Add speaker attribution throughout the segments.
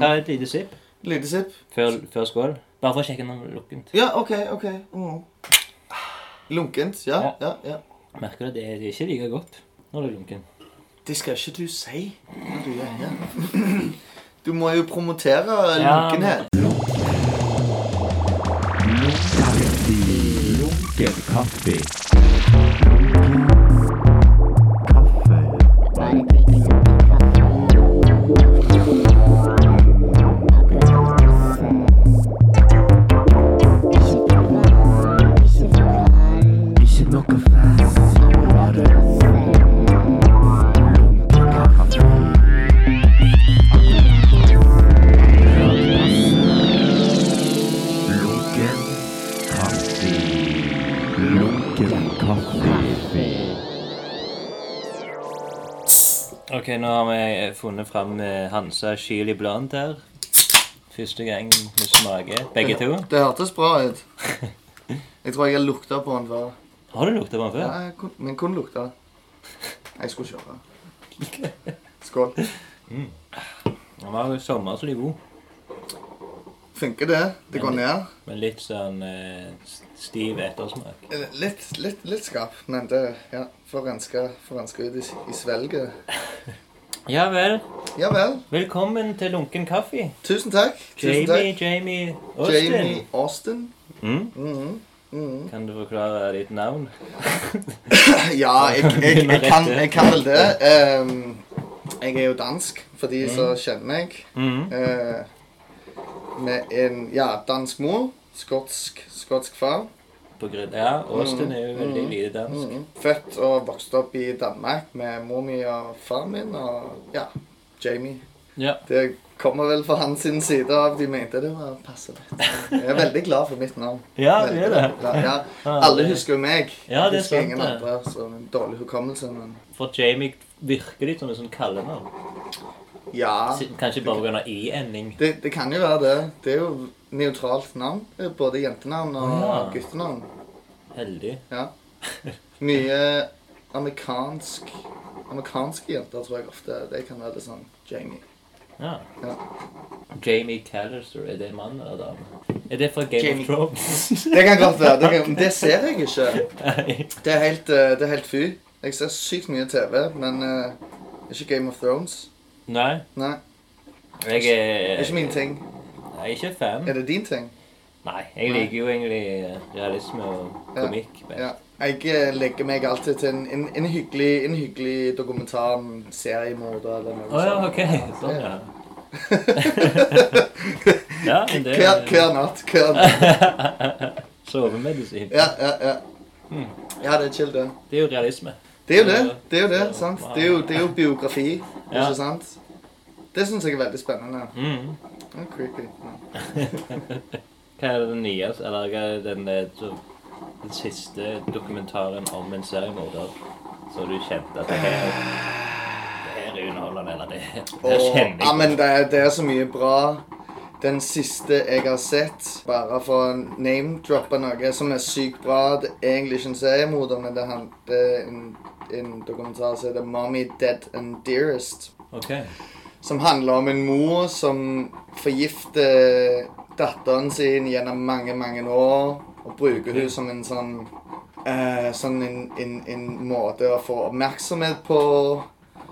Speaker 1: Ta et lite sipp
Speaker 2: Lite sipp.
Speaker 1: før, før skål. Bare for å sjekke om det er lukkent.
Speaker 2: Ja, OK, OK. Mm. Lunkent. Ja, ja, ja.
Speaker 1: Merker du at det er det er ikke like godt når det er lunken?
Speaker 2: Det skal ikke du si når du er her. Du må jo promotere
Speaker 1: Ja,
Speaker 2: lunkenhet.
Speaker 3: Lunken kaffe. Ikke noe fast. Bare lunken kaffe. Lunken kaffe. Lunken kaffe.
Speaker 1: Ok, nå har vi funnet fram eh, Hansa Chili Blond her. Første gang vi smaker, begge to.
Speaker 2: Det hørtes bra ut. Jeg tror jeg har lukta på den før.
Speaker 1: Har du lukta på den
Speaker 2: Ja,
Speaker 1: før?
Speaker 2: jeg kun, men kun lukta. Jeg skulle kjøre. Skål.
Speaker 1: Den var jo sommer, så de er god.
Speaker 2: Funker det? Det går ned.
Speaker 1: Men litt sånn eh, s- stiv ettersmak.
Speaker 2: Litt, litt, litt skarp, men det ja, får renske, får renske ut i, i svelget.
Speaker 1: Ja vel.
Speaker 2: Ja vel.
Speaker 1: Velkommen til Lunken kaffe.
Speaker 2: Tusen takk. Tusen
Speaker 1: Jamie,
Speaker 2: takk.
Speaker 1: Jamie
Speaker 2: Jamie
Speaker 1: Austin.
Speaker 2: Austin.
Speaker 1: Mm?
Speaker 2: Mhm. Mhm.
Speaker 1: Kan du forklare ditt navn?
Speaker 2: Ja, jeg, jeg, jeg, kan, jeg kan vel det. Ehm, jeg er jo dansk, for de
Speaker 1: Mm.
Speaker 2: som kjenner meg.
Speaker 1: Mhm.
Speaker 2: Eh, med en ja, dansk mor, skotsk, skotsk far.
Speaker 1: På grunn Ja, Austin er jo veldig lite dansk.
Speaker 2: Mm. Født og vokst opp i Danmark med mor mi og far min og ja, Jamie.
Speaker 1: Ja.
Speaker 2: Det kommer vel fra hans sin side av de mente det var passe rett. Jeg er veldig glad for mitt navn.
Speaker 1: Ja, du er
Speaker 2: Veldig
Speaker 1: det.
Speaker 2: glad. Ja, alle husker jo meg.
Speaker 1: Ja, det er
Speaker 2: Husker
Speaker 1: sant,
Speaker 2: ingen
Speaker 1: det.
Speaker 2: andre, så en dårlig hukommelse, men
Speaker 1: For Jamie virker litt som en sånn kallenavn.
Speaker 2: ja.
Speaker 1: Si- Kanskje bare pga. i-ending.
Speaker 2: Det, det kan jo være det. Det er jo neutralt navn. Både jentenavn og
Speaker 1: Å, ja.
Speaker 2: guttenavn.
Speaker 1: Heldig.
Speaker 2: Ja. Mye amerikansk Amerikanske jenter tror jeg ofte det kan være litt sånn Jamie.
Speaker 1: Ja.
Speaker 2: Ja.
Speaker 1: Jamie Callister, er det mann eller dame? Er det fra Game
Speaker 2: Jamie.
Speaker 1: of Thrones?
Speaker 2: Det kan godt være. Det, kan, det ser jeg ikke.
Speaker 1: Nei.
Speaker 2: Det er helt, eh, det er helt fy. Jeg ser sykt mye TV, men eh, ikke Game of Thrones.
Speaker 1: Nei,
Speaker 2: Nei,
Speaker 1: jeg
Speaker 2: det
Speaker 1: er
Speaker 2: er ikke min ting.
Speaker 1: Nei, jeg er ikke fan.
Speaker 2: Er det din ting?
Speaker 1: Nei, jeg liker jo egentlig eh, realisme og
Speaker 2: Ja.
Speaker 1: komikk best.
Speaker 2: Ja. Jeg eh, legger meg alltid til en, en, en, hyggelig, en hyggelig dokumentar om seriemorder eller noe
Speaker 1: Å ja,
Speaker 2: sånt.
Speaker 1: ok. Sånn, ja. ja, men det
Speaker 2: Hver, hver natt. Hver natt.
Speaker 1: Sovemedisin.
Speaker 2: Ja, ja, ja.
Speaker 1: Hmm.
Speaker 2: Ja, det er chill, det.
Speaker 1: Det er jo realisme.
Speaker 2: Det er jo det. det, er jo det,
Speaker 1: Ja.
Speaker 2: sant? Det er jo, det er jo biografi,
Speaker 1: Ja.
Speaker 2: ikke sant? Det syns jeg er veldig spennende.
Speaker 1: Mm.
Speaker 2: Det er creepy. Ja.
Speaker 1: Hva er den nye, eller hva er den, eh, så- den siste dokumentaren om en seriemorder så du kjente at det her, det her er underholdende, eller det her det her
Speaker 2: Og,
Speaker 1: kjenner
Speaker 2: ja, men
Speaker 1: jeg.
Speaker 2: det er, det er så mye bra. Den siste jeg har sett, bare for å name-droppe noe som er sykt bra Det er egentlig ikke en seriemorder, men det er han- det er en, en dokumentar som heter 'Mommy Dead and Dearest'.
Speaker 1: Ok.
Speaker 2: Som handler om en mor som forgifter datteren sin gjennom mange, mange år. Og bruker
Speaker 1: Mm.
Speaker 2: hun som en sånn eh, Sånn en, en, en måte å få oppmerksomhet på.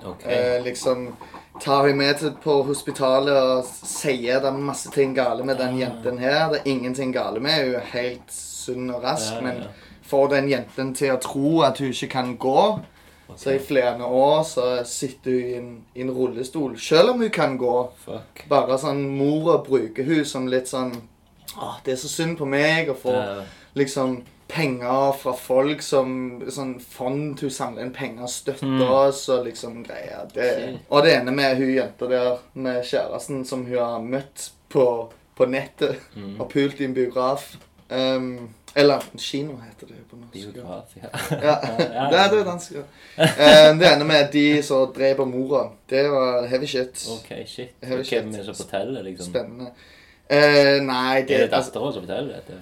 Speaker 1: ok.
Speaker 2: Eh, liksom tar hun med til på hospitalet og sier det er masse ting gale med
Speaker 1: Ah.
Speaker 2: den jenten her. Det er ingenting gale med Hun er helt sunn og rask,
Speaker 1: Ja, ja, ja.
Speaker 2: men får den jenten til å tro at hun ikke kan gå.
Speaker 1: Ok.
Speaker 2: Så i flere år så sitter hun i en, i en rullestol, selv om hun kan gå.
Speaker 1: Fuck.
Speaker 2: Bare sånn mora bruker hun som litt sånn Åh, det er så synd på meg å få
Speaker 1: Det-
Speaker 2: liksom penger fra folk som Sånn fond hun samler inn penger og støtter oss og liksom greier. Det,
Speaker 1: Mm. Shit.
Speaker 2: og det ene med hun jenta der med kjæresten som hun har møtt på, på nettet
Speaker 1: Mm.
Speaker 2: og pult i en biograf. Um, eller kino heter det jo på norsk.
Speaker 1: Biograf, ja.
Speaker 2: Ja,
Speaker 1: Ja,
Speaker 2: det er det dansk. ja. Eh, Det ene med de som dreper mora, det var heavy shit.
Speaker 1: Ok, shit.
Speaker 2: Jeg har jo
Speaker 1: Hvem er
Speaker 2: sett-
Speaker 1: det som forteller, liksom?
Speaker 2: Spennende. Eh, nei,
Speaker 1: Er det
Speaker 2: det, altså,
Speaker 1: datteren som forteller dette?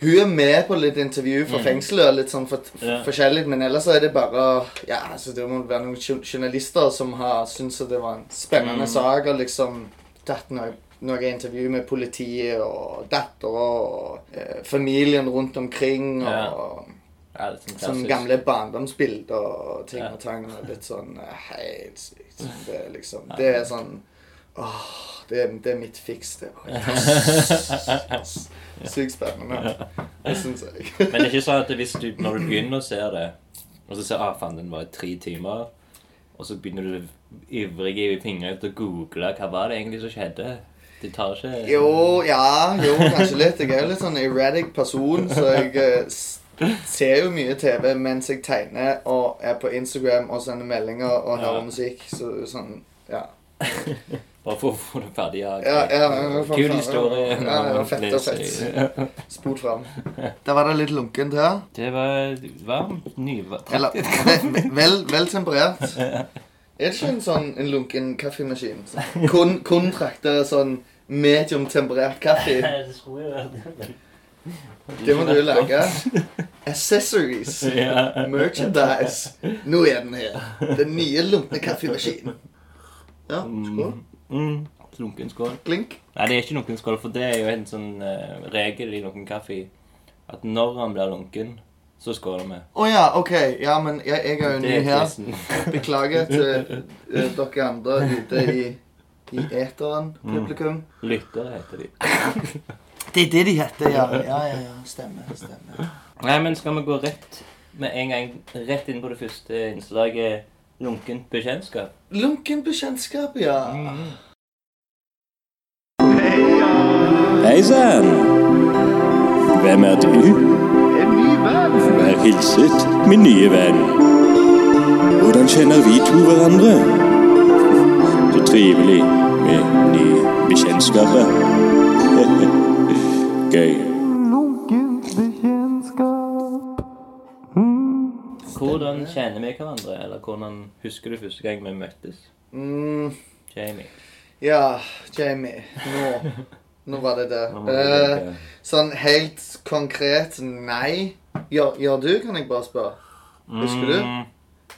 Speaker 2: hun er med på litt intervju fra
Speaker 1: Mm.
Speaker 2: fengselet og litt sånn for,
Speaker 1: Ja.
Speaker 2: forskjellig, men ellers så er det bare Ja, altså, det må være noen jour- journalister som har syntes at det var en spennende
Speaker 1: Mm.
Speaker 2: sak, og liksom datt noe, noe intervju med politiet og dattera og eh, familien rundt omkring. og...
Speaker 1: Ja. Ja, det er sånn
Speaker 2: Sånn
Speaker 1: klassisk.
Speaker 2: gamle barndomsbilder og ting
Speaker 1: Ja.
Speaker 2: og tang. og Litt sånn eh, helt sykt. Sånn, Det er liksom Det er sånn Åh, det, er- det er mitt fiks, det. Sykt spennende. Det syns jeg.
Speaker 1: Men det er ikke sånn at hvis du, når du begynner å se det, og så ser ah, faen, den var i tre timer, og så begynner du ivrig i fingrene til å google hva var det egentlig som skjedde. De tar ikke
Speaker 2: Jo, ja, jo, kanskje litt. Jeg er jo litt sånn erratic person, så jeg eh, s- ser jo mye TV mens jeg tegner og er på Instagram og sender meldinger og hører
Speaker 1: Ja.
Speaker 2: musikk. Så sånn Ja.
Speaker 1: Bare for å få det ferdig. Ja,
Speaker 2: Ja, ja, ja, for
Speaker 1: Kul
Speaker 2: faen.
Speaker 1: historie.
Speaker 2: Ja, ja, ja, fett og fett. Spol fram. Der var det litt lunkent her.
Speaker 1: Det var varmt, nyvatt
Speaker 2: Eller ve- vel, vel temperert. Er det ikke en sånn en lunken kaffemaskin? Sånn, Kun, kun trakter sånn medium temperert kaffe. Det må du lage. Accessories.
Speaker 1: Ja.
Speaker 2: Merchandise. Nå er den her. Den nye lunkne kaffemaskinen. Ja, skål.
Speaker 1: Mm. Lunken skål.
Speaker 2: Klink.
Speaker 1: Nei, det er ikke lunken skål, for det er jo en sånn eh, regel i lunken kaffe at når han blir lunken, så skåler vi.
Speaker 2: Å ja, OK. Ja, men jeg, jeg er jo ny
Speaker 1: Det er
Speaker 2: her.
Speaker 1: kristen.
Speaker 2: Beklager til eh, dere andre ute i, i eteren,
Speaker 1: Mm.
Speaker 2: publikum.
Speaker 1: Lyttere heter de.
Speaker 2: Det er det de heter, ja. Ja, ja, ja. Stemmer. stemmer.
Speaker 1: Nei, men skal vi gå rett med en gang rett inn på det første innslaget, lunkent bekjentskap?
Speaker 2: Lunken bekjentskap, ja.
Speaker 4: Hei sann! Hvem er du? Vær hilset, min nye venn. Hvordan kjenner vi to hverandre? Så trivelig med nye bekjentskaper. Gøy.
Speaker 1: Hvordan kjenner vi hverandre, eller hvordan husker du første gang vi møttes?
Speaker 2: Mm,
Speaker 1: Jamie.
Speaker 2: ja, Jamie. Nå. Nå var det det.
Speaker 1: Nå må vi
Speaker 2: Eh,
Speaker 1: tenke.
Speaker 2: sånn helt konkret nei. Gjør, gjør du, kan jeg bare spørre. Husker du?
Speaker 1: Mm.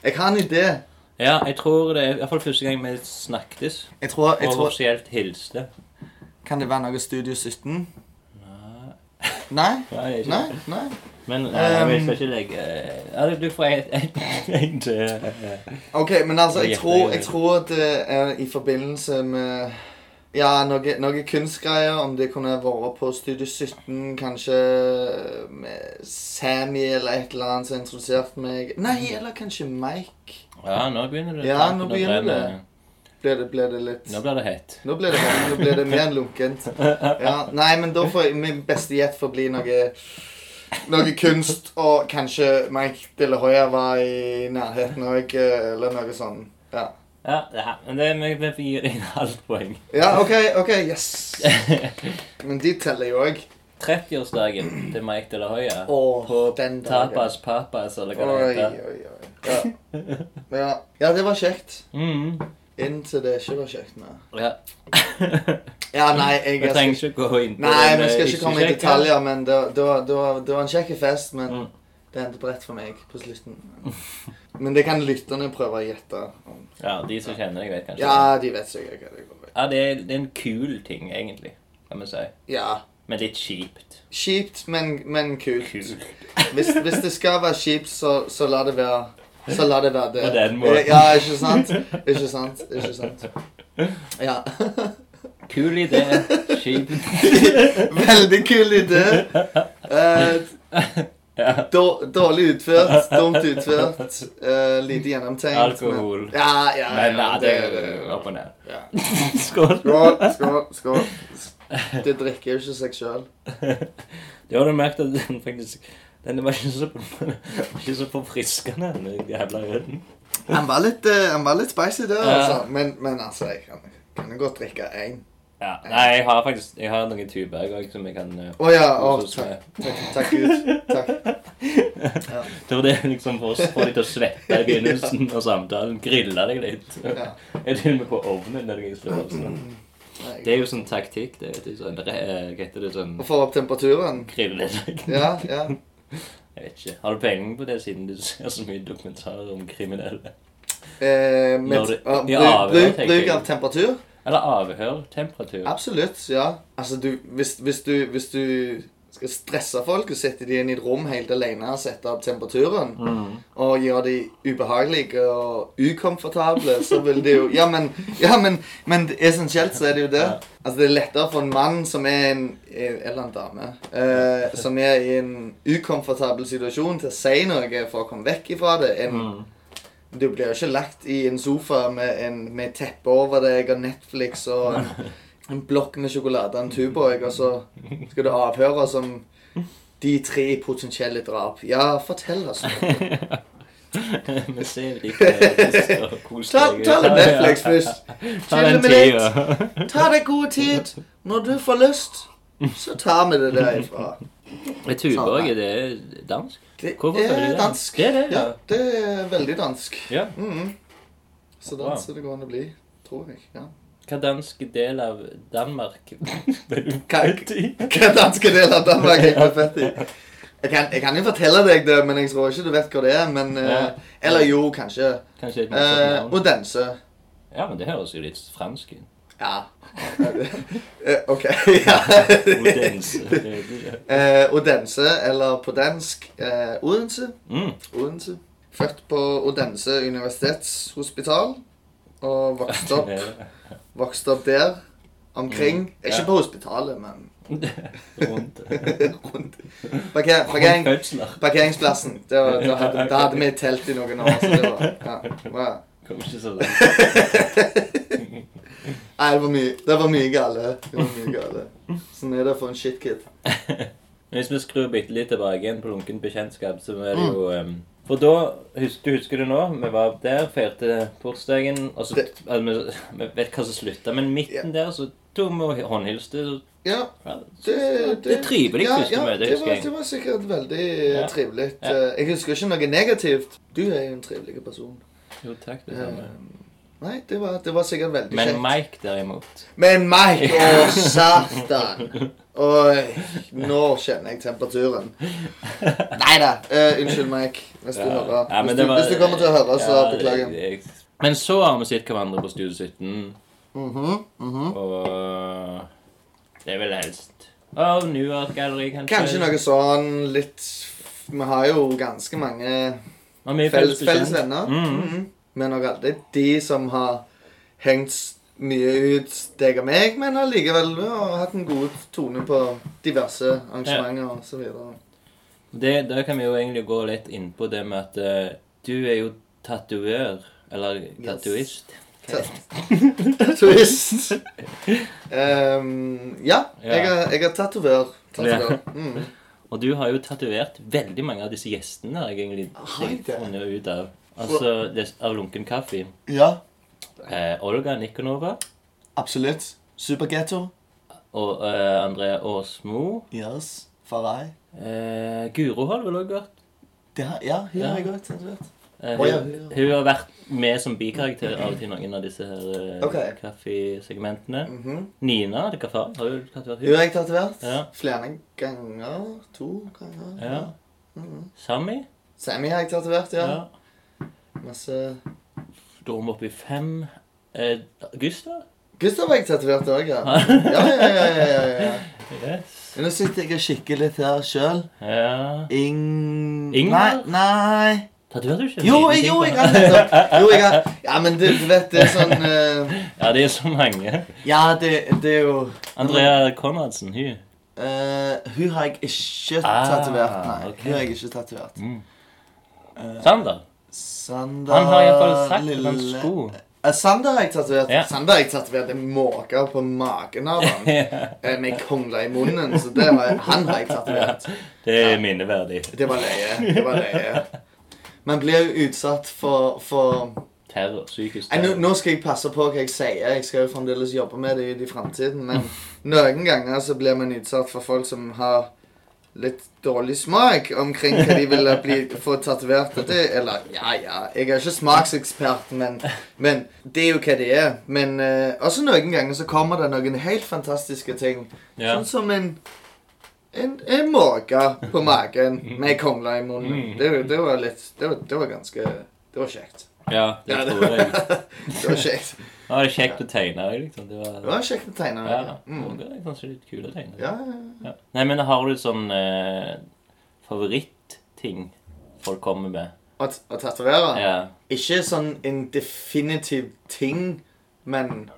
Speaker 2: Jeg har en idé.
Speaker 1: Ja, jeg tror det er i hvert fall første gang vi snakkes.
Speaker 2: Jeg tror, jeg
Speaker 1: Og
Speaker 2: tror
Speaker 1: offisielt hilste.
Speaker 2: Kan det være noe Studio 17? Nei?
Speaker 1: Nei, det er ikke
Speaker 2: Nei? Nei?
Speaker 1: Men eh, vi
Speaker 2: Um,
Speaker 1: skal ikke legge Ja, du- du får en- en en til. eh.
Speaker 2: OK, men altså, jeg
Speaker 1: Gjette,
Speaker 2: tror, jeg
Speaker 1: jeg-
Speaker 2: tror at det er i forbindelse med Ja, noe, noe kunstgreier. Om det kunne vært på Studio 17, kanskje med Sammy eller et eller annet som introduserte meg Nei,
Speaker 1: Mhm.
Speaker 2: eller kanskje Mike.
Speaker 1: Ja, nå begynner det.
Speaker 2: Ja,
Speaker 1: Takk,
Speaker 2: nå begynner
Speaker 1: brenner-
Speaker 2: det. Ble det, ble det litt
Speaker 1: Nå blir det hett.
Speaker 2: Nå ble det, nå ble det mer lunkent. Ja, nei, men da får jeg, min beste gjett får bli noe noe kunst, og kanskje Mike De La Hoya var i nærheten òg, eller noe sånn. Ja.
Speaker 1: Ja, det her. Men det, vi- vi gir deg et halvt poeng.
Speaker 2: Ja, OK, ok, yes. Men de teller jo òg.
Speaker 1: 30-årsdagen til Mike de la Hoya.
Speaker 2: Åh,
Speaker 1: på
Speaker 2: den dagen.
Speaker 1: Tapas Papas, eller hva
Speaker 2: Oi,
Speaker 1: det heter.
Speaker 2: oi, oi. Ja. Ja. ja, det var kjekt.
Speaker 1: Mm.
Speaker 2: Inntil det ikke var kjekt. Nei.
Speaker 1: Ja.
Speaker 2: Ja, nei, jeg
Speaker 1: Vi trenger ikke gå inn på
Speaker 2: Nei,
Speaker 1: den,
Speaker 2: vi
Speaker 1: eh,
Speaker 2: skal ikke komme i
Speaker 1: sjekk.
Speaker 2: detaljer, men det, det, var- det, var- det var en kjekk fest, men
Speaker 1: Mm.
Speaker 2: det endte bredt for meg på slutten. Men det kan lytterne prøve å gjette. om.
Speaker 1: Ja, de som kjenner deg, vet kanskje.
Speaker 2: Ja, de vet sikkert hva det går i.
Speaker 1: Ja, det er, det er en kul ting, egentlig, kan vi si.
Speaker 2: Ja.
Speaker 1: Men litt kjipt.
Speaker 2: Kjipt, men, men kult.
Speaker 1: Kult.
Speaker 2: Hvis, hvis det skal være kjipt, så, så la det være. Så la det være det.
Speaker 1: På den måten.
Speaker 2: Ja, ikke sant? Ikke sant? Ikke sant? Ja.
Speaker 1: Kul idé, kjipt.
Speaker 2: Veldig kul idé. Eh,
Speaker 1: Ja.
Speaker 2: Dår, dårlig utført, dumt utført, eh, lite gjennomtenkt.
Speaker 1: Alkohol.
Speaker 2: Men, ja, ja, ja,
Speaker 1: Men nei, det er
Speaker 2: det-
Speaker 1: opp og ned.
Speaker 2: ja.
Speaker 1: Skål.
Speaker 2: Skål, skål, skål. Det drikker jo ikke seg sjøl.
Speaker 1: Det har du merket at den faktisk Den var ikke så, var ikke så forfriskende, den jævla ølen.
Speaker 2: Han var litt, eh, han var litt spicy der,
Speaker 1: Ja.
Speaker 2: altså. Men, men altså, jeg kan, kan jo godt drikke én.
Speaker 1: Ja. Nei, jeg har faktisk Jeg har noen tuber òg som jeg kan eh,
Speaker 2: Å ja.
Speaker 1: kose
Speaker 2: Å,
Speaker 1: oss
Speaker 2: takk,
Speaker 1: med.
Speaker 2: takk, takk Gud. Takk.
Speaker 1: Det var det liksom for å få deg til å svette i begynnelsen av samtalen. Grille deg litt.
Speaker 2: Ja. Mm.
Speaker 1: Jeg er til og med på ovnen når jeg slår opp. sånn. Det
Speaker 2: Nei.
Speaker 1: er jo sånn taktikk. det vet du, sånn, re- eh, Hva heter det? Sånn
Speaker 2: Å få opp temperaturen.
Speaker 1: grille deg.
Speaker 2: Ja, ja.
Speaker 1: Jeg vet ikke. Har du peiling på det, siden du ser så mye dokumentarer om kriminelle?
Speaker 2: Eh,
Speaker 1: Når
Speaker 2: med,
Speaker 1: det-
Speaker 2: ja,
Speaker 1: ja,
Speaker 2: bruk, bruk,
Speaker 1: tenker
Speaker 2: bruk
Speaker 1: jeg.
Speaker 2: av temperatur.
Speaker 1: Eller avhørtemperatur.
Speaker 2: Absolutt, ja. Altså, du, hvis, hvis, du, hvis du skal stresse folk og sette dem inn i et rom helt alene og sette opp temperaturen, og gjøre dem ubehagelige og ukomfortable, så vil det jo Ja, men, ja, men, men essensielt så er det jo det. Altså, det er lettere for en mann som er en Eller en dame. eh, som er i en ukomfortabel situasjon, til å si noe for å komme vekk ifra det, enn du blir jo ikke lagt i en sofa med, en, med et teppe over deg og Netflix og en, en blokk med sjokolade og en Tuborg, og så skal du avhøre som de tre potensielle drap. Ja, fortell oss. noe.
Speaker 1: Vi ser ikke det. og kos
Speaker 2: Ta,
Speaker 1: deg.
Speaker 2: ta litt Netflix først.
Speaker 1: Ta den
Speaker 2: Chill med
Speaker 1: tida.
Speaker 2: Ta deg god tid. Når du får lyst, så tar vi det derifra.
Speaker 1: Er Tuborg er det dansk?
Speaker 2: Det
Speaker 1: Hvorfor føler
Speaker 2: er
Speaker 1: du det?
Speaker 2: dansk.
Speaker 1: Det er det,
Speaker 2: ja.
Speaker 1: ja.
Speaker 2: Det er veldig dansk.
Speaker 1: Ja.
Speaker 2: Mhm. Så
Speaker 1: Wow.
Speaker 2: dansk er det går an å bli, tror jeg. ja.
Speaker 1: Hva dansk del av Danmark ble du
Speaker 2: Hva-
Speaker 1: født i?
Speaker 2: Hva danske del av Danmark jeg ble født i? Jeg kan, jeg kan jo fortelle deg det, men jeg tror ikke du vet hva det er. Men, eh,
Speaker 1: Ja.
Speaker 2: Eller jo, kanskje.
Speaker 1: Kanskje et
Speaker 2: Eh,
Speaker 1: motsatt navn?
Speaker 2: Odense.
Speaker 1: Ja, men det høres jo litt fransk ut.
Speaker 2: Ja. Eh, ok. ja.
Speaker 1: Odense. det er det.
Speaker 2: Eh, Odense, eller på dansk eh, Odense.
Speaker 1: Mm.
Speaker 2: Odense. Født på Odense universitetshospital. Og vokste opp, vokste opp der. Omkring. Ikke på hospitalet, men
Speaker 1: Mm. Rundt.
Speaker 2: rundt. Parker, parkering,
Speaker 1: Fødsler.
Speaker 2: Parkeringsplassen. Det var, da, hadde, da hadde vi et telt i noen år. Så det var, ja, det var,
Speaker 1: Kom ikke så langt.
Speaker 2: nei, det var mye, det var mye gale. Det var mye gale. Sånn er det for en shitkid.
Speaker 1: Hvis vi skrur bitte litt tilbake igjen på lunken bekjentskap, så er
Speaker 2: Mm.
Speaker 1: det jo um, For da hus- Du husker det nå? Vi var der, feirte bursdagen, og så
Speaker 2: Det-
Speaker 1: altså, vi, vi vet hva som slutta, men midten der, så tok vi og håndhilste. så-
Speaker 2: Ja,
Speaker 1: Ja,
Speaker 2: det,
Speaker 1: det er trivelig første møte,
Speaker 2: det
Speaker 1: husker
Speaker 2: var,
Speaker 1: jeg.
Speaker 2: det var sikkert veldig
Speaker 1: Ja.
Speaker 2: ja. trivelig.
Speaker 1: Ja.
Speaker 2: Eh, Jeg husker ikke noe negativt. Du er jo en trivelig person.
Speaker 1: Jo, takk, det
Speaker 2: Eh,
Speaker 1: samme.
Speaker 2: Nei, det var, det var sikkert veldig
Speaker 1: Men
Speaker 2: kjekt.
Speaker 1: Mike, derimot
Speaker 2: Men Mike, å satan! Oi, nå kjenner jeg temperaturen. Nei da. unnskyld, Mike. Hvis du, hører.
Speaker 1: Ja, men
Speaker 2: hvis,
Speaker 1: det
Speaker 2: du,
Speaker 1: var-
Speaker 2: hvis du kommer til å høre, så
Speaker 1: Ja, det-
Speaker 2: beklager.
Speaker 1: det- Men så har vi sett hverandre på Studio 17,
Speaker 2: Mhm, mhm.
Speaker 1: og det er vel helst Av New Art Gallery, kanskje.
Speaker 2: Kanskje noe sånn litt Vi har jo ganske mange
Speaker 1: Og mye
Speaker 2: felles, felles
Speaker 1: bekjent.
Speaker 2: venner.
Speaker 1: Mm.
Speaker 2: Mhm. Men nok alltid de som har hengt s- mye ut deg og meg, men allikevel har hatt en god tone på diverse arrangementer og så videre.
Speaker 1: Det, da kan vi jo egentlig gå litt inn på det med at eh, du er jo tatover, eller tatoist.
Speaker 2: Turist. Ehm, ja, jeg er, jeg er tatovør. Tatovør. Mm.
Speaker 1: Og du har jo tatovert veldig mange av disse gjestene har jeg egentlig
Speaker 2: Har jeg det?
Speaker 1: funnet ut av. Altså det, av Lunken Kaffe.
Speaker 2: Ja,
Speaker 1: Eh, Olga Nikonova
Speaker 2: absolutt. Supergetto.
Speaker 1: og eh, André Aasmo.
Speaker 2: Yes. Farai.
Speaker 1: Eh, Guro har det vel også vært.
Speaker 2: Det har, ja, hun
Speaker 1: har jeg
Speaker 2: også tatovert.
Speaker 1: Eh,
Speaker 2: Å, ja.
Speaker 1: hun, hun har vært med som bikarakter av og til noen av disse her eh,
Speaker 2: Ok.
Speaker 1: kaffesegmentene.
Speaker 2: Mhm.
Speaker 1: Nina de Cafar har jo tatt vært
Speaker 2: Hun
Speaker 1: hun.
Speaker 2: har jeg tatovert.
Speaker 1: Ja.
Speaker 2: Flere ganger. To ganger.
Speaker 1: Ja.
Speaker 2: Mm.
Speaker 1: Sami.
Speaker 2: Sammy har jeg tatovert, ja.
Speaker 1: Ja.
Speaker 2: Masse
Speaker 1: Da er vi oppe i fem. Eh, Gustav?
Speaker 2: Gustav har jeg tatovert òg, ja. Ja, ja, ja, ja, ja, ja.
Speaker 1: Yes.
Speaker 2: Nå sitter jeg og kikker litt her sjøl.
Speaker 1: Ja.
Speaker 2: Ing...
Speaker 1: Ingvar?
Speaker 2: Nei, nei.
Speaker 1: Tatoverte du ikke? en
Speaker 2: Jo,
Speaker 1: liten
Speaker 2: jeg,
Speaker 1: ting
Speaker 2: jo,
Speaker 1: på
Speaker 2: jeg
Speaker 1: henne?
Speaker 2: har nettopp Jo, jeg har Ja, men du, du vet, det er sånn eh,
Speaker 1: Ja, det er så mange.
Speaker 2: Ja, det, det er jo
Speaker 1: Andrea Konradsen, hun.
Speaker 2: eh, Hun har jeg ikke
Speaker 1: Ah,
Speaker 2: tatovert, nei.
Speaker 1: ok.
Speaker 2: Hun har jeg ikke tatovert.
Speaker 1: Sander.
Speaker 2: Sander
Speaker 1: Han har iallfall sagt at han skulle.
Speaker 2: Eh, Sander har jeg tatovert.
Speaker 1: Ja.
Speaker 2: Sander har jeg tatovert en måke på magen av han. eh, Med kongla i munnen, så det har jeg, han har jeg tatovert.
Speaker 1: Det er minneverdig.
Speaker 2: Det var løye. Det var løye. Man blir jo utsatt for, for
Speaker 1: Terror. Psykisk
Speaker 2: Nei, nå,
Speaker 1: terror.
Speaker 2: nå skal jeg passe på hva jeg sier. Jeg skal jo fremdeles jobbe med det ut i fremtiden. Men noen ganger så blir man utsatt for folk som har litt dårlig smak omkring hva de ville bli, få tatovert. Og det- Eller ja, ja, jeg er ikke smaksekspert, men, men det er jo hva det er. Men eh, også noen ganger så kommer det noen helt fantastiske ting.
Speaker 1: Ja.
Speaker 2: Sånn som en en, en måke på magen med kongla i munnen. Det, det var litt Det var, det var ganske Det var kjekt.
Speaker 1: ja, det
Speaker 2: Ja, det-
Speaker 1: tror jeg.
Speaker 2: Det var kjekt.
Speaker 1: Da var det kjekt å tegne òg, liksom. Det var,
Speaker 2: Det var kjekt å tegne.
Speaker 1: ja,
Speaker 2: Ja. Mm.
Speaker 1: det er kanskje litt kul å tegne.
Speaker 2: Ja, ja, ja.
Speaker 1: Ja. Nei, men har du sånn eh, favorittting folk kommer med?
Speaker 2: Å t- å tatovere?
Speaker 1: Ja.
Speaker 2: Ikke sånn en definitiv ting, men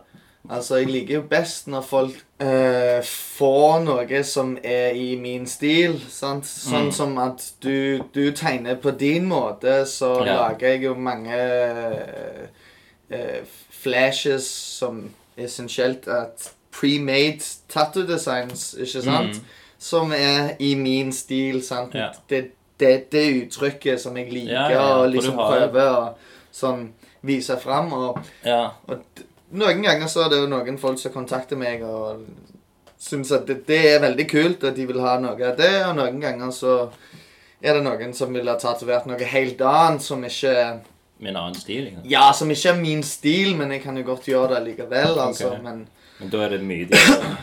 Speaker 2: Altså, jeg liker jo best når folk eh, får noe som er i min stil. Sant? Sånn
Speaker 1: Mm.
Speaker 2: som at du, du tegner på din måte, så
Speaker 1: Ja.
Speaker 2: lager jeg jo mange eh, eh, flashes som essensielt at pre-made tattoo designs, ikke sant?
Speaker 1: Mm.
Speaker 2: Som er i min stil, sant?
Speaker 1: Ja.
Speaker 2: Det, det, det uttrykket som jeg liker,
Speaker 1: Ja, ja, ja, for
Speaker 2: og
Speaker 1: du
Speaker 2: liksom
Speaker 1: har jo-
Speaker 2: prøver å sånn vise fram. Og,
Speaker 1: ja.
Speaker 2: og d- noen ganger så er det jo noen folk som kontakter meg og syns at det, det er veldig kult, og de vil ha noe av det, og noen ganger så er det noen som vil ha tatovert noe helt annet som ikke
Speaker 1: Med en annen stil, liksom.
Speaker 2: Ja, som ikke er min stil, men jeg kan jo godt gjøre det likevel, altså.
Speaker 1: Ok.
Speaker 2: Men
Speaker 1: Men da er det mye dyrere.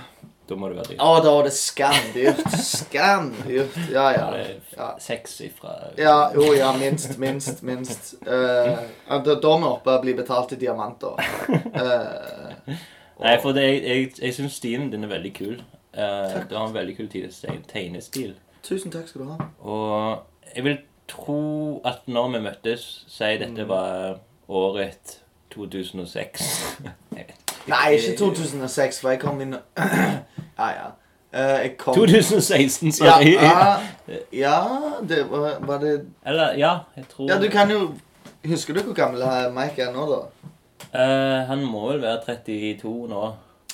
Speaker 1: Da må det være dyrt.
Speaker 2: Å, da var det skamdyrt. Skamdyrt. Ja, ja.
Speaker 1: Da er det
Speaker 2: ja.
Speaker 1: Seks ifra
Speaker 2: Ja, jo, ja, minst, minst, minst. Eh, ja, da, da må oppe bli betalt i diamanter. Eh, og-
Speaker 1: Nei, for det, jeg, jeg, jeg syns stilen din er veldig kul. Eh, du har en veldig kul tid- steg- tegnestil.
Speaker 2: Tusen takk skal du ha.
Speaker 1: Og jeg vil tro at når vi møttes, si
Speaker 2: Mm.
Speaker 1: dette var året 2006 Jeg vet ikke.
Speaker 2: Nei, ikke 2006, for jeg kom inn Ja, ja. Eh, jeg kom
Speaker 1: 2016,
Speaker 2: ja,
Speaker 1: sorry.
Speaker 2: ja, ja, det var, var det
Speaker 1: Eller, ja, jeg tror
Speaker 2: Ja, du kan jo Husker du hvor gammel eh, Mike er nå, da?
Speaker 1: Eh, Han må vel være 32 nå.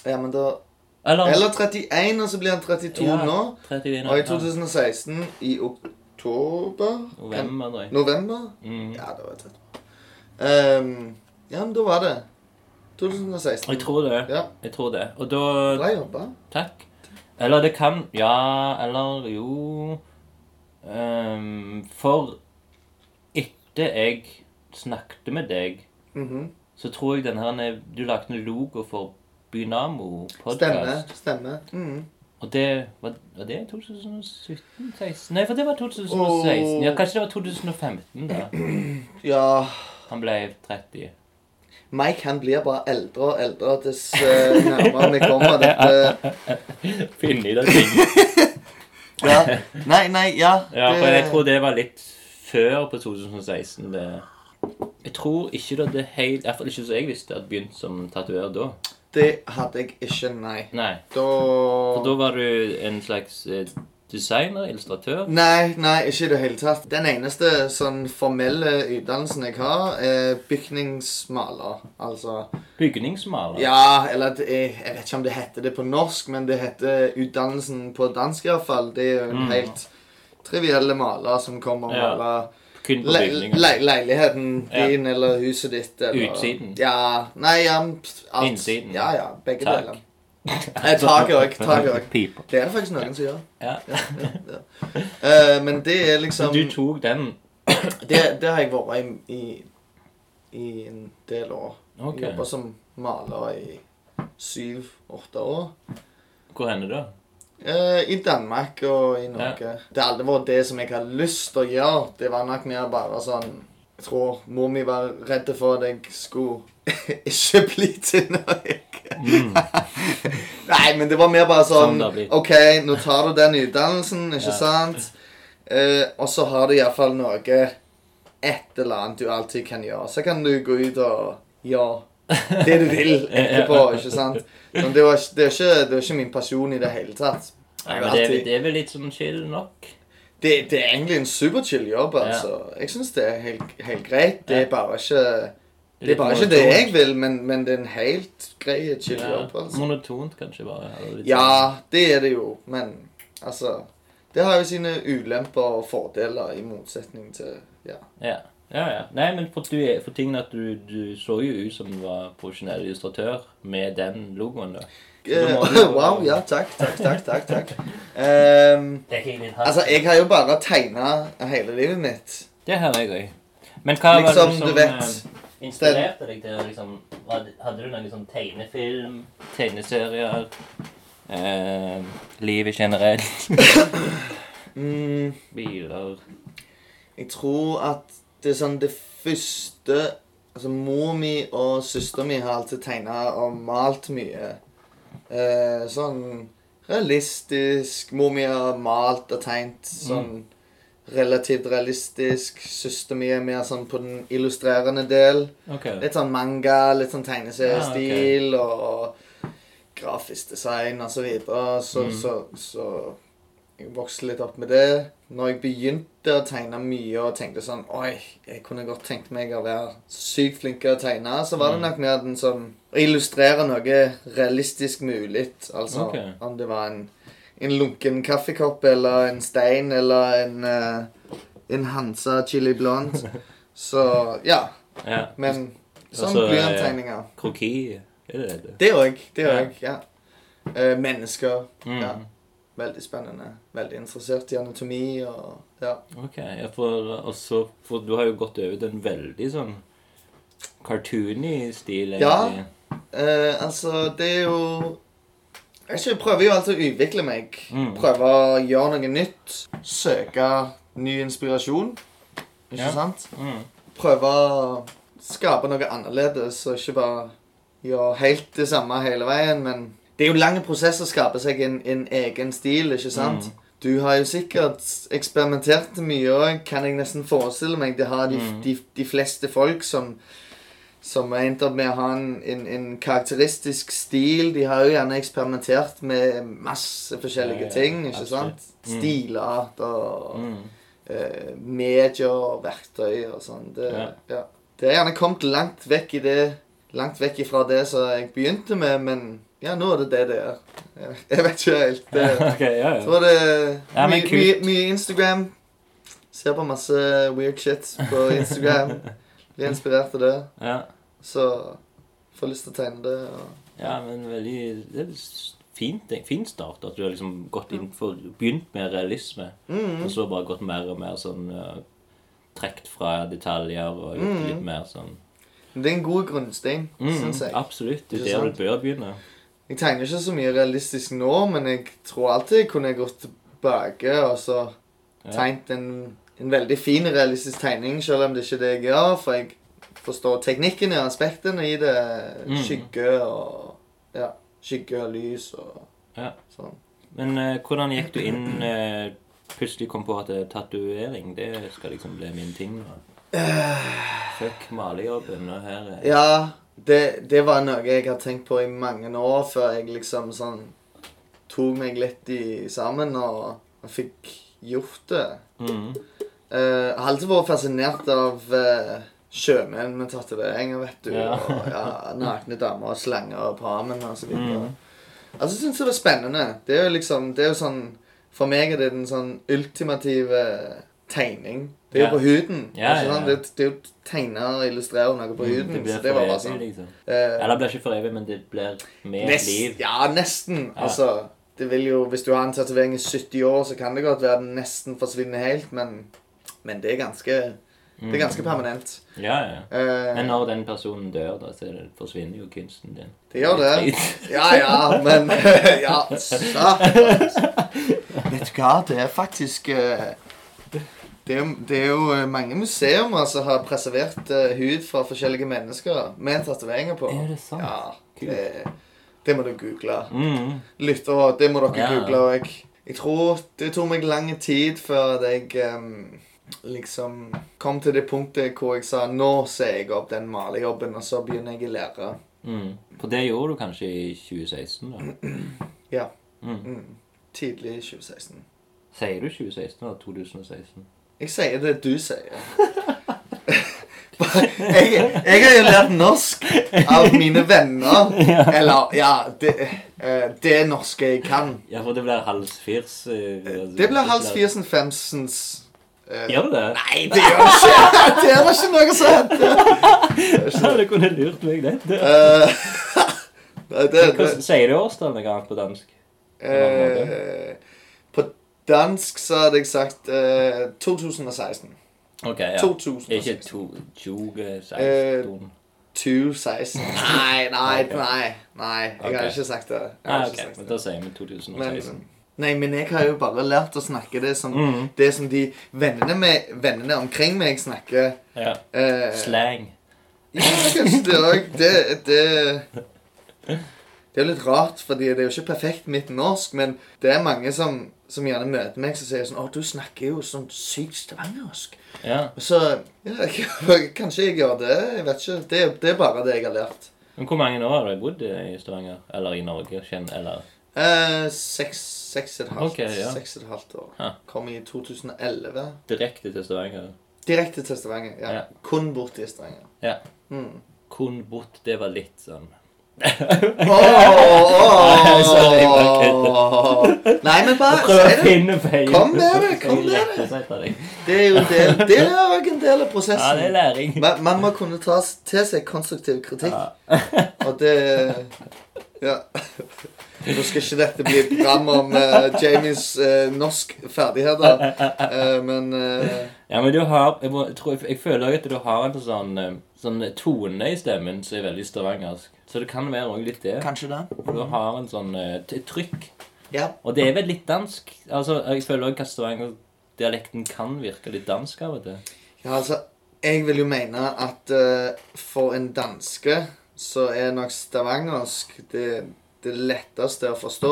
Speaker 2: Ja, men da
Speaker 1: Eller,
Speaker 2: Eller 31, og så blir han 32
Speaker 1: Ja,
Speaker 2: nå.
Speaker 1: 31,
Speaker 2: Og i
Speaker 1: ja.
Speaker 2: 2016, i oktober
Speaker 1: November, tror
Speaker 2: kan-
Speaker 1: jeg.
Speaker 2: November?
Speaker 1: Mm.
Speaker 2: Ja, det var tett på. Ehm, ja, men da var det 2016.
Speaker 1: Jeg tror det.
Speaker 2: Ja,
Speaker 1: Jeg tror det. Og da
Speaker 2: bra jobba.
Speaker 1: Takk. Eller det kan Ja, eller jo Ehm, For etter jeg snakket med deg,
Speaker 2: Mhm.
Speaker 1: så tror jeg den her Du lagde en logo for Bynamo
Speaker 2: Stemme.
Speaker 1: podcast.
Speaker 2: Stemme. Mhm.
Speaker 1: Og det var, var det 2017-16? Nei, for det var 2016.
Speaker 2: Åh.
Speaker 1: Ja, kanskje det var 2015, da.
Speaker 2: Ja
Speaker 1: Han ble 30.
Speaker 2: Mike han blir bare eldre og eldre dess eh, nærmere vi kommer dette
Speaker 1: Finne i det ting.
Speaker 2: ja. Nei, nei, ja.
Speaker 1: Ja, for jeg
Speaker 2: det-
Speaker 1: tror det var litt før på 2016. det... Jeg tror ikke det hadde helt I hvert fall ikke som jeg visste, at begynt som tatoverer da.
Speaker 2: Det hadde jeg ikke, nei.
Speaker 1: Nei.
Speaker 2: Da
Speaker 1: Og da var du en slags eh, designer, illustratør.
Speaker 2: Nei, nei, ikke i det hele tatt. Den eneste sånn formelle utdannelsen jeg har, er bygningsmaler. Altså
Speaker 1: Bygningsmaler.
Speaker 2: Ja, eller det er, jeg vet ikke om det heter det på norsk, men det heter utdannelsen på dansk iallfall. Det er jo en
Speaker 1: Mm.
Speaker 2: helt trivielle maler som kommer og
Speaker 1: Ja,
Speaker 2: maler
Speaker 1: Kun på
Speaker 2: le
Speaker 1: bygninger.
Speaker 2: le leiligheten
Speaker 1: Ja.
Speaker 2: din eller huset ditt eller
Speaker 1: Utsiden.
Speaker 2: Ja. Nei, ja, men alt.
Speaker 1: Innsiden.
Speaker 2: Ja, ja. Begge
Speaker 1: Tak.
Speaker 2: deler. Eh, Taket òg. Taket òg.
Speaker 1: Altså, Piper.
Speaker 2: Det er det faktisk noen som gjør.
Speaker 1: Ja.
Speaker 2: Ja, ja. Eh, men det er
Speaker 1: Så
Speaker 2: liksom
Speaker 1: du tok den.
Speaker 2: det, det har jeg vært i, i, i en del år.
Speaker 1: Ok.
Speaker 2: Jobba som maler i syv-åtte år.
Speaker 1: Hvor hender da?
Speaker 2: Eh, I Danmark og i Norge. Det har aldri vært det som jeg hadde lyst til å gjøre. Det var nok mer bare sånn Jeg tror mor mi var redd for at jeg skulle ikke bli til noe.
Speaker 1: Mm.
Speaker 2: Nei, men det var mer bare
Speaker 1: Sånn
Speaker 2: sånn
Speaker 1: det blir.
Speaker 2: OK, nå tar du den utdannelsen, ikke
Speaker 1: Ja.
Speaker 2: sant? Eh, og så har du iallfall noe Et eller annet du alltid kan gjøre. Så kan du gå ut og gjøre det du vil etterpå, ikke sant? Men det, var, ikke- det, er ikke, det er ikke min pasjon i det hele tatt.
Speaker 1: Nei, men det, er- det er vel litt sånn chill nok?
Speaker 2: Det, det er egentlig en superchill jobb,
Speaker 1: Ja.
Speaker 2: altså. Jeg syns det er helt, helt greit. Det
Speaker 1: Ja.
Speaker 2: er bare ikke det, er bare ikke det jeg vil, men, men det er en helt grei chill jobb, altså.
Speaker 1: Monotont, kanskje, bare. eller litt sånn-
Speaker 2: Ja, det er det jo, men altså Det har jo sine ulemper og fordeler, i motsetning til ja.
Speaker 1: Ja, ja. ja. Nei, men for, du, er- for tingen at du, du så jo ut som du var profesjonell illustratør med den logoen, da.
Speaker 2: Eh,
Speaker 1: må du jo-
Speaker 2: wow, ja, takk, takk, takk. takk, takk. Ehm,
Speaker 1: Det er ikke min
Speaker 2: altså, jeg har jo bare tegna hele livet mitt.
Speaker 1: Det har jeg òg. Men hva var
Speaker 2: Liksom,
Speaker 1: det som
Speaker 2: du vet
Speaker 1: eh, inspirerte deg til å liksom Hadde hadde du noen liksom tegnefilm, tegneserier, eh, livet generelt,
Speaker 2: mm,
Speaker 1: biler
Speaker 2: Jeg tror at det er sånn det første Altså, mor mi og søster mi har alltid tegna og malt mye. Eh, sånn realistisk. Mor mi har malt og tegnet sånn relativt realistisk. Søster mi er mer sånn på den illustrerende del.
Speaker 1: OK.
Speaker 2: Litt sånn manga, litt sånn
Speaker 1: Ja, ok.
Speaker 2: tegneseriestil og, og grafisk design og så videre. Så,
Speaker 1: Mm.
Speaker 2: så, så jeg vokste litt opp med det. Når jeg begynte å tegne mye og tenkte sånn Oi, jeg kunne godt tenkt meg å være sykt flink til å tegne, så var det
Speaker 1: Mm.
Speaker 2: nok mer den som Å illustrere noe realistisk mulig. Altså
Speaker 1: Ok.
Speaker 2: om det var en, en lunken kaffekopp eller en stein eller en, eh, en Hansa chili blond. Så ja.
Speaker 1: Ja.
Speaker 2: Men sånn
Speaker 1: Altså,
Speaker 2: blyanttegninger.
Speaker 1: Kroki er det det?
Speaker 2: Det òg. Det
Speaker 1: Ja.
Speaker 2: òg, ja. Eh, mennesker.
Speaker 1: Mm.
Speaker 2: Ja. Veldig spennende. Veldig interessert i anatomi og Ja.
Speaker 1: Ok, ja, for, også, for du har jo gått over til en veldig sånn cartoony stil,
Speaker 2: Ja.
Speaker 1: egentlig.
Speaker 2: Eh, altså, det er jo Jeg ikke- prøver jo alltid å utvikle meg.
Speaker 1: Mm.
Speaker 2: Prøve å gjøre noe nytt. Søke ny inspirasjon. Ikke
Speaker 1: Ja.
Speaker 2: sant?
Speaker 1: Mm.
Speaker 2: Prøve å skape noe annerledes og ikke bare gjøre helt det samme hele veien, men det er jo en lang prosess å skape seg en, en egen stil, ikke sant?
Speaker 1: Mm.
Speaker 2: Du har jo sikkert eksperimentert mye òg, kan jeg nesten forestille meg. Det har de,
Speaker 1: Mm.
Speaker 2: de, de fleste folk som, som har endt opp med å ha en, en, en karakteristisk stil. De har jo gjerne eksperimentert med masse
Speaker 1: Ja,
Speaker 2: forskjellige
Speaker 1: ja,
Speaker 2: ting, ikke
Speaker 1: absolutt.
Speaker 2: sant?
Speaker 1: Mm.
Speaker 2: Stilart og
Speaker 1: Mm.
Speaker 2: eh, medier og verktøy og sånn. Det,
Speaker 1: Ja.
Speaker 2: ja. det har gjerne kommet langt vekk i det Langt vekk ifra det som jeg begynte med, men ja, nå er det det det er. Jeg- Jeg vet ikke helt. Det,
Speaker 1: ok, ja,
Speaker 2: så
Speaker 1: ja.
Speaker 2: var det
Speaker 1: Ja, men
Speaker 2: mye,
Speaker 1: kult.
Speaker 2: mye, mye Instagram. Ser på masse weird shit på Instagram. Blir inspirert av det.
Speaker 1: ja.
Speaker 2: Så får lyst til å tegne det. Og...
Speaker 1: Ja, men veldig Det er s- fint, ting- fin start at du har liksom gått inn for Begynt med realisme, og
Speaker 2: Mm.
Speaker 1: så bare gått mer og mer sånn uh, Trukket fra detaljer og gjort
Speaker 2: Mm.
Speaker 1: litt mer sånn
Speaker 2: Men Det er en god grunnstein,
Speaker 1: mm,
Speaker 2: syns jeg.
Speaker 1: Absolutt. Det er
Speaker 2: Ikke
Speaker 1: der
Speaker 2: sant?
Speaker 1: du bør begynne.
Speaker 2: Jeg tegner ikke så mye realistisk nå, men jeg tror alltid jeg kunne gått tilbake og så
Speaker 1: Ja.
Speaker 2: tegnet en, en veldig fin realistisk tegning, selv om det ikke er det jeg gjør, for jeg forstår teknikken og aspektene i det.
Speaker 1: Mm.
Speaker 2: Skygge og ja, skygge og lys og
Speaker 1: Ja.
Speaker 2: sånn.
Speaker 1: Men eh, hvordan gikk du inn eh, Plutselig kom på at eh, tatovering det skal liksom bli min ting nå. Fuck malejobben, og her eh. er
Speaker 2: Eh. Ja, det, det var noe jeg har tenkt på i mange år før jeg liksom sånn tok meg litt i sammen og, og fikk gjort det.
Speaker 1: Mm.
Speaker 2: Eh, jeg har alltid vært fascinert av eh, sjømenn med tatoveringer, vet du.
Speaker 1: Ja.
Speaker 2: Og ja, nakne damer og slanger og pramen og så videre.
Speaker 1: Mm.
Speaker 2: Altså, jeg syns det var spennende. Det er jo liksom Det er jo sånn For meg er det den sånn ultimative tegning. Det er jo
Speaker 1: Ja.
Speaker 2: på huden.
Speaker 1: Ja,
Speaker 2: ikke
Speaker 1: ja, ja.
Speaker 2: sant? Det, det er jo tegne og illustrere noe på huden.
Speaker 1: Det blir
Speaker 2: så det
Speaker 1: for
Speaker 2: var bare
Speaker 1: evig,
Speaker 2: sånn.
Speaker 1: liksom.
Speaker 2: eh,
Speaker 1: Eller det blir ikke for evig, men det blir med
Speaker 2: Nest,
Speaker 1: liv.
Speaker 2: Ja, nesten.
Speaker 1: Ja.
Speaker 2: Altså, det vil jo, hvis du har en tatovering i 70 år, så kan det godt være den nesten forsvinner helt, men, men det, er ganske, det er ganske permanent.
Speaker 1: Ja, ja.
Speaker 2: Eh,
Speaker 1: Mm. Men når den personen dør, da, så er det- forsvinner jo kunsten din.
Speaker 2: det gjør det.
Speaker 1: Drit.
Speaker 2: Ja, ja, men Ja, satans. Vet du hva, det er faktisk eh, det er, jo- det er jo eh, mange museer som har preservert eh, hud fra forskjellige mennesker med tatoveringer på.
Speaker 1: Er det sant?
Speaker 2: Ja, det, det må du google.
Speaker 1: Mm.
Speaker 2: lyttere, det må dere
Speaker 1: Ja.
Speaker 2: google òg. Jeg tror det tok meg lang tid før jeg em, liksom kom til det punktet hvor jeg sa nå ser jeg opp den malejobben, og så begynner jeg i lære.
Speaker 1: Mm. For det gjorde du kanskje i 2016, da?
Speaker 2: Ja.
Speaker 1: Mm.
Speaker 2: Mm. Tidlig i 2016.
Speaker 1: Sier du 2016 eller 2016?
Speaker 2: Jeg sier det du sier. jeg, jeg har jo lært norsk av mine venner. Eller ja Det, eh, det norske jeg kan.
Speaker 1: Ja, for det blir eh, halvfirs.
Speaker 2: Eh, Det blir Hals Fiersen Femsens eh,
Speaker 1: altså, Gjør det det? Nei,
Speaker 2: Det gjør det ikke! Det var ikke noe som hendte!
Speaker 1: Du kunne lurt meg det. det.
Speaker 2: Eh, Nei, det, det
Speaker 1: Hvordan sier du årstall noe annet på dansk?
Speaker 2: eh, På dansk så hadde jeg sagt eh, 2016.
Speaker 1: Ok, ja.
Speaker 2: 2016.
Speaker 1: Ikke to, 2016.
Speaker 2: Eh, 2016. Nei, nei,
Speaker 1: Ok.
Speaker 2: nei. nei Jeg
Speaker 1: Ok.
Speaker 2: hadde ikke sagt det. Jeg
Speaker 1: ah,
Speaker 2: hadde
Speaker 1: ok,
Speaker 2: ikke
Speaker 1: men
Speaker 2: sagt
Speaker 1: da
Speaker 2: det.
Speaker 1: sier vi 2016.
Speaker 2: Men, nei, men jeg har jo bare lært å snakke det som,
Speaker 1: Mhm.
Speaker 2: det som de vennene, med, vennene omkring meg snakker.
Speaker 1: ja.
Speaker 2: Eh,
Speaker 1: Slang.
Speaker 2: Det er jo- det, det, det er jo litt rart, fordi det er jo ikke perfekt mitt norsk, men det er mange som, som gjerne møter meg som sier sånn 'Å, du snakker jo sånn sykt stavangersk'.
Speaker 1: Ja.
Speaker 2: Og Så ja, jeg- kanskje jeg gjør det. Jeg vet ikke. Det, det er bare det jeg har lært.
Speaker 1: Men hvor mange år har du bodd i Stavanger? Eller i Norge? Kjenn, eller?
Speaker 2: Eh, seks, seks og et halvt,
Speaker 1: Ok, ja.
Speaker 2: seks og et halvt år.
Speaker 1: Ja.
Speaker 2: Kom i 2011.
Speaker 1: Direkte til Stavanger?
Speaker 2: Direkte til Stavanger. Ja.
Speaker 1: Ja.
Speaker 2: Kun bort i Stavanger.
Speaker 1: Ja.
Speaker 2: Mm.
Speaker 1: Kun bott, det var litt sånn
Speaker 2: Åh, åh,
Speaker 1: Sorry, bare
Speaker 2: åh. Nei, men bare
Speaker 1: Prøv å
Speaker 2: si det.
Speaker 1: finne feil.
Speaker 2: Kom med det, kom med det.
Speaker 1: det.
Speaker 2: Det er jo del, det er jo en del av
Speaker 1: Ja, det er
Speaker 2: prosessen.
Speaker 1: læring.
Speaker 2: Man, man må kunne ta s- til seg konstruktiv kritikk,
Speaker 1: Ja.
Speaker 2: og det Ja. Nå skal ikke dette bli et program om eh, Jamies eh, norskferdigheter, eh, men eh,
Speaker 1: Ja, men du har Jeg, må, jeg, tror, jeg, jeg føler også at du har en sånn, eh, sånn tone i stemmen som er veldig stavangersk. Så det kan være også litt det.
Speaker 2: Kanskje det.
Speaker 1: Du har en sånn eh, t- trykk.
Speaker 2: Ja.
Speaker 1: Og det er vel litt dansk. Altså, Jeg føler også at stavangerdialekten kan virke litt dansk av og til.
Speaker 2: Ja, altså, jeg vil jo mene at eh, for en danske så er nok stavangersk det, det letteste å forstå.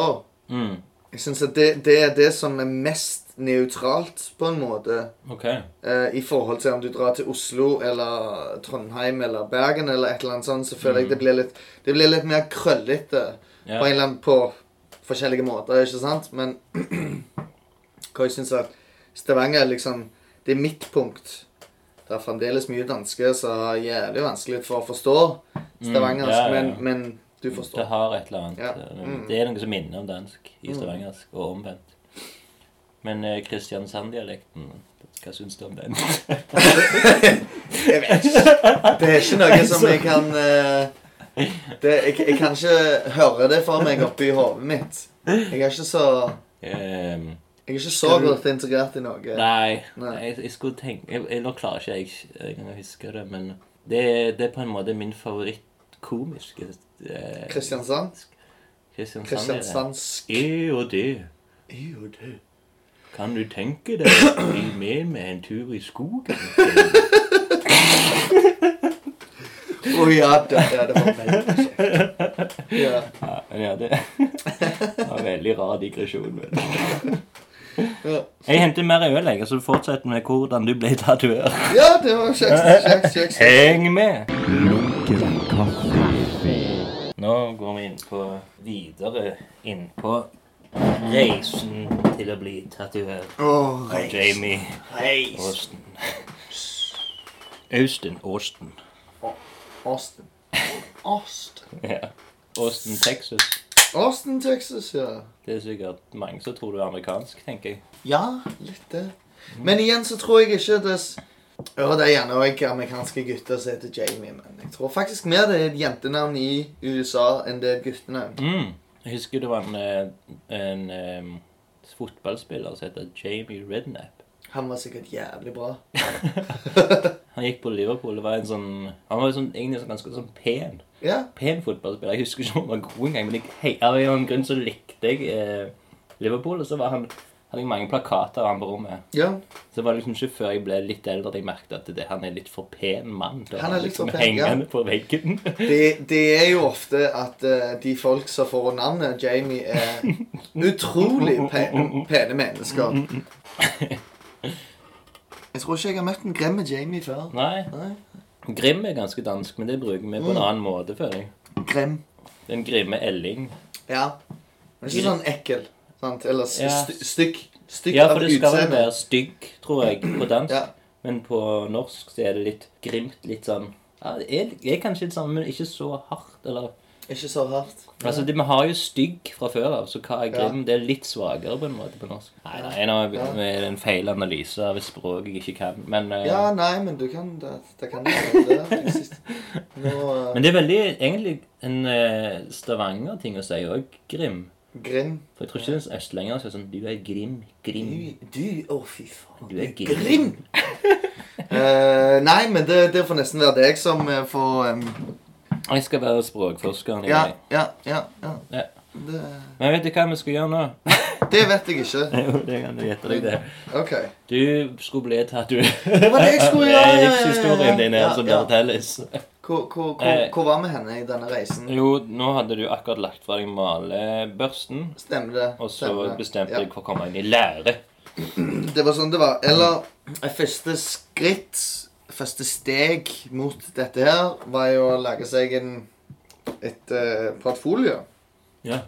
Speaker 1: Mm.
Speaker 2: Jeg synes at det, det er det som er mest nøytralt, på en måte,
Speaker 1: OK.
Speaker 2: eh, i forhold til om du drar til Oslo eller Trondheim eller Bergen eller et eller annet sånt, så føler jeg det blir litt, det blir litt mer krøllete
Speaker 1: Mm. Ja.
Speaker 2: på en eller annen på forskjellige måter, ikke sant? Men hva jeg syns at Stavanger er liksom Det er midtpunkt. Det er fremdeles mye dansker som har jævlig vanskelig for å forstå
Speaker 1: Mm,
Speaker 2: stavangersk,
Speaker 1: ja, ja, ja.
Speaker 2: Men, men du
Speaker 1: Det
Speaker 2: forstår.
Speaker 1: har et eller annet
Speaker 2: Ja.
Speaker 1: eh,
Speaker 2: Mm.
Speaker 1: Det er noe som minner om dansk i stavangersk, og omvendt. Men eh, Kristiansand-dialekten, hva syns du om den?
Speaker 2: Jeg vet ikke. Det er ikke noe som jeg kan eh, det, jeg, jeg kan ikke høre det for meg oppi hodet mitt. Jeg er ikke så
Speaker 1: Ehm,
Speaker 2: Jeg er ikke så godt integrert i Norge.
Speaker 1: nei,
Speaker 2: Nei.
Speaker 1: Jeg, jeg skulle tenke jeg, jeg, Nå klarer ikke jeg engang å huske det, men det, er- det er på en måte min favorittkomiske eh,
Speaker 2: Kristiansand?
Speaker 1: Kristiansand.
Speaker 2: Kristiansandsk.
Speaker 1: Jeg og det,
Speaker 2: Jo, du.
Speaker 1: kan du tenke deg å bli med med en tur i skogen?
Speaker 2: Å ja, det, ja, det var veldig kjekt. Ja.
Speaker 1: Ja, men ja, det var en veldig rar digresjon. Men.
Speaker 2: Ja.
Speaker 1: Jeg henter mer øl, jeg, og så fortsetter vi hvordan du ble tatuert.
Speaker 2: ja, det var kjekt. kjekt, kjekt, kjekt.
Speaker 1: Heng med!
Speaker 3: Lunken kaffe.
Speaker 1: Nå går vi inn på videre inn på reisen til å bli tatuert
Speaker 2: Åh,
Speaker 1: av Jamie
Speaker 2: reis.
Speaker 1: Austen. Austin. Austin.
Speaker 2: Austin. Austin.
Speaker 1: Ja. Austin, Texas.
Speaker 2: Austin, Texas, ja.
Speaker 1: Det er sikkert mange som tror du er amerikansk, tenker jeg.
Speaker 2: Ja, litt det. Men igjen så tror jeg ikke det s- Ja, det er gjerne også amerikanske gutter som heter Jamie, men jeg tror faktisk mer det er et jentenavn i USA enn det er et guttenavn.
Speaker 1: Mm. Jeg husker det var en, eh, en eh, fotballspiller som heter Jamie Redknapp.
Speaker 2: Han var sikkert jævlig bra.
Speaker 1: Han gikk på Liverpool. Det var en sånn, han var sånn, egentlig sånn, ganske sånn pen
Speaker 2: Ja.
Speaker 1: pen fotballspiller. Jeg husker ikke om han var god engang, men jeg, hei, av en eller annen grunn så likte jeg eh, Liverpool. Og så var han, hadde jeg mange plakater av han på rommet.
Speaker 2: ja.
Speaker 1: Så var det liksom ikke før jeg ble litt eldre at jeg merket at det, han er litt for pen mann. til å
Speaker 2: Han er
Speaker 1: ha
Speaker 2: litt
Speaker 1: liksom
Speaker 2: for pen, ja.
Speaker 1: hengende på veggen.
Speaker 2: Det, det er jo ofte at eh, de folk som får navnet Jamie, er utrolig pene, pene mennesker. Jeg tror ikke jeg har møtt en gremme Jamie før.
Speaker 1: Nei.
Speaker 2: Nei. Mm.
Speaker 1: Grim er ganske dansk, men det bruker vi på en annen måte, føler jeg.
Speaker 2: Grem.
Speaker 1: Den grimme Elling.
Speaker 2: Ja. Men ikke sånn ekkel. Sant? Eller st
Speaker 1: Ja.
Speaker 2: st stykk. Stykk
Speaker 1: Ja,
Speaker 2: av
Speaker 1: for det skal vel
Speaker 2: utseende.
Speaker 1: være sånn. stygg, tror jeg, på dansk.
Speaker 2: Ja.
Speaker 1: Men på norsk så er det litt grimt, litt sånn ja, Det er, er kanskje litt sånn, men ikke så hardt, eller
Speaker 2: Ikke så hardt.
Speaker 1: Altså, det, Vi har jo stygg fra før av, så hva er grim? Det er litt svakere på en måte på norsk. Nei, nei, nå er
Speaker 2: Ja.
Speaker 1: det en feil analyse av et språk jeg ikke kan, men eh,
Speaker 2: Ja, nei, men du kan Det, det kan du gjøre. Det er faktisk- Nå eh,
Speaker 1: Men det er veldig egentlig en eh, Stavanger-ting å si òg, grim.
Speaker 2: Grim.
Speaker 1: For jeg tror ikke det er østlendinger som er sånn Du er grim. Grim.
Speaker 2: Du Å, fy faen.
Speaker 1: Du er
Speaker 2: Grim! Eh, nei, men det, det får nesten være deg som eh, får em,
Speaker 1: Jeg skal være språkforskeren i
Speaker 2: ja,
Speaker 1: deg.
Speaker 2: ja, ja, ja.
Speaker 1: Ja.
Speaker 2: Det,
Speaker 1: Men vet du hva vi skal gjøre nå?
Speaker 2: det vet jeg ikke.
Speaker 1: Jo, det kan du gjette deg det.
Speaker 2: OK.
Speaker 1: Du skulle bli tatt, du.
Speaker 2: Det var det jeg skulle gjøre. ja, ja, ja, ja, ja.
Speaker 1: Livshistorien din er
Speaker 2: Ja,
Speaker 1: som
Speaker 2: ja.
Speaker 1: fortelles.
Speaker 2: Hvor, hvor, hvor,
Speaker 1: Eh.
Speaker 2: hvor var vi henne i denne reisen?
Speaker 1: Jo, nå hadde du akkurat lagt fra deg malebørsten,
Speaker 2: Stemmer det.
Speaker 1: og så
Speaker 2: stemmer det.
Speaker 1: bestemte
Speaker 2: Ja.
Speaker 1: jeg for å komme inn i lære.
Speaker 2: Det var sånn det var. Eller eh, første skritt, første steg mot dette her, var jo å lage seg en, et eh, portfolio
Speaker 1: Ja.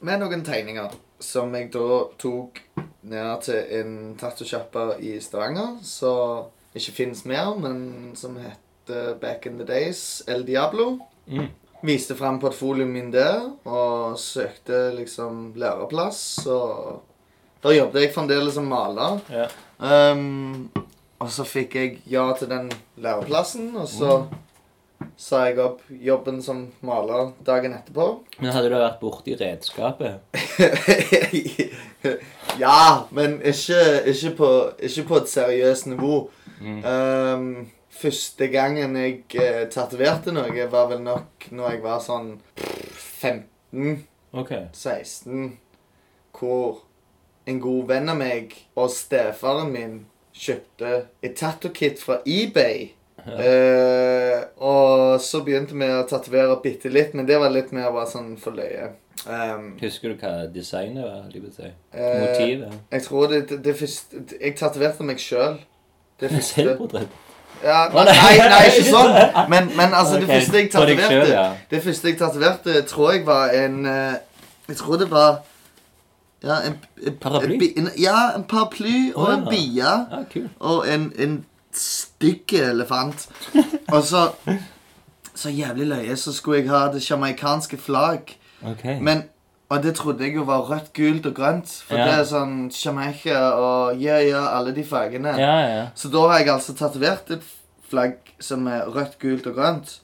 Speaker 2: med noen tegninger. Som jeg da tok ned til en tattosjapper i Stavanger, som ikke fins mer, men som heter Back in the Days El Diablo.
Speaker 1: Mm.
Speaker 2: Viste fram portfolioen min der, og søkte liksom læreplass, og da jobbet jeg fremdeles som maler.
Speaker 1: ja.
Speaker 2: Ehm, og så fikk jeg ja til den læreplassen, og så sa jeg opp jobben som maler dagen etterpå.
Speaker 1: Men hadde du vært borti redskapet?
Speaker 2: ja, men ikke, ikke, på, ikke på et seriøst nivå. Ehm, første gangen jeg eh, tatoverte noe, var vel nok når jeg var sånn 15.
Speaker 1: OK.
Speaker 2: 16, hvor en god venn av meg og stefaren min kjøpte et tattoo-kit fra eBay. Eh, og så begynte vi å tatovere bitte litt, men det var litt mer bare sånn for løye. Um,
Speaker 1: Husker du hva designet var? holdt jeg på å si?
Speaker 2: Eh,
Speaker 1: Motivet?
Speaker 2: jeg tror det, det, det første Jeg tatoverte meg sjøl. Det første
Speaker 1: Selvportrett?
Speaker 2: ja,
Speaker 1: Å,
Speaker 2: nei, nei, ikke sånn. Men, men altså, det
Speaker 1: Ok,
Speaker 2: første jeg
Speaker 1: for deg selv,
Speaker 2: tatoverte,
Speaker 1: ja.
Speaker 2: Det første jeg tatoverte, tror jeg var en eh, Jeg tror det var Ja, en en-
Speaker 1: Paraply?
Speaker 2: En, bi- en, ja, en paraply og
Speaker 1: Å,
Speaker 2: en
Speaker 1: ja.
Speaker 2: bie
Speaker 1: Ja, kul.
Speaker 2: og en, en stygg elefant. Og så Så jævlig løye, så skulle jeg ha det jamaicanske flagg.
Speaker 1: OK.
Speaker 2: Men og det trodde jeg jo var rødt, gult og grønt. For
Speaker 1: Ja.
Speaker 2: det er sånn Jamaica og ja, ja, alle de fargene.
Speaker 1: ja, ja.
Speaker 2: Så da har jeg altså tatovert et flagg som er rødt, gult og grønt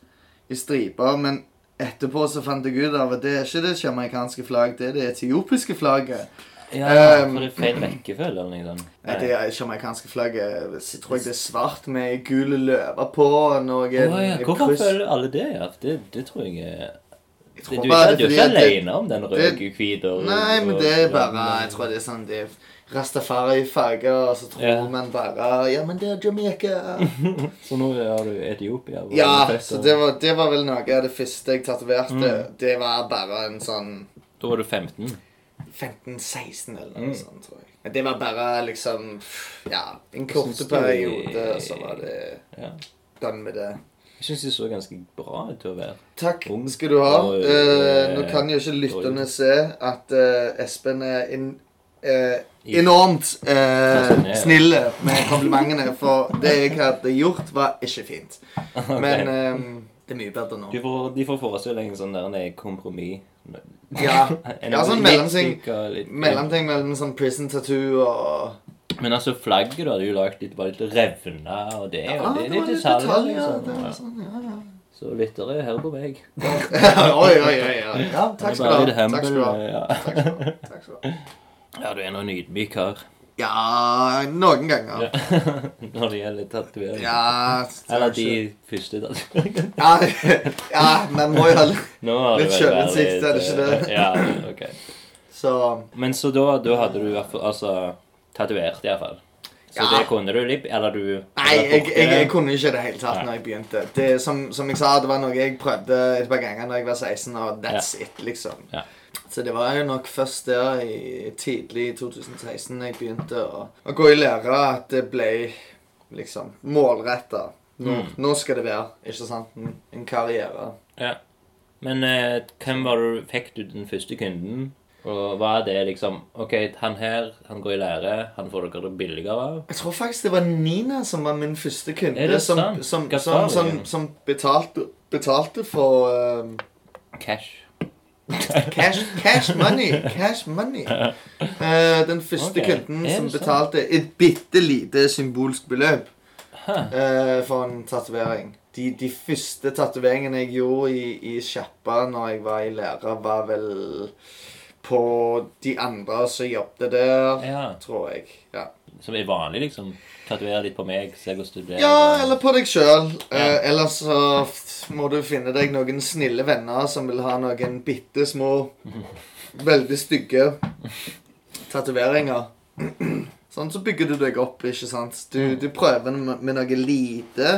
Speaker 2: i striper, men etterpå så fant jeg ut av at det er ikke det jamaicanske flagg, det er det etiopiske flagget.
Speaker 1: Ja,
Speaker 2: Ehm,
Speaker 1: for det er feil rekkefølge eller noe sånt.
Speaker 2: Nei, det er jamaicanske flagget så tror jeg det er svart med gule løver på og
Speaker 1: Å,
Speaker 2: noe
Speaker 1: ja.
Speaker 2: noe
Speaker 1: Hvorfor
Speaker 2: kryss.
Speaker 1: føler alle det? Ja? Det, det tror jeg er Du,
Speaker 2: Jeg tror
Speaker 1: du, du
Speaker 2: bare
Speaker 1: er ikke
Speaker 2: det er fordi at det-
Speaker 1: alene om den
Speaker 2: det-
Speaker 1: røde, hvite og
Speaker 2: Nei, men
Speaker 1: og-
Speaker 2: det er bare Jeg tror det er sånn det er Rastafari-farger, og så tror
Speaker 1: Ja.
Speaker 2: man bare Ja, men det er Jamaica.
Speaker 1: Så nå har du Etiopia? hvor
Speaker 2: Ja,
Speaker 1: født,
Speaker 2: så
Speaker 1: og-
Speaker 2: det var, det var vel noe av det første jeg tatoverte.
Speaker 1: Mm.
Speaker 2: Det var bare en sånn
Speaker 1: Da var du 15?
Speaker 2: 15-16 eller noe sånt, tror jeg. Men Det var bare liksom Ja, en
Speaker 1: Jeg
Speaker 2: kort
Speaker 1: synes det-
Speaker 2: periode, og så var det
Speaker 1: Ja.
Speaker 2: done med det.
Speaker 1: Jeg syns de så ganske bra ut til å være.
Speaker 2: Takk
Speaker 1: Ung.
Speaker 2: skal du ha.
Speaker 1: Oi.
Speaker 2: Eh, nå kan jo ikke lytterne se at eh, Espen er in, eh, enormt uh, snill med komplimentene, for det jeg hadde gjort, var ikke fint. Men eh, det er mye bedre nå.
Speaker 1: De får, de får forestille deg en sånn der en kompromiss.
Speaker 2: Ja,
Speaker 1: En
Speaker 2: ja sånn
Speaker 1: litt
Speaker 2: mellomting.
Speaker 1: tykk og litt-
Speaker 2: Mellomting mellom sånn prison tattoo og
Speaker 1: Men altså, flagget da, det er jo lagd litt, bare litt revner, og det, og det, er
Speaker 2: var
Speaker 1: litt
Speaker 2: litt
Speaker 1: detaljer.
Speaker 2: detaljer,
Speaker 1: liksom.
Speaker 2: det var
Speaker 1: Ja.
Speaker 2: sånn, ja, ja.
Speaker 1: Så lyttere, hør på meg.
Speaker 2: oi, oi, oi, oi. Ja, takk
Speaker 1: Det er bare
Speaker 2: skal du
Speaker 1: litt
Speaker 2: ha.
Speaker 1: humble, eh,
Speaker 2: Takk skal du ha.
Speaker 1: Ja.
Speaker 2: Takk skal du ha. Takk skal du ha.
Speaker 1: ja, du er nå en ydmyk kar
Speaker 2: Ja, noen ganger.
Speaker 1: når det gjelder tatovering.
Speaker 2: Ja,
Speaker 1: Eller de første tatoveringene.
Speaker 2: Ja, ja, men må jo ha litt-
Speaker 1: Nå har
Speaker 2: Litt
Speaker 1: du vel vært
Speaker 2: sjølinnsikt, er det
Speaker 1: litt,
Speaker 2: ikke det?
Speaker 1: eh, Ja, ok.
Speaker 2: Så
Speaker 1: Men så da, da hadde du i hvert fall altså, tatovert, iallfall. Så
Speaker 2: Ja.
Speaker 1: det kunne du litt Eller du
Speaker 2: Nei,
Speaker 1: eller
Speaker 2: jeg, jeg, jeg
Speaker 1: borte.
Speaker 2: kunne ikke i det hele tatt når jeg begynte. Det, som, som jeg sa, det var noe jeg prøvde et par ganger da jeg var 16, og that's it, liksom.
Speaker 1: Ja.
Speaker 2: Så det var jo nok først der i tidlig i 2016 jeg begynte å, å gå i lære at det ble liksom målretta. Nå,
Speaker 1: Mm.
Speaker 2: nå skal det være, ikke sant? En, en karriere.
Speaker 1: Ja. Men eh, hvem var du Fikk du den første kunden? Og var det liksom OK, han her, han går i lære, han får dere det billigere av?
Speaker 2: Jeg tror faktisk det var Nina som var min første kunde.
Speaker 1: Er det
Speaker 2: som,
Speaker 1: sant?
Speaker 2: som,
Speaker 1: Hva sa
Speaker 2: som,
Speaker 1: du?
Speaker 2: som, som betalte, betalte for eh,
Speaker 1: Cash.
Speaker 2: Cash, cash money. Cash money. Eh, den første
Speaker 1: Ok, er
Speaker 2: kunden
Speaker 1: det
Speaker 2: som
Speaker 1: sant?
Speaker 2: betalte et bitte lite symbolsk beløp eh, for en tatovering. De, de første tatoveringene jeg gjorde i, i sjappa når jeg var i lære, var vel på de andre som jobbet der,
Speaker 1: Ja.
Speaker 2: tror jeg. Ja.
Speaker 1: Som er vanlig, liksom. Tatovere litt på meg, se hvordan du blir.
Speaker 2: Ja, eller på deg sjøl. Eh,
Speaker 1: Ja.
Speaker 2: ellers så f- må du finne deg noen snille venner som vil ha noen bitte små, veldig stygge tatoveringer.
Speaker 1: Mm.
Speaker 2: Sånn så bygger du deg opp, ikke sant. Du, du prøver med, med noe lite,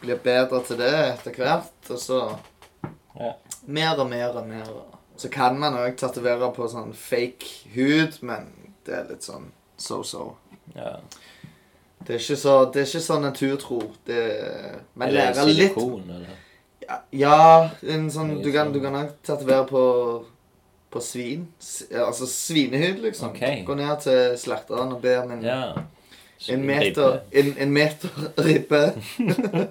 Speaker 2: blir bedre til det etter hvert. Og så
Speaker 1: Ja.
Speaker 2: mer og mer og mer. Så kan man òg tatovere på sånn fake hud, men det er litt sånn so-so.
Speaker 1: Ja.
Speaker 2: Det er ikke så, det er ikke sånn så naturtro. Det, man
Speaker 1: Eller
Speaker 2: lærer litt
Speaker 1: silikon, eller
Speaker 2: Ja, Ja, en sånn, du kan, du kan ha tatovere på, på svin. S ja, altså svinehud, liksom.
Speaker 1: Ok.
Speaker 2: Gå ned til slakteren og be om en,
Speaker 1: Ja.
Speaker 2: en meter,
Speaker 1: Ribbe.
Speaker 2: en, en meter ribbe.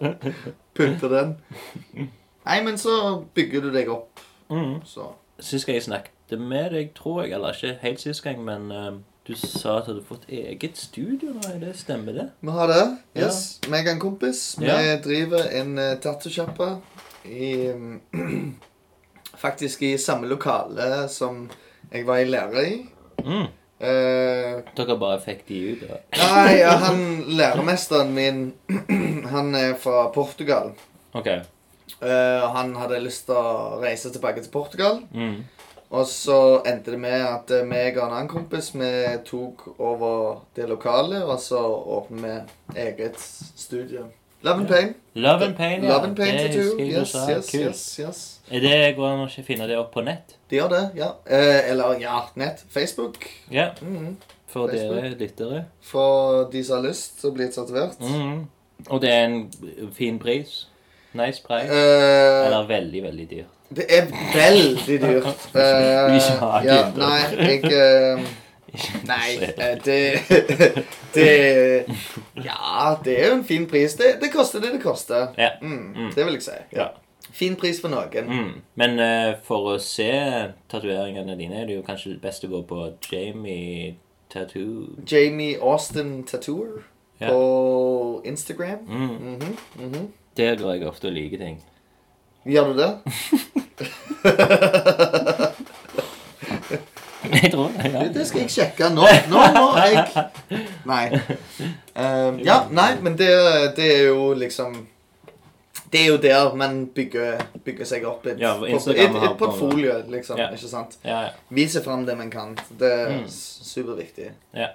Speaker 2: Pynte den. Nei, men så bygger du deg opp,
Speaker 1: Mm.
Speaker 2: så
Speaker 1: Sist gang jeg snakket med deg, tror jeg, eller ikke helt sist gang, men eh, du sa at du hadde fått eget studio nå. er Det stemmer det?
Speaker 2: Vi har det.
Speaker 1: Ja.
Speaker 2: Yes. Meg og en kompis. Vi
Speaker 1: Ja.
Speaker 2: driver en uh, tattosjappe i mm, Faktisk i samme lokale som jeg var i lære i.
Speaker 1: Mm.
Speaker 2: Eh,
Speaker 1: Dere bare fikk de ut? Og...
Speaker 2: Nei, ja, han læremesteren min Han er fra Portugal.
Speaker 1: OK.
Speaker 2: Eh, og han hadde lyst til å reise tilbake til Portugal.
Speaker 1: Mm.
Speaker 2: Og så endte det med at eh, meg og en annen kompis vi tok over det lokale, og så åpnet vi eget studio. Love and Pain.
Speaker 1: Love and pain, ja.
Speaker 2: Love and pain
Speaker 1: det
Speaker 2: tattoo.
Speaker 1: husker jeg
Speaker 2: Yes,
Speaker 1: du sa.
Speaker 2: yes,
Speaker 1: Kult.
Speaker 2: yes, yes.
Speaker 1: Er det går an å ikke finne det opp på nett?
Speaker 2: De gjør det, ja. Eh, eller ja, nett. Facebook.
Speaker 1: Ja,
Speaker 2: Mhm.
Speaker 1: for
Speaker 2: Facebook.
Speaker 1: dere lyttere.
Speaker 2: For de som har lyst til å bli tatovert.
Speaker 1: Mm. Og det er en fin pris. Nice pris.
Speaker 2: Eh,
Speaker 1: Eller veldig, veldig dyr.
Speaker 2: Det er veldig dyrt.
Speaker 1: vil ikke ha
Speaker 2: Eh, ja,
Speaker 1: dyrt.
Speaker 2: nei, jeg eh, Nei, eh, det Det Ja, det er jo en fin pris. Det, det koster det det koster.
Speaker 1: Ja.
Speaker 2: Mm, det vil jeg si.
Speaker 1: Ja.
Speaker 2: Fin pris for noen.
Speaker 1: Mm. Men eh, for å se tatoveringene dine er det jo kanskje best å gå på Jamie Tattoo.
Speaker 2: Jamie Austin Tattooer
Speaker 1: Ja.
Speaker 2: på Instagram.
Speaker 1: Mm.
Speaker 2: Mhm, mhm.
Speaker 1: Der går jeg ofte og liker ting.
Speaker 2: Gjør du det?
Speaker 1: Jeg tror det.
Speaker 2: Du,
Speaker 1: Ja.
Speaker 2: Det skal jeg sjekke nå. Nå må jeg Nei. Eh, ja, nei, men det, det er jo liksom Det er jo der man bygger, bygger seg opp et,
Speaker 1: Ja,
Speaker 2: et,
Speaker 1: Instagram
Speaker 2: et,
Speaker 1: har
Speaker 2: et
Speaker 1: på-
Speaker 2: portfolio, liksom.
Speaker 1: Ja.
Speaker 2: ikke sant?
Speaker 1: Ja, ja.
Speaker 2: Vise fram det man kan. Det er
Speaker 1: Mm.
Speaker 2: s- superviktig.
Speaker 1: Ja.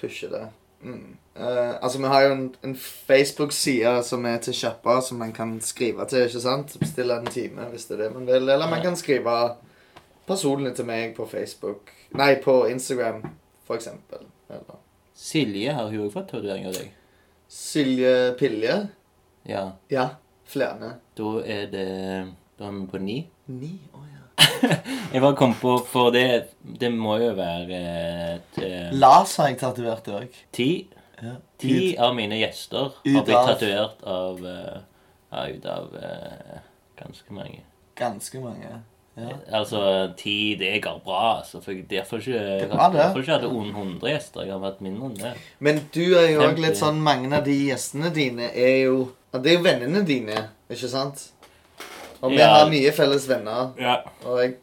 Speaker 2: Pushe det. Mm. Eh, altså, Vi har jo en, en Facebook-side som er til sjappa, som man kan skrive til. ikke sant? Bestille en time hvis det er det man vil. Eller man
Speaker 1: Ja.
Speaker 2: kan skrive personlig til meg på Facebook. Nei, på Instagram, for eksempel. Eller
Speaker 1: Silje har hun òg fått tatovering av deg.
Speaker 2: Silje Pilje.
Speaker 1: Ja.
Speaker 2: Ja. Flere.
Speaker 1: Da er det Da er vi på ni.
Speaker 2: Ni? Å ja.
Speaker 1: Jeg bare kom på For det, det må jo være et, eh,
Speaker 2: Lars har jeg tatovert òg.
Speaker 1: ti.
Speaker 2: Ja.
Speaker 1: Ti av mine gjester har
Speaker 2: Ut
Speaker 1: blitt
Speaker 2: av-
Speaker 1: tatovert av eh, Ja, ut av eh, ganske mange.
Speaker 2: Ganske mange. Ja.
Speaker 1: Altså, ti, det går bra. Altså, for jeg- derfor ikke jeg
Speaker 2: bra,
Speaker 1: har
Speaker 2: det.
Speaker 1: derfor ikke hatt under 100 gjester. Jeg har vært mindre enn det.
Speaker 2: Men du er jo òg
Speaker 1: Femti.
Speaker 2: litt sånn Mange av de gjestene dine er jo ja, Det er jo vennene dine, ikke sant? Og vi
Speaker 1: Ja.
Speaker 2: har mye felles venner,
Speaker 1: Ja.
Speaker 2: og jeg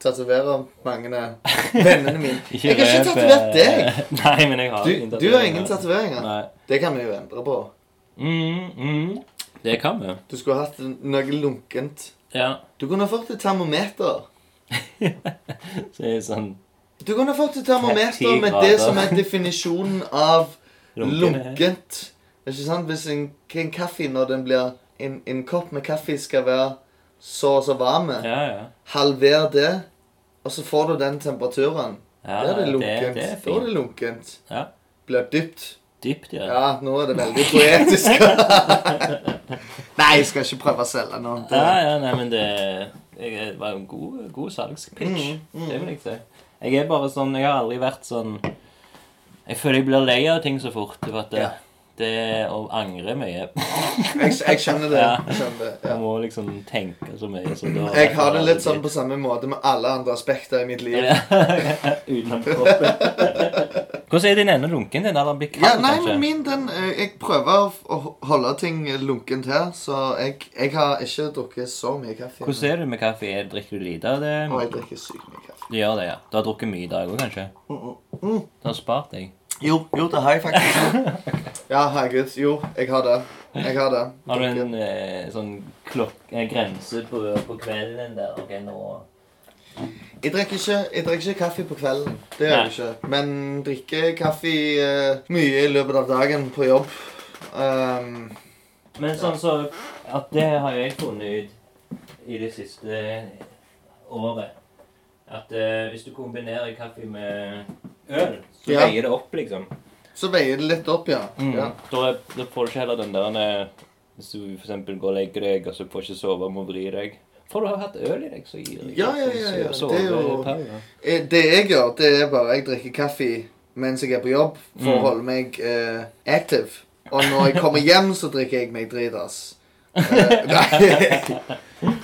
Speaker 2: tatoverer mange av vennene mine. Jeg har ikke
Speaker 1: røp, eh,
Speaker 2: tatovert deg!
Speaker 1: Nei, men jeg har
Speaker 2: Du, du har ingen
Speaker 1: tatoveringer.
Speaker 2: tatoveringer.
Speaker 1: Nei.
Speaker 2: Det kan vi jo endre på.
Speaker 1: Mm, mm. Det kan vi.
Speaker 2: Du skulle hatt noe lunkent.
Speaker 1: Ja.
Speaker 2: Du kunne fått et termometer.
Speaker 1: Så det er sånn
Speaker 2: Du kunne fått et
Speaker 1: Ti
Speaker 2: termometer med
Speaker 1: grader.
Speaker 2: det som er definisjonen av
Speaker 1: lunkende.
Speaker 2: lunkent. Ikke sant? Hvis en, en kaffe når den blir en, en kopp med kaffe skal være så og så varm,
Speaker 1: Ja, ja.
Speaker 2: halver det, og så får du den temperaturen.
Speaker 1: ja
Speaker 2: da er det
Speaker 1: Det,
Speaker 2: lunkent.
Speaker 1: det er
Speaker 2: da er
Speaker 1: fint.
Speaker 2: det lunkent.
Speaker 1: Ja.
Speaker 2: Blir dypt.
Speaker 1: Dypt, ja.
Speaker 2: Ja, nå er det veldig poetisk. Nei, jeg skal ikke prøve å selge noe. Det.
Speaker 1: Ja, ja, nei, men det jeg, det var en god, god salgspitch.
Speaker 2: Mm,
Speaker 1: Det vil jeg si. Jeg er bare sånn Jeg har aldri vært sånn Jeg føler jeg blir lei av ting så fort. For at det,
Speaker 2: Ja.
Speaker 1: det å angre mye
Speaker 2: Jeg, jeg skjønner det.
Speaker 1: Ja.
Speaker 2: Jeg skjønner det. Ja.
Speaker 1: Jeg må liksom tenke så mye. Så da,
Speaker 2: Jeg har det litt sånn på samme måte med alle andre aspekter i mitt liv.
Speaker 1: Ja, Utenom kroppen. Hvordan er din ene lunken? Den har blitt
Speaker 2: Ja,
Speaker 1: kald,
Speaker 2: nei,
Speaker 1: kanskje?
Speaker 2: men min, den eh, Jeg prøver å f- å holde ting lunkent her, så jeg, jeg har ikke drukket så mye kaffe.
Speaker 1: Hvordan er det med kaffe? Drikker du lite av det?
Speaker 2: Og jeg drikker sykt mye kaffe.
Speaker 1: Du gjør det, ja. Du har drukket mye i dag òg, kanskje?
Speaker 2: Mm,
Speaker 1: Du har spart deg?
Speaker 2: Jo, jo, det har jeg faktisk. ja, herregud. Jo, jeg har det. Jeg har det.
Speaker 1: Har du en
Speaker 2: Drukket.
Speaker 1: eh, sånn klokk- eh, grense på, på kvelden der? Ok, nå
Speaker 2: Jeg drikker, ikke, jeg drikker ikke kaffe på kvelden. Det gjør jeg ikke. Men drikker kaffe eh, mye i løpet av dagen på jobb. Um,
Speaker 1: Men sånn så At det har jeg funnet ut i det siste året. At eh, hvis du kombinerer kaffe med øl, så
Speaker 2: Ja. Mm.
Speaker 1: veier det opp, liksom.
Speaker 2: Så veier det litt opp, ja.
Speaker 1: Mm.
Speaker 2: ja.
Speaker 1: Da, er- da får du ikke heller den der eh, Hvis du for eksempel går og legger deg, og så får ikke sove og må vri deg. For du har hatt øl i deg, så gir deg
Speaker 2: Ja, ja,
Speaker 1: sånn
Speaker 2: ja, ja.
Speaker 1: sø- sove-
Speaker 2: Det er jo-
Speaker 1: power.
Speaker 2: Eh, Det jeg gjør, det er bare jeg drikker kaffe mens jeg er på jobb for
Speaker 1: Mm.
Speaker 2: å holde meg eh, active. Og når jeg kommer hjem, så drikker jeg meg drit, ass. Eh, nei.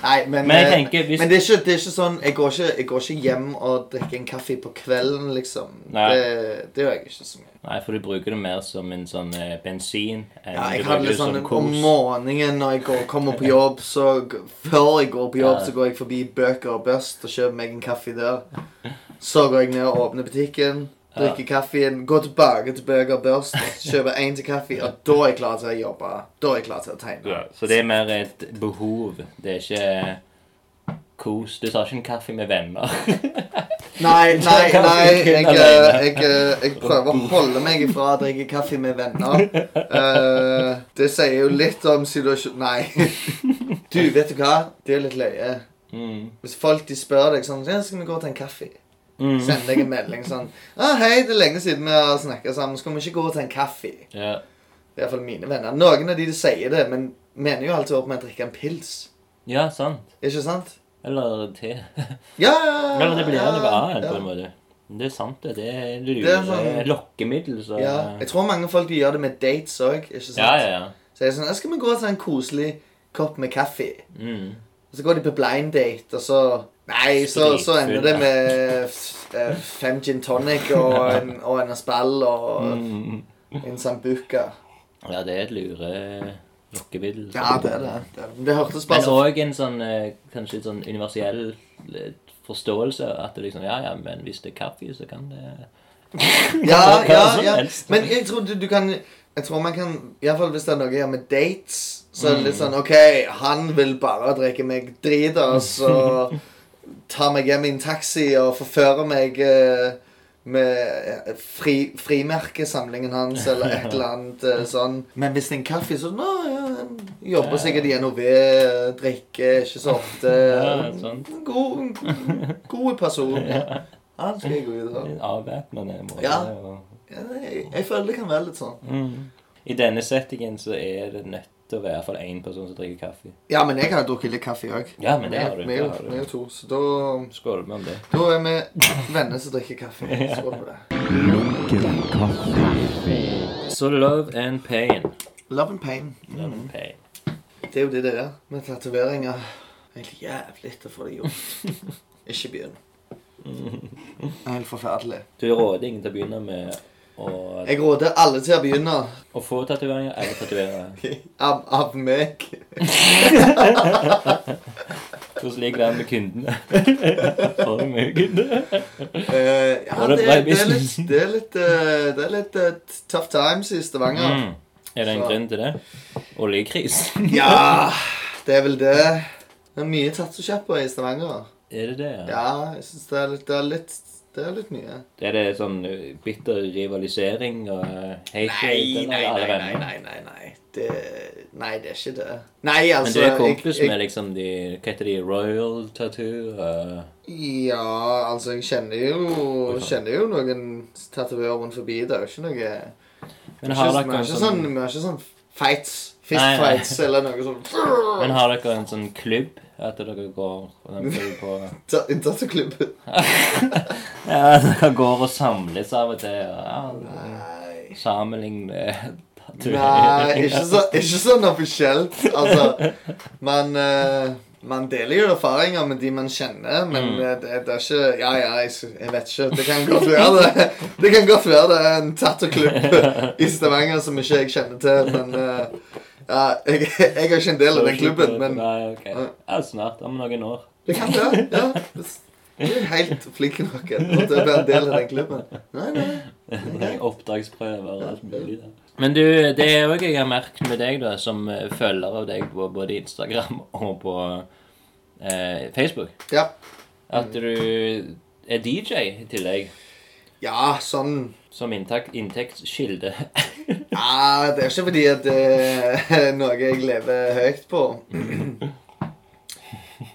Speaker 2: nei, men,
Speaker 1: Men jeg
Speaker 2: eh,
Speaker 1: tenker hvis-
Speaker 2: men det, er ikke, det er ikke sånn jeg går ikke, jeg går ikke hjem og drikker en kaffe på kvelden, liksom.
Speaker 1: Nei.
Speaker 2: Det, det gjør jeg ikke så mye.
Speaker 1: Nei, for du bruker det mer som en sånn eh, bensin. enn
Speaker 2: Ja, jeg
Speaker 1: du
Speaker 2: har
Speaker 1: bruker
Speaker 2: litt
Speaker 1: det som
Speaker 2: sånn om
Speaker 1: kos.
Speaker 2: morgenen når jeg går, kommer på jobb, så g- Før jeg går på jobb,
Speaker 1: Ja.
Speaker 2: så går jeg forbi Bøker og Bust og kjøper meg en kaffe der. Så går jeg ned og åpner butikken, drikker kaffen, går tilbake til Bøker og Bust, kjøper en til kaffe, og da er jeg klar til å jobbe. Da er jeg klar til å tegne.
Speaker 1: Ja, så det er mer et behov. Det er ikke eh, kos. Du tar ikke en kaffe med venner.
Speaker 2: Nei, nei,
Speaker 1: kan
Speaker 2: nei.
Speaker 1: ikke
Speaker 2: Jeg,
Speaker 1: alene.
Speaker 2: eh, jeg, eh, jeg prøver å holde meg ifra å drikke kaffe med venner. Eh, det sier jo litt om situasjonen Nei. Du, vet du hva? Det er litt løye.
Speaker 1: Mm.
Speaker 2: Hvis folk de spør deg sånn ja, 'Skal vi gå til en kaffe?'
Speaker 1: Mm.
Speaker 2: Send deg en melding sånn ah, 'Hei, det er lenge siden vi har snakka sammen. Skal vi ikke gå til en kaffe?'
Speaker 1: Ja.
Speaker 2: Det er iallfall mine venner. Noen av de sier det, men mener jo alltid opp med å drikke en pils.
Speaker 1: ja, sant.
Speaker 2: Ikke sant?
Speaker 1: Eller te.
Speaker 2: Ja, ja, ja.
Speaker 1: Eller det blir
Speaker 2: ja,
Speaker 1: noe annet,
Speaker 2: ja.
Speaker 1: på en måte. Det er sant, det. Det er
Speaker 2: Det er
Speaker 1: lure
Speaker 2: sånn-
Speaker 1: lokkemiddel, så
Speaker 2: Ja. Jeg tror mange folk de gjør det med dates òg. Ikke sant?
Speaker 1: ja, ja. ja.
Speaker 2: Så jeg er sånn, «Ja, skal vi gå til en koselig kopp med kaffe?
Speaker 1: Mm.
Speaker 2: Og så går de på blind date, og så Nei, så, så ender det med eh, fem gin tonic og en, og en aspall og
Speaker 1: Mm.
Speaker 2: en sambuca.
Speaker 1: Ja, det er et lure eh, lokkemiddel.
Speaker 2: Ja, det er det. Det, er det. Men det hørtes bare
Speaker 1: Men
Speaker 2: så
Speaker 1: òg en sånn eh, kanskje litt sånn universell eh, forståelse. At det liksom Ja, ja, men hvis det er kaffe, så kan det
Speaker 2: Ja, ja,
Speaker 1: som
Speaker 2: ja.
Speaker 1: helst.
Speaker 2: Men jeg tror du, du kan Jeg tror man kan Iallfall hvis det er noe jeg gjør med dates, så er det litt sånn OK, han vil bare drikke meg dritas og ta meg hjem i en taxi og forføre meg eh, med eh, fri, frimerkesamlingen hans eller et eller annet eh, sånn. Men hvis det er en kaffe, så nå, ja, han jobber sikkert i NOV, eh, drikker ikke så ofte.
Speaker 1: Ja, sant.
Speaker 2: God, god person. Han skal jeg gå videre.
Speaker 1: En avvæpnende måte
Speaker 2: Ja.
Speaker 1: å
Speaker 2: Ja, jeg, jeg føler det kan være litt sånn.
Speaker 1: I denne settingen så er det nødt til å være iallfall én person som drikker kaffe.
Speaker 2: Ja, men jeg har drukket litt kaffe òg.
Speaker 1: Ja, men det har du.
Speaker 2: Vi
Speaker 1: Det
Speaker 2: er jo-
Speaker 1: har
Speaker 2: vi er jo
Speaker 1: du.
Speaker 2: to, så da,
Speaker 1: Skål med om det.
Speaker 2: da er vi venner som drikker kaffe. Skål for det.
Speaker 3: Lunken kaffe.
Speaker 1: Så love and pain.
Speaker 2: Love and pain.
Speaker 1: Love
Speaker 2: Mm.
Speaker 1: and pain.
Speaker 2: Det er jo det det er med tatoveringer. Helt jævlig å få det gjort. Ikke begynn. Det er Helt forferdelig.
Speaker 1: Du råder ingen til å begynne med å,
Speaker 2: Jeg råder alle til å begynne.
Speaker 1: å få tatoveringer eller tatovere.
Speaker 2: Av, av meg.
Speaker 1: Hvordan ligger det an med kundene? Får du mye kunder?
Speaker 2: Eh, ja,
Speaker 1: Og
Speaker 2: det,
Speaker 1: det
Speaker 2: det
Speaker 1: ble
Speaker 2: er litt,
Speaker 1: business.
Speaker 2: det er litt, eh, det er litt eh, tough times i Stavanger.
Speaker 1: Mm. Er det en
Speaker 2: Så-
Speaker 1: grunn til det? Oljekris?
Speaker 2: Ja, det er vel det. Det er mye tattosjapper i Stavanger.
Speaker 1: Er det det?
Speaker 2: Ja, jeg syns det, er litt- det er litt Det er litt mye.
Speaker 1: Er det sånn uh, bitter rivalisering og uh, hate
Speaker 2: Nei,
Speaker 1: hate
Speaker 2: nei,
Speaker 1: eller alle
Speaker 2: nei, nei,
Speaker 1: venner?
Speaker 2: nei, nei, nei. Det, nei, det er ikke det. Nei,
Speaker 1: Men
Speaker 2: altså
Speaker 1: du er kompis
Speaker 2: jeg- jeg-
Speaker 1: med liksom de Hva heter de? Royal Tattoo? Uh,
Speaker 2: Ja, altså, jeg kjenner jo Kjenner jo noen tatovører rundt forbi. Det er jo ikke noe Vi
Speaker 1: men
Speaker 2: har
Speaker 1: har dere
Speaker 2: ikke, vi har
Speaker 1: en
Speaker 2: ikke
Speaker 1: sånn
Speaker 2: sånn, vi har ikke sånn fights.
Speaker 1: Nei, nei.
Speaker 2: Fistfights eller noe
Speaker 1: Men
Speaker 2: sånt.
Speaker 1: har dere en sånn klubb? At dere går og den følger på
Speaker 2: Ta- En tattoklubb.
Speaker 1: Ja, dere går og samles av og til. og, Ja,
Speaker 2: Nei.
Speaker 1: Sammenligner
Speaker 2: Nei, ikke,
Speaker 1: tatoveringer.
Speaker 2: så, ikke sånn offisielt. Altså, man, eh, man deler jo erfaringer med de man kjenner, men eh, det, det er ikke Ja, ja, jeg, s- jeg vet ikke. Det kan godt være det Det kan godt være det er en tattoklubb i Stavanger som ikke jeg kjenner til, men eh, ja, jeg, jeg er ikke en del av den klubben, men
Speaker 1: Nei, ok. Ja, snart. Om noen år.
Speaker 2: det kan det. Ja. Du er helt flink nok til å være en del av den klubben. Nei, nei.
Speaker 1: Oppdragsprøver og alt mulig. Da. Men du, det er òg jeg har merket med deg, da, som eh, følger av deg på både Instagram og på eh, Facebook,
Speaker 2: Ja.
Speaker 1: at du er DJ i tillegg.
Speaker 2: ja, sånn
Speaker 1: Som inntekt, inntektskilde.
Speaker 2: Ja, Ah, det er ikke fordi at det er noe jeg lever høyt på.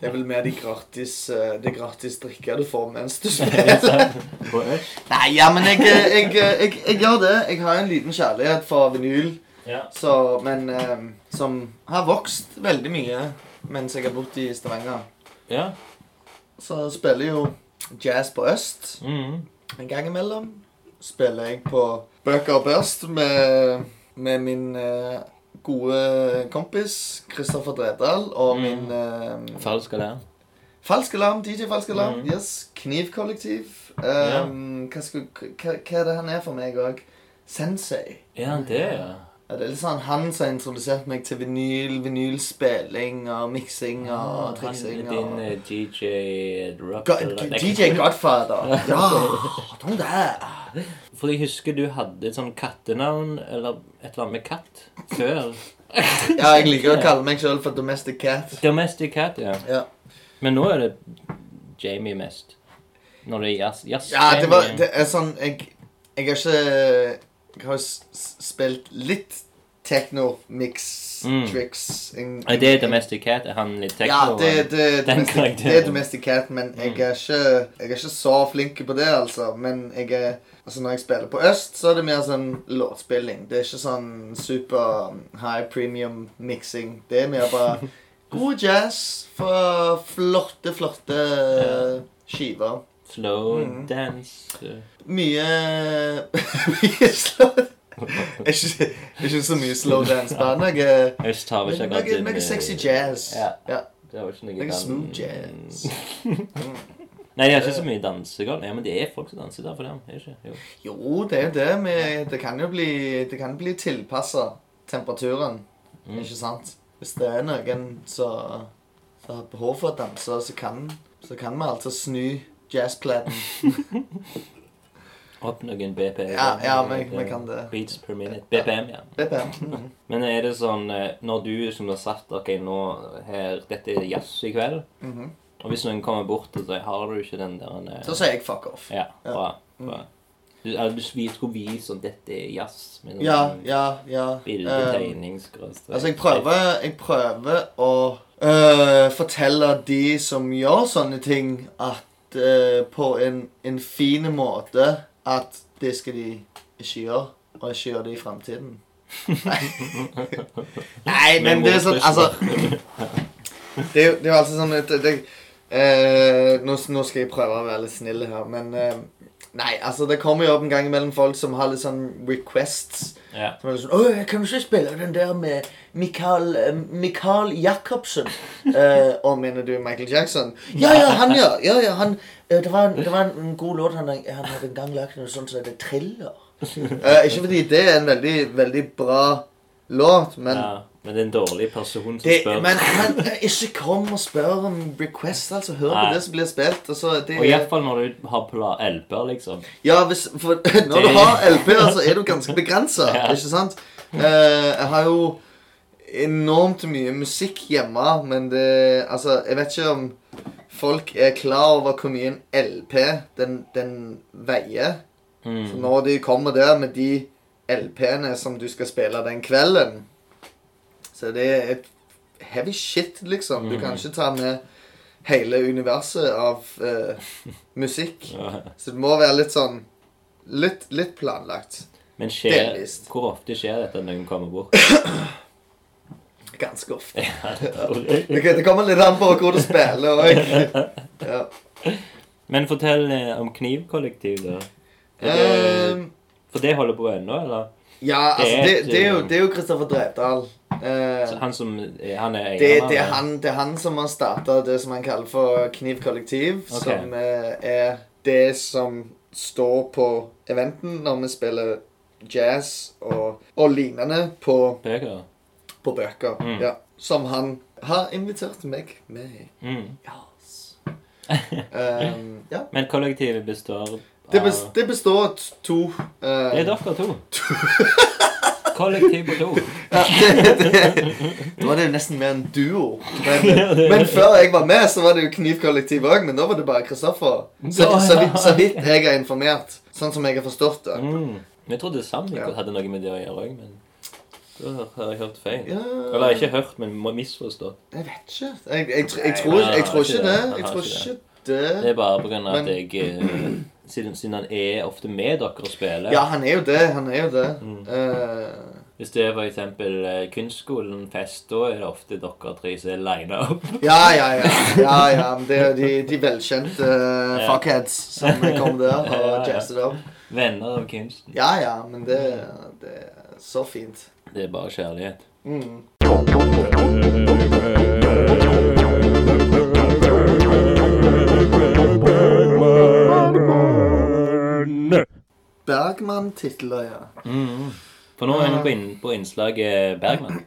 Speaker 2: Det er vel mer de gratis, eh, det gratis drikka du får mens du spiller.
Speaker 1: På Øst?
Speaker 2: Nei, ja, men jeg, eh, jeg, jeg, jeg, gjør det. Jeg har en liten kjærlighet for vinyl
Speaker 1: Ja.
Speaker 2: så, men, eh, som har vokst veldig mye mens jeg har bodd i Stavanger.
Speaker 1: ja.
Speaker 2: Så spiller jeg jo jazz på øst.
Speaker 1: Mhm.
Speaker 2: En gang imellom spiller jeg på Bøker og Børst med, med min eh, gode kompis Kristoffer Dredal og
Speaker 1: Mm.
Speaker 2: min eh,
Speaker 1: Falsk alarm.
Speaker 2: Falsk Alarm, DJ Falsk Alarm.
Speaker 1: Mm.
Speaker 2: Yes, Knivkollektiv. Um, hva, skulle- hva, hva er det han er for meg òg? Sensei.
Speaker 1: Ja, det, ja.
Speaker 2: Ja, det er litt sånn han som har introdusert meg til vinyl, vinylspilling og miksing og
Speaker 1: Ah, Han
Speaker 2: triksing.
Speaker 1: Din
Speaker 2: og...
Speaker 1: eh, DJ Rock
Speaker 2: God,
Speaker 1: eller- Nei,
Speaker 2: DJ Godfather. Ja, de der.
Speaker 1: For jeg husker du hadde et sånn kattenavn, eller et eller annet med katt, før.
Speaker 2: Ja, jeg liker å kalle meg sjøl for Domestic Cat.
Speaker 1: Domestic Cat, ja.
Speaker 2: Ja.
Speaker 1: Men nå er det Jamie mest. Når det er jazz. jazz
Speaker 2: Ja, det,
Speaker 1: Jamie.
Speaker 2: var, det er sånn Jeg, jeg har ikke Jeg har jo s- s- spilt litt techno mix
Speaker 1: Mm.
Speaker 2: tricks. en-
Speaker 1: Nei, det er Domestic Cat. Er han litt techno? eh,
Speaker 2: Ja, det, det,
Speaker 1: Den Mm.
Speaker 2: domestic,
Speaker 1: karakteren.
Speaker 2: det er domestic cat, men jeg er, ikke, jeg er ikke så flink på det, altså. Men jeg er Altså, når jeg spiller på Øst, så er det mer sånn låtspilling. Det er ikke sånn super high premium mixing. Det er mer bare god jazz fra flotte, flotte skiver.
Speaker 1: Slow
Speaker 2: Mhm.
Speaker 1: dance.
Speaker 2: Mye Mye slow ikke, ikke så mye slow dance, bare noe
Speaker 1: Øst har vi ikke
Speaker 2: noe-
Speaker 1: akkurat eh,
Speaker 2: Noe sexy jazz.
Speaker 1: Ja.
Speaker 2: Ja.
Speaker 1: Det var ikke noe
Speaker 2: Noe
Speaker 1: dan-
Speaker 2: smooth jazz.
Speaker 1: Nei, de har ikke så mye dansegulv. Ja, men det er folk som danser der for dem. Er det ikke? Jo.
Speaker 2: Jo, det er jo det. Med, det kan jo bli, det kan bli tilpassa temperaturen,
Speaker 1: Mm.
Speaker 2: ikke sant? Hvis det er noen som som har behov for å danse, så kan, så kan vi altså snu jazzplaten.
Speaker 1: Opp noen BPM.
Speaker 2: Ja, ja, vi- vi kan det.
Speaker 1: Beats per minute. BPM, ja.
Speaker 2: Det er det. Mm.
Speaker 1: Men er det sånn eh, Når du som har sagt OK, nå her Dette er jazz i kveld.
Speaker 2: Mhm.
Speaker 1: Og hvis noen kommer bort og sier Har du ikke den der en, eh,
Speaker 2: Så sier Mm. jeg fuck off.
Speaker 1: Ja, bra. bra. Du, eller du vi skulle vise at dette er jazz. Med sånn
Speaker 2: Ja, ja, ja.
Speaker 1: Bilde,
Speaker 2: Eh,
Speaker 1: tegning, skråstrek.
Speaker 2: Altså, jeg prøver, jeg prøver å øh, fortelle de som gjør sånne ting, at øh, på en, en fin måte at det skal de ikke gjøre, og ikke gjøre det i fremtiden. Nei, men det er sånn, altså Det er jo, det er jo alltid sånn at det, eh, nå, nå skal jeg prøve å være litt snill her, men eh, Nei, altså, det kommer jo opp en gang mellom folk som har litt sånn requests.
Speaker 1: Ja.
Speaker 2: Så var det sånn, Åh, jeg kan ikke spille den der med Mikael, eh, Mikael Jacobsen. Eh, og mener du Michael Jackson? Ja, ja, han ja. ja, ja han, eh, det, var en, det var en, en god låt han, han hadde en gang lagd, noe sånt som heter Thriller. Eh, ikke fordi det er en veldig, veldig bra låt, men
Speaker 1: ja. Men det er en dårlig person som
Speaker 2: det,
Speaker 1: spør.
Speaker 2: men, men eh, ikke kom og spør om request, altså. Hør på
Speaker 1: Nei.
Speaker 2: det som blir spilt. Og så, det,
Speaker 1: Og iallfall når du har polar LP-er, liksom.
Speaker 2: Ja, hvis, for når du
Speaker 1: Det-
Speaker 2: har LP-er, så er du ganske begrensa.
Speaker 1: Ja.
Speaker 2: Ikke sant? Eh, jeg har jo enormt mye musikk hjemme, men det Altså, jeg vet ikke om folk er klar over hvor mye en LP den, den veier. Så
Speaker 1: Mm.
Speaker 2: når de kommer der med de LP-ene som du skal spille den kvelden Så det er et heavy shit, liksom. Du
Speaker 1: Mm.
Speaker 2: kan ikke ta med hele universet av eh, musikk. Så det må være litt sånn Litt, litt planlagt.
Speaker 1: Men skjer,
Speaker 2: Delvis.
Speaker 1: hvor ofte skjer dette når noen kommer bort?
Speaker 2: Ganske ofte.
Speaker 1: Ja, det tror jeg.
Speaker 2: Ok, det kommer litt an på hvor du spiller òg. Ja.
Speaker 1: Men fortell eh, om Knivkollektiv, da. Er det-
Speaker 2: Ehm,
Speaker 1: For det holder på ennå, eller?
Speaker 2: ja, altså,
Speaker 1: Det
Speaker 2: det,
Speaker 1: er et,
Speaker 2: det er jo, det er jo Kristoffer Drevdal. Eh,
Speaker 1: Så han som eh, Han er
Speaker 2: det,
Speaker 1: eieren av
Speaker 2: det, er han, det er han som har starta det som han kaller for Knivkollektiv.
Speaker 1: Ok.
Speaker 2: Som eh, er det som står på eventen når vi spiller jazz og, og lignende på,
Speaker 1: bøker?
Speaker 2: på bøker.
Speaker 1: Mm.
Speaker 2: Ja, som han har invitert meg med.
Speaker 1: Mm.
Speaker 2: Yes. um, ja.
Speaker 1: Men kollektivet består av
Speaker 2: Det, bes, det består av t- to
Speaker 1: Det
Speaker 2: eh,
Speaker 1: er dere to. Kollektiv på to.
Speaker 2: ja, det, det, Nå var det jo nesten mer en duo. Men, men før jeg var med, så var det jo Knivkollektiv òg, men da var det bare Kristoffer. Så, så, vidt- så vidt jeg er informert. Sånn som jeg har forstått det.
Speaker 1: Mm. Vi trodde Sandvik
Speaker 2: Ja.
Speaker 1: hadde noe med det å gjøre òg, men da har jeg hørt feil.
Speaker 2: Ja.
Speaker 1: Eller ikke hørt, men må misforstå.
Speaker 2: Jeg vet ikke. Jeg, jeg, tr-
Speaker 1: Nei,
Speaker 2: jeg, tror,
Speaker 1: han har
Speaker 2: jeg tror
Speaker 1: ikke det.
Speaker 2: ikke det.
Speaker 1: Han
Speaker 2: Jeg
Speaker 1: har
Speaker 2: tror
Speaker 1: ikke
Speaker 2: ikke
Speaker 1: Det
Speaker 2: det.
Speaker 1: er bare pga. at
Speaker 2: Men-
Speaker 1: jeg eh, siden, siden han er ofte med dere og spiller
Speaker 2: Ja, han er jo det. Han er jo det.
Speaker 1: Mm.
Speaker 2: Eh,
Speaker 1: Hvis det er f.eks. kunstskolen fest, da er det ofte dere tre som er lina opp.
Speaker 2: ja, ja, ja. ja, ja. men Det er jo de, de velkjente eh, fuckheads som kom der
Speaker 1: Ja, ja.
Speaker 2: og jazzet opp.
Speaker 1: Venner av kunsten.
Speaker 2: Ja, ja, men det, det er så fint.
Speaker 1: Det er bare kjærlighet.
Speaker 2: Mm. Bergman-titler, ja.
Speaker 1: For nå er vi på, inn, på innslaget Bergman.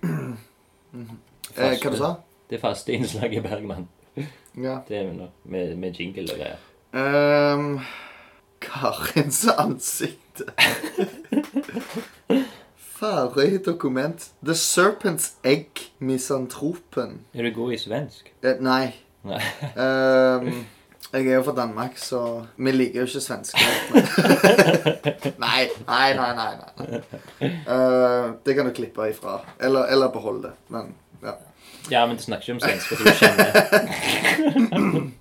Speaker 2: Eh, hva du sa
Speaker 1: Det faste innslaget Bergman.
Speaker 2: Ja.
Speaker 1: Det er vi nå. Med, med jingle og greier.
Speaker 2: Ehm, Karins ansikt. Farøy dokument. The Serpent's Egg. Misantropen.
Speaker 1: Er du god i svensk?
Speaker 2: Eh, nei.
Speaker 1: Nei.
Speaker 2: Ehm, jeg er jo fra Danmark, så vi liker jo ikke svensker. nei, nei, nei. nei, nei. Eh, det kan du klippe ifra. Eller, eller beholde det. Men ja.
Speaker 1: Ja, men du snakker ikke om svensk, for du kjenner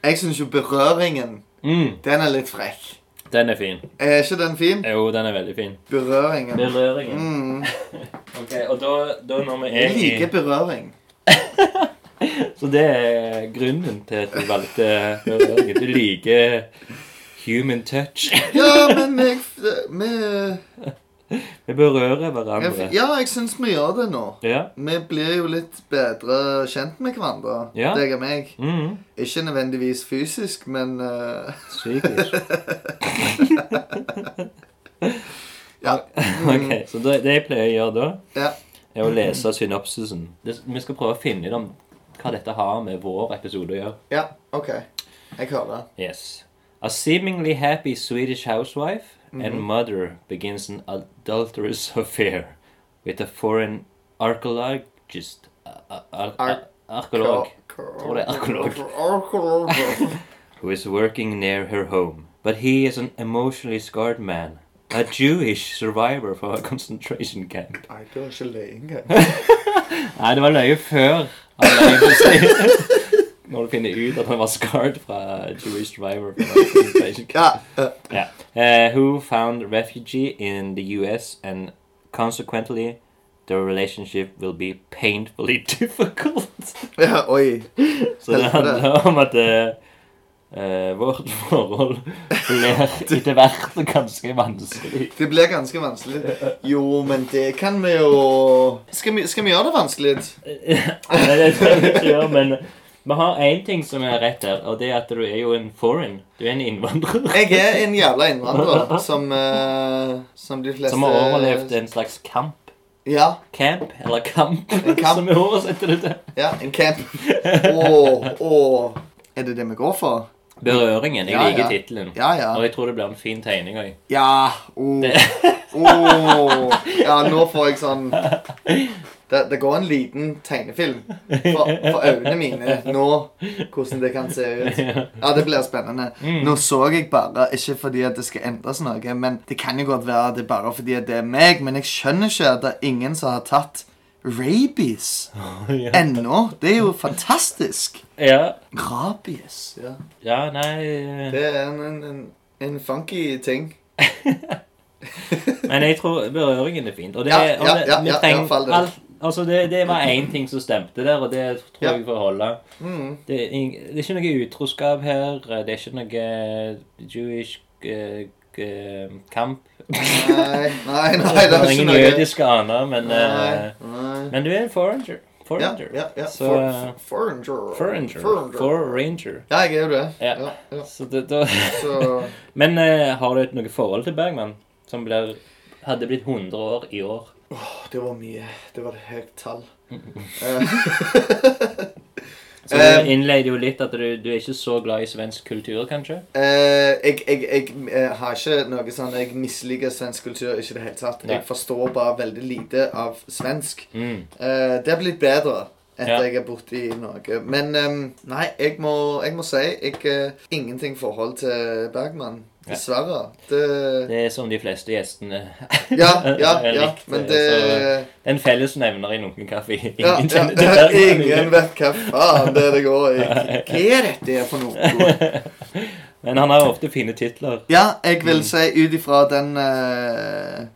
Speaker 2: Jeg syns jo berøringen,
Speaker 1: mm,
Speaker 2: den er litt frekk.
Speaker 1: Den er fin.
Speaker 2: Er ikke den fin?
Speaker 1: Jo, den er veldig fin.
Speaker 2: Berøringen.
Speaker 1: Berøringen.
Speaker 2: Mm.
Speaker 1: Ok, Og da, da når vi
Speaker 2: Jeg
Speaker 1: er i
Speaker 2: liker berøring.
Speaker 1: Så det er grunnen til at du valgte berøringen. Du liker human touch.
Speaker 2: Ja, men jeg vi-
Speaker 1: Vi berører
Speaker 2: jeg-
Speaker 1: hverandre.
Speaker 2: Ja, jeg syns vi gjør det nå.
Speaker 1: Ja.
Speaker 2: Vi blir jo litt bedre kjent med hverandre,
Speaker 1: Ja.
Speaker 2: deg og meg.
Speaker 1: Mm,
Speaker 2: Ikke nødvendigvis fysisk, men eh,
Speaker 1: Psykisk.
Speaker 2: ja.
Speaker 1: Ok, Så det, det jeg pleier å gjøre da,
Speaker 2: ja.
Speaker 1: er å lese synopsisen. Det, vi skal prøve å finne ut om hva dette har med vår episode å gjøre.
Speaker 2: Ja, OK. Jeg hører.
Speaker 1: Yes. A seemingly happy Swedish housewife and mother begins an adulterous affair with a foreign archaeologist. a- a- a- a-
Speaker 2: Ar-
Speaker 1: Arkeolog. Tror det er arkeolog.
Speaker 2: Arkeolog.
Speaker 1: Who is working near her home. But he is an emotionally scarred man. A Jewish survivor from a concentration camp.
Speaker 2: Nei, det var ikke løye engang.
Speaker 1: Nei, det var løye før. han løy for seg. Når du finner ut at han var scarred fra Jewish survivor from a concentration camp.
Speaker 2: Ja. eh,
Speaker 1: Yeah. Uh, who found refugee in the US and consequently their relationship will be painfully difficult.
Speaker 2: ja, Oi.
Speaker 1: Så det
Speaker 2: Helvete.
Speaker 1: handler om at eh, eh, vårt forhold blir etter hvert ganske vanskelig.
Speaker 2: Det blir ganske vanskelig. Jo, men det kan vi jo Skal vi, skal vi gjøre det vanskelig?
Speaker 1: Nei, det skal vi ikke gjøre, men vi har én ting som er rett her, og det er at du er jo en foreign. Du er en innvandrer.
Speaker 2: Jeg er en jævla innvandrer som, eh, som de fleste
Speaker 1: Som er har overlevd en slags kamp.
Speaker 2: Ja.
Speaker 1: Camp, eller kamp,
Speaker 2: En kamp.
Speaker 1: som er vi oversetter det til.
Speaker 2: ja en camp. Åh, åh. Er det det vi går for?
Speaker 1: Berøringen. Jeg
Speaker 2: Ja,
Speaker 1: liker
Speaker 2: ja.
Speaker 1: tittelen.
Speaker 2: Ja, ja.
Speaker 1: Og jeg tror det blir en fin tegning òg.
Speaker 2: Ja. Åh.
Speaker 1: Det-
Speaker 2: Åh. Ja, nå får jeg sånn det, det går en liten tegnefilm for, for øynene mine nå, hvordan det kan se ut. Ja, det blir spennende. Nå så jeg bare, ikke fordi at det skal endres noe, men det kan jo godt være at det er bare fordi at det er meg, men jeg skjønner ikke at det er ingen som har tatt rabies ennå. Det er jo fantastisk.
Speaker 1: ja.
Speaker 2: Rabies. Ja.
Speaker 1: ja, nei eh,
Speaker 2: Det er en, en, en, en funky ting.
Speaker 1: Men jeg tror berøringen er fint. Og det,
Speaker 2: Ja,
Speaker 1: og
Speaker 2: ja,
Speaker 1: det-
Speaker 2: ja,
Speaker 1: vi
Speaker 2: ja,
Speaker 1: trenger-
Speaker 2: ja, fall det.
Speaker 1: alt, altså det, det var én ting som stemte der, og det tror
Speaker 2: Ja.
Speaker 1: jeg får holde.
Speaker 2: Mm.
Speaker 1: Det, er ing- det er ikke noe utroskap her. Det er ikke noe Jewish eh, eh, kamp.
Speaker 2: Nei, nei, nei,
Speaker 1: det
Speaker 2: det
Speaker 1: er
Speaker 2: er ikke
Speaker 1: ingen
Speaker 2: noe.
Speaker 1: jødiske aner, men eh,
Speaker 2: Nei, nei.
Speaker 1: Men du er en foreigner.
Speaker 2: Ja,
Speaker 1: Foreigner.
Speaker 2: ja, ja.
Speaker 1: Så,
Speaker 2: For-
Speaker 1: eh,
Speaker 2: for- Foreigner.
Speaker 1: Foreigner.
Speaker 2: Foreigner.
Speaker 1: Foreigner.
Speaker 2: Ja, jeg er jo det.
Speaker 1: Ja.
Speaker 2: Ja, ja.
Speaker 1: Så det, da
Speaker 2: Så
Speaker 1: Men eh, har du noe forhold til Bergman? Som blir, hadde blitt 100 år i år?
Speaker 2: Det var mye. Det var et høyt tall.
Speaker 1: Så
Speaker 2: Eh,
Speaker 1: det innleder jo litt at du, du er ikke så glad i svensk kultur, kanskje?
Speaker 2: Eh, jeg, jeg, jeg eh, har ikke noe sånn Jeg misliker svensk kultur ikke i det hele tatt.
Speaker 1: Nei.
Speaker 2: Jeg forstår bare veldig lite av svensk. Eh, det har blitt bedre etter
Speaker 1: Ja.
Speaker 2: jeg har bodd i Norge. eh, Men ehm, nei, jeg må, jeg må si jeg har ingenting forhold til Bergman. Dessverre. Det,
Speaker 1: Det er som de fleste gjestene.
Speaker 2: ja, ja,
Speaker 1: Jeg
Speaker 2: ja.
Speaker 1: likte,
Speaker 2: Men det
Speaker 1: så- En fellesnevner i lunken kaffe.
Speaker 2: ja,
Speaker 1: Ingen kjenner til
Speaker 2: ja,
Speaker 1: den.
Speaker 2: Ingen vet hva faen det er det går i. Hva er dette her for noe?
Speaker 1: Men han har ofte fine titler.
Speaker 2: Ja, jeg
Speaker 1: Mm.
Speaker 2: vil si ut ifra den eh,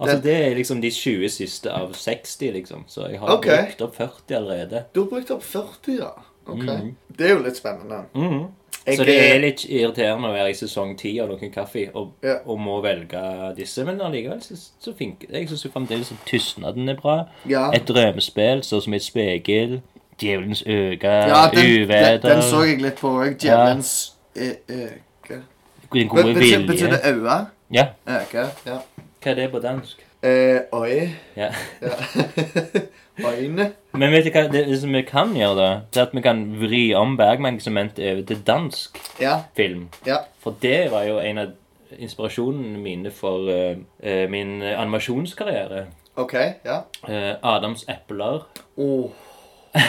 Speaker 1: Altså, det er liksom de 20 siste av 60, liksom. Så jeg har
Speaker 2: Ok.
Speaker 1: brukt opp 40 allerede.
Speaker 2: Du har brukt opp 40, ja. Ok.
Speaker 1: Mhm.
Speaker 2: Det er jo litt spennende.
Speaker 1: Mhm.
Speaker 2: Jeg, eh,
Speaker 1: så det er litt irriterende å være i sesong 10 av Lunken kaffe og,
Speaker 2: Ja.
Speaker 1: og må velge disse. Men allikevel så, så funker det. Jeg syns fremdeles at Tystnaden er bra.
Speaker 2: ja.
Speaker 1: Et drømmespill, så som et spegel. Djevelens øke.
Speaker 2: ja, den, den,
Speaker 1: uvæder.
Speaker 2: den så jeg litt på òg. Djevelens ø- øke.
Speaker 1: Den
Speaker 2: Bet-
Speaker 1: gode
Speaker 2: eh, Betyr,
Speaker 1: vilje.
Speaker 2: betyr det øye?
Speaker 1: Ja.
Speaker 2: Øke, ja.
Speaker 1: Hva er det på dansk?
Speaker 2: Eh, oi.
Speaker 1: Ja.
Speaker 2: Ja. Øyne.
Speaker 1: Men vet du hva det som vi kan gjøre, da? Det er at vi kan vri om Bergman-segmentet over til dansk
Speaker 2: Ja.
Speaker 1: film.
Speaker 2: Ja.
Speaker 1: For det var jo en av inspirasjonene mine for eh, eh, min animasjonskarriere.
Speaker 2: OK. Ja.
Speaker 1: Eh, Adams epler
Speaker 2: Oh.
Speaker 1: er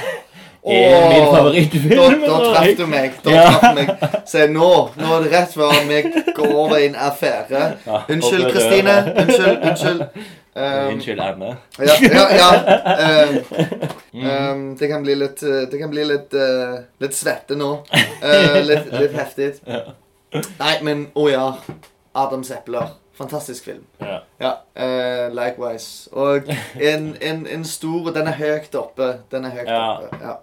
Speaker 1: min
Speaker 2: Åh, Da,
Speaker 1: favorittfilm.
Speaker 2: da
Speaker 1: tror
Speaker 2: traff
Speaker 1: jeg.
Speaker 2: du meg. Da
Speaker 1: Ja.
Speaker 2: traff du meg. Se, nå nå er det rett før vi går over i en affære.
Speaker 1: Ja,
Speaker 2: Unnskyld,
Speaker 1: og-
Speaker 2: Kristine. Unnskyld. Unnskyld. Um,
Speaker 1: Unnskyld, Anne.
Speaker 2: ja, ja, ja. Um, um, det kan bli litt uh, Det kan bli litt uh, Litt svette nå. Uh, litt, litt heftig. Nei, men å ja. Adams epler. Fantastisk film.
Speaker 1: Ja.
Speaker 2: Ja, eh, likewise. Og en, en, en stor og Den er høyt oppe. Den er høyt
Speaker 1: Ja.
Speaker 2: oppe, ja.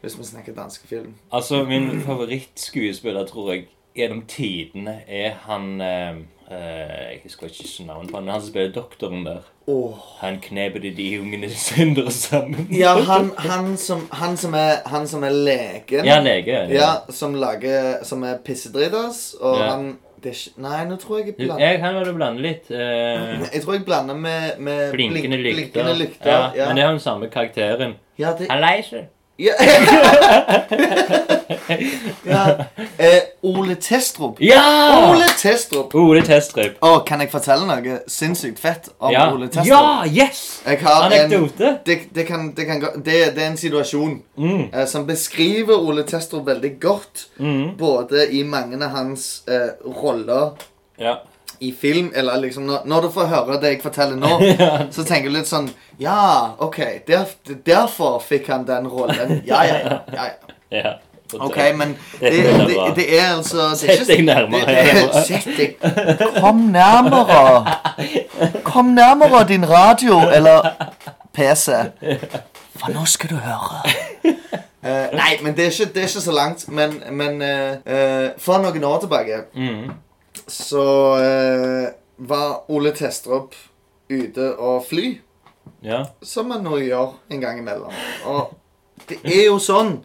Speaker 2: Hvis vi snakker danske film.
Speaker 1: Altså, min favorittskuespiller, tror jeg, gjennom tidene er han eh, eh, Jeg husker ikke navnet på han, men han som spiller doktoren der.
Speaker 2: Åh.
Speaker 1: Han knebet de ungene syndere sammen.
Speaker 2: Ja, han, han, som, han, som er, han som er legen
Speaker 1: Ja, lege. ja.
Speaker 2: Ja, som lager Som er pissedritas, og
Speaker 1: Ja.
Speaker 2: han det er ikke, Nei, nå tror jeg jeg blander
Speaker 1: Jeg kan vel blande litt. eh,
Speaker 2: Jeg tror jeg blander med, med blink-
Speaker 1: blinkende lykter.
Speaker 2: blinkende lykter.
Speaker 1: Ja,
Speaker 2: Ja,
Speaker 1: Men det er jo den samme karakteren.
Speaker 2: ja, det,
Speaker 1: Han lei seg.
Speaker 2: ja. ja. Eh, Ole Testrup.
Speaker 1: Ja!
Speaker 2: Ole Testrup.
Speaker 1: Ole Testrup.
Speaker 2: Å, kan jeg fortelle noe sinnssykt fett om
Speaker 1: Ja.
Speaker 2: Ole Testrup?
Speaker 1: ja, yes!
Speaker 2: Jeg har en,
Speaker 1: Anekdote.
Speaker 2: det, det, kan, det, kan, gå- det, det er en situasjon
Speaker 1: Mm.
Speaker 2: eh, som beskriver Ole Testrup veldig godt.
Speaker 1: Mm.
Speaker 2: Både i mange av hans eh, roller
Speaker 1: Ja.
Speaker 2: i film, eller liksom når, når du får høre det jeg forteller nå, så tenker du litt sånn Ja, OK, derf, derfor fikk han den rollen. Ja, ja, ja. ja, ja.
Speaker 1: ja.
Speaker 2: OK, men det,
Speaker 1: Det
Speaker 2: det,
Speaker 1: er
Speaker 2: det,
Speaker 1: bra.
Speaker 2: er altså det er
Speaker 1: Sett deg nærmere.
Speaker 2: Det- det-
Speaker 1: her.
Speaker 2: Sett deg Kom nærmere. Kom nærmere din radio eller PC. For nå skal du høre. Eh, nei, men det er ikke, det er ikke så langt. Men, men eh, eh, for noen år tilbake
Speaker 1: Mm.
Speaker 2: så eh, var Ole Testrup ute og fly,
Speaker 1: Ja.
Speaker 2: som han nå gjør en gang imellom. Og det er jo sånn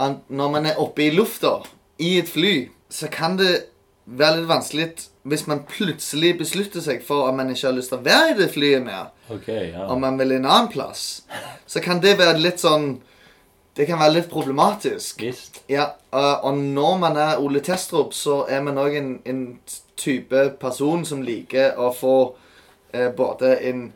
Speaker 2: at når man er oppe i lufta i et fly, så kan det være litt vanskelig hvis man plutselig beslutter seg for om man ikke har lyst til å være i det flyet mer,
Speaker 1: Ok, ja.
Speaker 2: om man vil en annen plass. Så kan det være litt sånn Det kan være litt problematisk.
Speaker 1: Visst.
Speaker 2: Ja, eh, og og når man er Ole Testrup, så er man òg en, en type person som liker å få eh, både en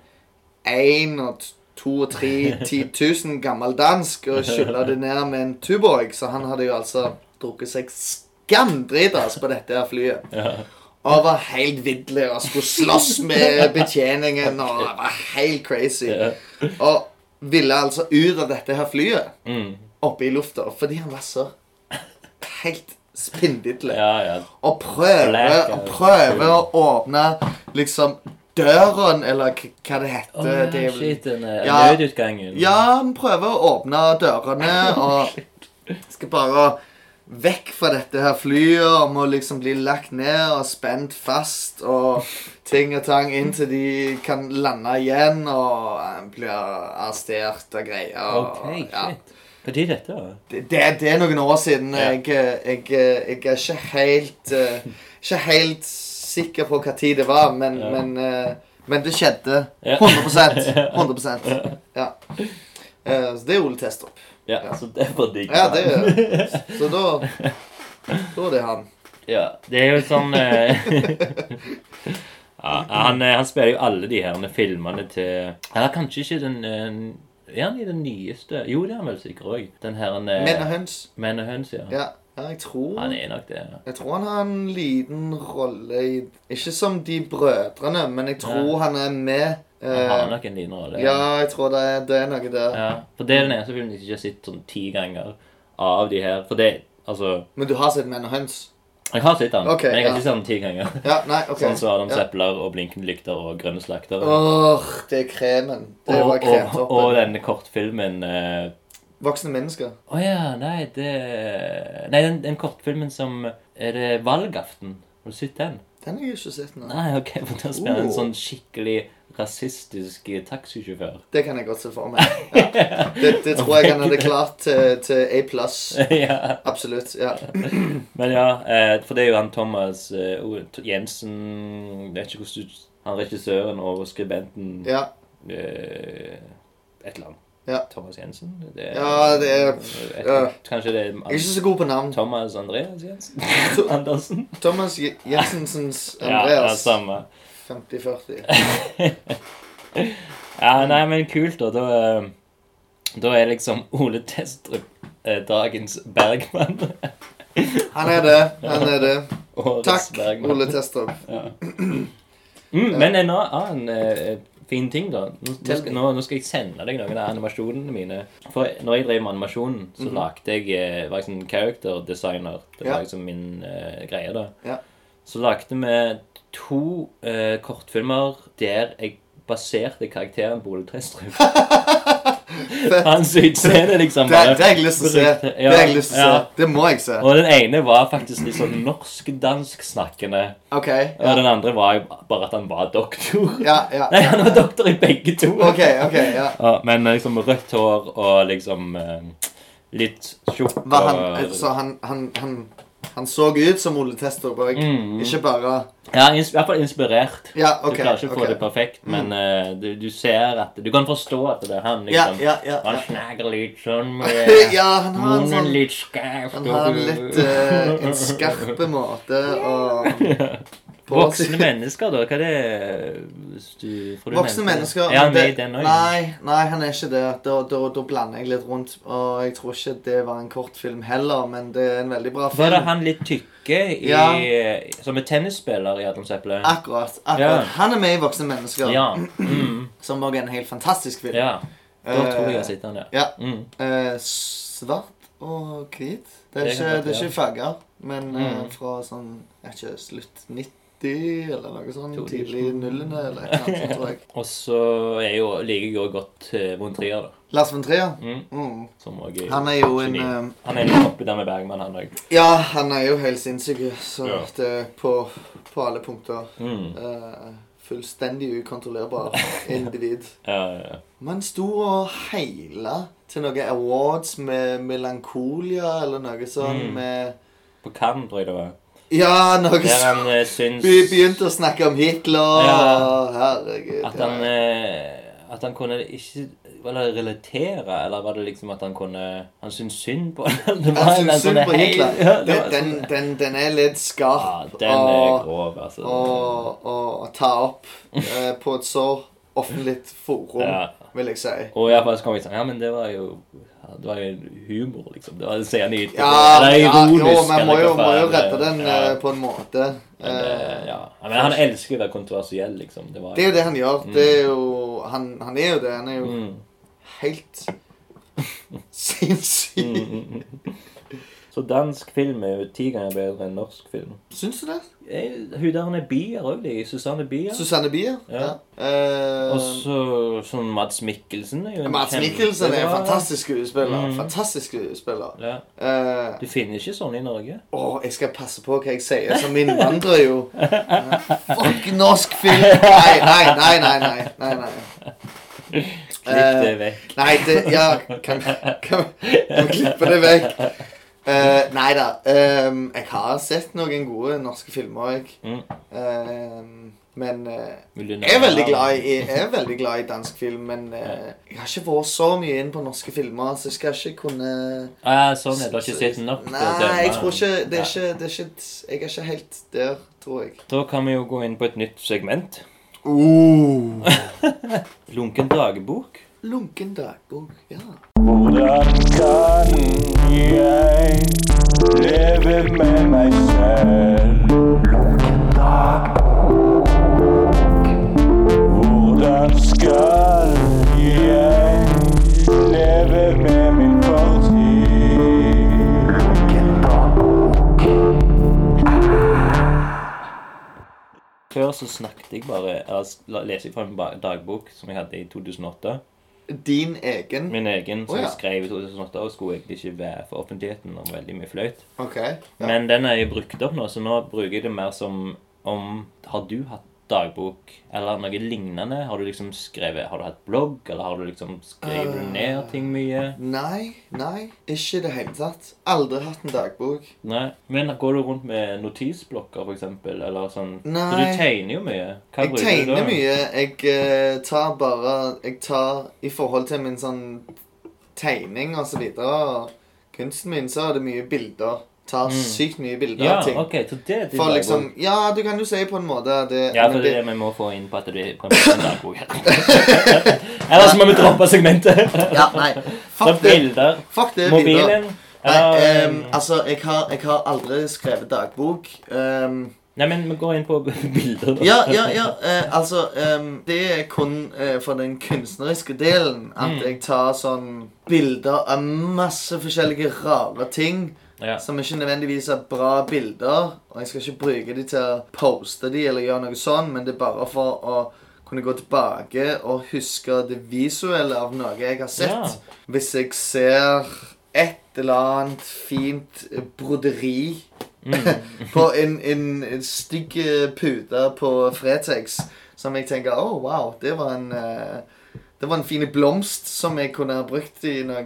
Speaker 2: én og t- to og tre 10 000 gammel dansk og skylle det ned med en Tuborg. Så han hadde jo altså drukket seg skamdritas på dette her flyet.
Speaker 1: Ja.
Speaker 2: Og var helt vidderlig og skulle slåss med betjeningen og var helt crazy.
Speaker 1: Ja.
Speaker 2: Og ville altså ut av dette her flyet
Speaker 1: Mm.
Speaker 2: oppe i lufta fordi han var så helt spindidle.
Speaker 1: ja, ja.
Speaker 2: Og prøver,
Speaker 1: Blackout.
Speaker 2: og prøver å åpne liksom døren, eller k- hva det heter.
Speaker 1: Å, ja,
Speaker 2: det er vel-
Speaker 1: shit, den eh,
Speaker 2: Ja.
Speaker 1: nødutgangen.
Speaker 2: Ja, han prøver å åpne dørene og skal bare vekk fra dette her flyet og må liksom bli lagt ned og spent fast og ting og tang inntil de kan lande igjen og han blir arrestert og greier.
Speaker 1: Ok,
Speaker 2: og-
Speaker 1: shit.
Speaker 2: ja.
Speaker 1: Når er dette? da?
Speaker 2: det, det, det er noen år siden.
Speaker 1: Ja.
Speaker 2: Jeg, jeg, jeg er ikke helt, eh, ikke helt sikker på hva tid det var, men,
Speaker 1: Ja.
Speaker 2: men, eh, men det skjedde.
Speaker 1: Ja.
Speaker 2: 100 100 Ja. Eh, Så det er Ole Testrup.
Speaker 1: Ja,
Speaker 2: Ja.
Speaker 1: så det var digg.
Speaker 2: Ja, det er Så da Da er det han.
Speaker 1: Ja, det er jo sånn eh, ja, han, eh, han spiller jo alle de her filmene til Eller kanskje ikke den eh, Er han i den nyeste? Jo, det er han vel sikkert òg. Den her eh,
Speaker 2: Menn og høns.
Speaker 1: Menn og høns, ja.
Speaker 2: Ja. Ja, jeg tror
Speaker 1: Han er nok det. ja.
Speaker 2: Jeg tror han har en liten rolle i Ikke som de brødrene, men jeg tror
Speaker 1: Ja.
Speaker 2: han er med.
Speaker 1: Han har
Speaker 2: Eh,
Speaker 1: nok en liten rolle.
Speaker 2: ja, jeg tror det, er- det er noe der.
Speaker 1: Ja, For det er den eneste filmen jeg ikke har sett sånn ti ganger av de her. For det Altså,
Speaker 2: Men du har sett Men og høns?
Speaker 1: jeg har sett den,
Speaker 2: Ok,
Speaker 1: men jeg har
Speaker 2: ja.
Speaker 1: ikke sett den ti ganger.
Speaker 2: Ja, nei, ok.
Speaker 1: Sånn som Adam
Speaker 2: ja.
Speaker 1: Zepler og Blinkende lykter og Grønne slakter.
Speaker 2: Åh, det er kremen. Det var
Speaker 1: og, og,
Speaker 2: kremtoppen.
Speaker 1: og denne kortfilmen eh,
Speaker 2: Voksne mennesker.
Speaker 1: Å ja, nei, det Nei, den, den kortfilmen som Er det valgaften? Har du sett den?
Speaker 2: Den har jeg ikke sett nå.
Speaker 1: Nei, ok, for der spiller han en
Speaker 2: Oh.
Speaker 1: sånn skikkelig rasistisk eh, taxisjåfør.
Speaker 2: Det kan jeg godt se for meg. Ja. Det, det tror jeg han hadde klart til, til A pluss.
Speaker 1: ja.
Speaker 2: Absolutt. ja.
Speaker 1: Men ja, eh, for det er jo han Thomas eh, O- T- Jensen Vet ikke hvordan du Han regissøren og skribenten
Speaker 2: ja.
Speaker 1: eh, Et eller annet.
Speaker 2: Ja.
Speaker 1: Thomas Jensen? Det
Speaker 2: Ja, det er-
Speaker 1: Et-
Speaker 2: ja.
Speaker 1: Kanskje det er
Speaker 2: Jeg er ikke så god på navn.
Speaker 1: Thomas Andreas Jensen?
Speaker 2: To-
Speaker 1: Andersen?
Speaker 2: Thomas Je- Jensensens
Speaker 1: Ja, ja,
Speaker 2: Andreas.
Speaker 1: samme.
Speaker 2: 50-40.
Speaker 1: Ja, nei, men kult, da. Da, eh, da er liksom Ole Testrup eh, dagens Bergman.
Speaker 2: Han er det. Han er det.
Speaker 1: Årets
Speaker 2: Takk,
Speaker 1: Bergman.
Speaker 2: Ole Testrup.
Speaker 1: Ja. Mm, men en annen eh, fin ting, da. Nå nå skal, nå, nå skal jeg sende deg noen av animasjonene mine. For når jeg drev med animasjonen, så lagde jeg eh, var jeg sånn character designer. Det
Speaker 2: Mhm. Ja.
Speaker 1: var liksom min eh, greie, da.
Speaker 2: Ja.
Speaker 1: Så lagde vi to eh, kortfilmer der jeg baserte karakteren på Ole Testrup. Hans utseende, liksom.
Speaker 2: Det, det har jeg lyst til å se.
Speaker 1: brukte-
Speaker 2: Det har jeg lyst til å
Speaker 1: ja.
Speaker 2: se. Det må jeg se.
Speaker 1: Og den ene var faktisk litt sånn norsk-dansk-snakkende.
Speaker 2: OK.
Speaker 1: Og den andre var jo bare at han var doktor.
Speaker 2: Ja, ja.
Speaker 1: Nei, han var doktor i begge to.
Speaker 2: OK, ok, ja.
Speaker 1: Ja, men liksom rødt hår og liksom eh, litt tjukk og
Speaker 2: Var han, sånn- så han, han, han, han så ut som Ole Testrup òg.
Speaker 1: Mm.
Speaker 2: Ikke bare
Speaker 1: Ja, ins i hvert fall inspirert.
Speaker 2: Ja,
Speaker 1: du
Speaker 2: ok.
Speaker 1: klarer ikke å få
Speaker 2: ok. Mm.
Speaker 1: det perfekt, men eh, du, du ser at Du kan forstå at det er han,
Speaker 2: Ja,
Speaker 1: liksom.
Speaker 2: ja, ja.
Speaker 1: Han
Speaker 2: ja.
Speaker 1: snakker litt sånn
Speaker 2: Ja, han har en
Speaker 1: Munnen
Speaker 2: sånn
Speaker 1: litt skæv.
Speaker 2: Han har en litt eh, en skarpe måte å på seg-
Speaker 1: Voksne mennesker, da? Hva er det hvis du, får du
Speaker 2: Voksne
Speaker 1: nevnte det?
Speaker 2: mennesker.
Speaker 1: Er han
Speaker 2: men
Speaker 1: med i
Speaker 2: det-
Speaker 1: den også?
Speaker 2: Nei, nei, han er ikke det. Da, da, da blander jeg litt rundt. Og jeg tror ikke det var en kortfilm heller, men det er en veldig bra film.
Speaker 1: Var det han litt tykke i,
Speaker 2: Ja.
Speaker 1: som er tennisspiller i Adam Zeppelin?
Speaker 2: Akkurat. akkurat.
Speaker 1: Ja.
Speaker 2: Han er med i Voksne mennesker,
Speaker 1: Ja. Mm,
Speaker 2: som også er en helt fantastisk film.
Speaker 1: ja. Da
Speaker 2: Eh,
Speaker 1: tror jeg jeg har sett han, ja.
Speaker 2: ja.
Speaker 1: Mm.
Speaker 2: eh, svart og hvit. Det er
Speaker 1: Det kan
Speaker 2: ikke,
Speaker 1: godt
Speaker 2: det er
Speaker 1: være.
Speaker 2: ikke farger, men eh,
Speaker 1: Mm.
Speaker 2: fra sånn jeg vet ikke, slutt 90 eller noe sånt.
Speaker 1: 2000.
Speaker 2: Tidlig nullene eller et eller annet, tror jeg.
Speaker 1: Og så er jo, liker jeg jo godt eh, von Trier, da.
Speaker 2: Lars von Trier.
Speaker 1: Mm.
Speaker 2: Mm.
Speaker 1: Som også er
Speaker 2: Han er jo en
Speaker 1: geni.
Speaker 2: eh,
Speaker 1: Han er litt oppi der med Bergman, han òg.
Speaker 2: Ja, han er jo helt sinnssyk, så
Speaker 1: Ja.
Speaker 2: det er på, på alle punkter.
Speaker 1: Mm.
Speaker 2: eh, fullstendig ukontrollerbar individ.
Speaker 1: Ja, ja,
Speaker 2: Man sto og heila til noen awards med melankolia eller noe sånn
Speaker 1: Mm.
Speaker 2: med
Speaker 1: ja. På Cannes, tror jeg det var.
Speaker 2: Ja, noe
Speaker 1: Der
Speaker 2: sånt.
Speaker 1: han eh, syns
Speaker 2: Vi begynte å snakke om Hitler.
Speaker 1: Ja.
Speaker 2: Herregud.
Speaker 1: At han,
Speaker 2: ja.
Speaker 1: eh, at han kunne ikke var det relatere, eller var det liksom at han kunne Han syntes synd på ham? Det
Speaker 2: Jeg
Speaker 1: en
Speaker 2: syns synd
Speaker 1: sånn
Speaker 2: på
Speaker 1: hei-
Speaker 2: Hitler.
Speaker 1: Ja, det
Speaker 2: Den,
Speaker 1: var
Speaker 2: den,
Speaker 1: sånn-
Speaker 2: den, den er litt
Speaker 1: Ja,
Speaker 2: skarp.
Speaker 1: den er
Speaker 2: og,
Speaker 1: grov, altså.
Speaker 2: og, og ta opp eh, på et så offentlig forum,
Speaker 1: Ja.
Speaker 2: vil jeg si.
Speaker 1: Og iallfall så kom jeg sånn Ja, men det var jo ja, Det var jo humor, liksom. Det var en scene i
Speaker 2: Ja,
Speaker 1: Eller
Speaker 2: ja
Speaker 1: ironisk.
Speaker 2: jo, men må
Speaker 1: eller
Speaker 2: jo,
Speaker 1: hva
Speaker 2: må jo
Speaker 1: faen,
Speaker 2: redde den
Speaker 1: ja.
Speaker 2: eh, på en måte.
Speaker 1: Men, eh,
Speaker 2: Eh,
Speaker 1: ja. Ja, men han elsker jo å være kontroversiell, liksom. Det, var,
Speaker 2: Det er jo det han gjør. Det er jo, han, han er jo det. Han er jo
Speaker 1: Mm,
Speaker 2: helt
Speaker 1: mm,
Speaker 2: sinnssyk.
Speaker 1: mm, mm. Så dansk film er jo ti ganger bedre enn norsk film.
Speaker 2: Syns du det?
Speaker 1: Eh, Hun der hun er bier òg, de. Susanne Bier.
Speaker 2: Susanne Bier? Ja.
Speaker 1: Ja.
Speaker 2: Eh,
Speaker 1: Og så sånn Mads Mikkelsen er jo en
Speaker 2: Mads
Speaker 1: kjempe-
Speaker 2: Mikkelsen er en
Speaker 1: Ja.
Speaker 2: fantastisk skuespiller.
Speaker 1: Mm.
Speaker 2: Fantastisk skuespiller.
Speaker 1: Ja.
Speaker 2: Eh,
Speaker 1: Du finner ikke sånn i Norge.
Speaker 2: Å, jeg skal passe på hva jeg sier, som innvandrer jo. Eh, Fuck norsk film! Nei, nei, nei, nei. nei, nei, nei.
Speaker 1: Klipp det
Speaker 2: Eh,
Speaker 1: vekk.
Speaker 2: Nei, det Ja, kan, kan, kan vi klippe det vekk? Uh, nei da. ehm, jeg har sett noen gode norske filmer òg.
Speaker 1: Mm.
Speaker 2: men eh,
Speaker 1: Vil du nevne
Speaker 2: jeg er veldig
Speaker 1: han?
Speaker 2: glad i, jeg er veldig glad i dansk film. Men eh, jeg har ikke vært så mye inn på norske filmer, så jeg skal ikke kunne
Speaker 1: Ah, sånn er det. Du har ikke sett nok til å dømme.
Speaker 2: Nei, jeg tror ikke Det er ikke, det er ikke Jeg er ikke helt der, tror jeg.
Speaker 1: Da kan vi jo gå inn på et nytt segment. Lunken dagbok.
Speaker 2: Lunken dagbok. Ja.
Speaker 4: Hvordan kan jeg lever med meg selv. Hvordan skal jeg leve med min fortid?
Speaker 1: Før så snakket jeg bare Eller s- la- leste jeg fra en ba- dagbok som jeg hadde i 2008.
Speaker 2: Din egen?
Speaker 1: Min egen, som
Speaker 2: Å, ja.
Speaker 1: jeg skrev i 2008, og skulle egentlig ikke være for offentligheten om veldig mye fløyt.
Speaker 2: OK. Ja.
Speaker 1: Men den er jo brukt opp nå, så nå bruker jeg det mer som om Har du hatt dagbok eller noe lignende? Har du liksom skrevet Har du hatt blogg, eller har du liksom skrevet
Speaker 2: Eh.
Speaker 1: ned ting mye?
Speaker 2: Nei, nei, ikke i det hele tatt. Aldri hatt en dagbok.
Speaker 1: Nei. Men går du rundt med notisblokker, for eksempel? Eller sånn? For
Speaker 2: Nei.
Speaker 1: du tegner jo mye. Hva
Speaker 2: Jeg
Speaker 1: bruker du da?
Speaker 2: tegner mye. Jeg eh, tar bare Jeg tar i forhold til min sånn tegning og så videre og kunsten min, så er det mye bilder. Tar sykt mye bilder
Speaker 1: Mm. Ja,
Speaker 2: av ting.
Speaker 1: ok, så det er din
Speaker 2: For
Speaker 1: dagbok.
Speaker 2: liksom Ja, du kan jo si på en måte det,
Speaker 1: Ja, for det er det vi må få inn på at du er på en måte en dagbok her. Ellers må vi droppe segmentet.
Speaker 2: Ja, nei.
Speaker 1: Så
Speaker 2: Fuck det.
Speaker 1: bilder.
Speaker 2: Fuck det. videre.
Speaker 1: Mobilen.
Speaker 2: Nei,
Speaker 1: eller, eh,
Speaker 2: ehm, altså, jeg har, jeg har aldri skrevet dagbok. Ehm,
Speaker 1: Nei, men vi går inn på bilder. da.
Speaker 2: ja, ja, ja. eh, altså, ehm, det er kun eh, for den kunstneriske delen at jeg tar sånn bilder av masse forskjellige rare ting.
Speaker 1: Ja.
Speaker 2: Som ikke nødvendigvis er bra bilder. Og jeg skal ikke bruke de til å poste de eller gjøre noe sånn, men det er bare for å kunne gå tilbake og huske det visuelle av noe jeg har sett. Hvis jeg ser et eller annet fint broderi på en, en, en stygg eh, pute på Fretex, som jeg tenker Å, wow, det var en eh, det var en fin blomst som jeg kunne ha brukt i noe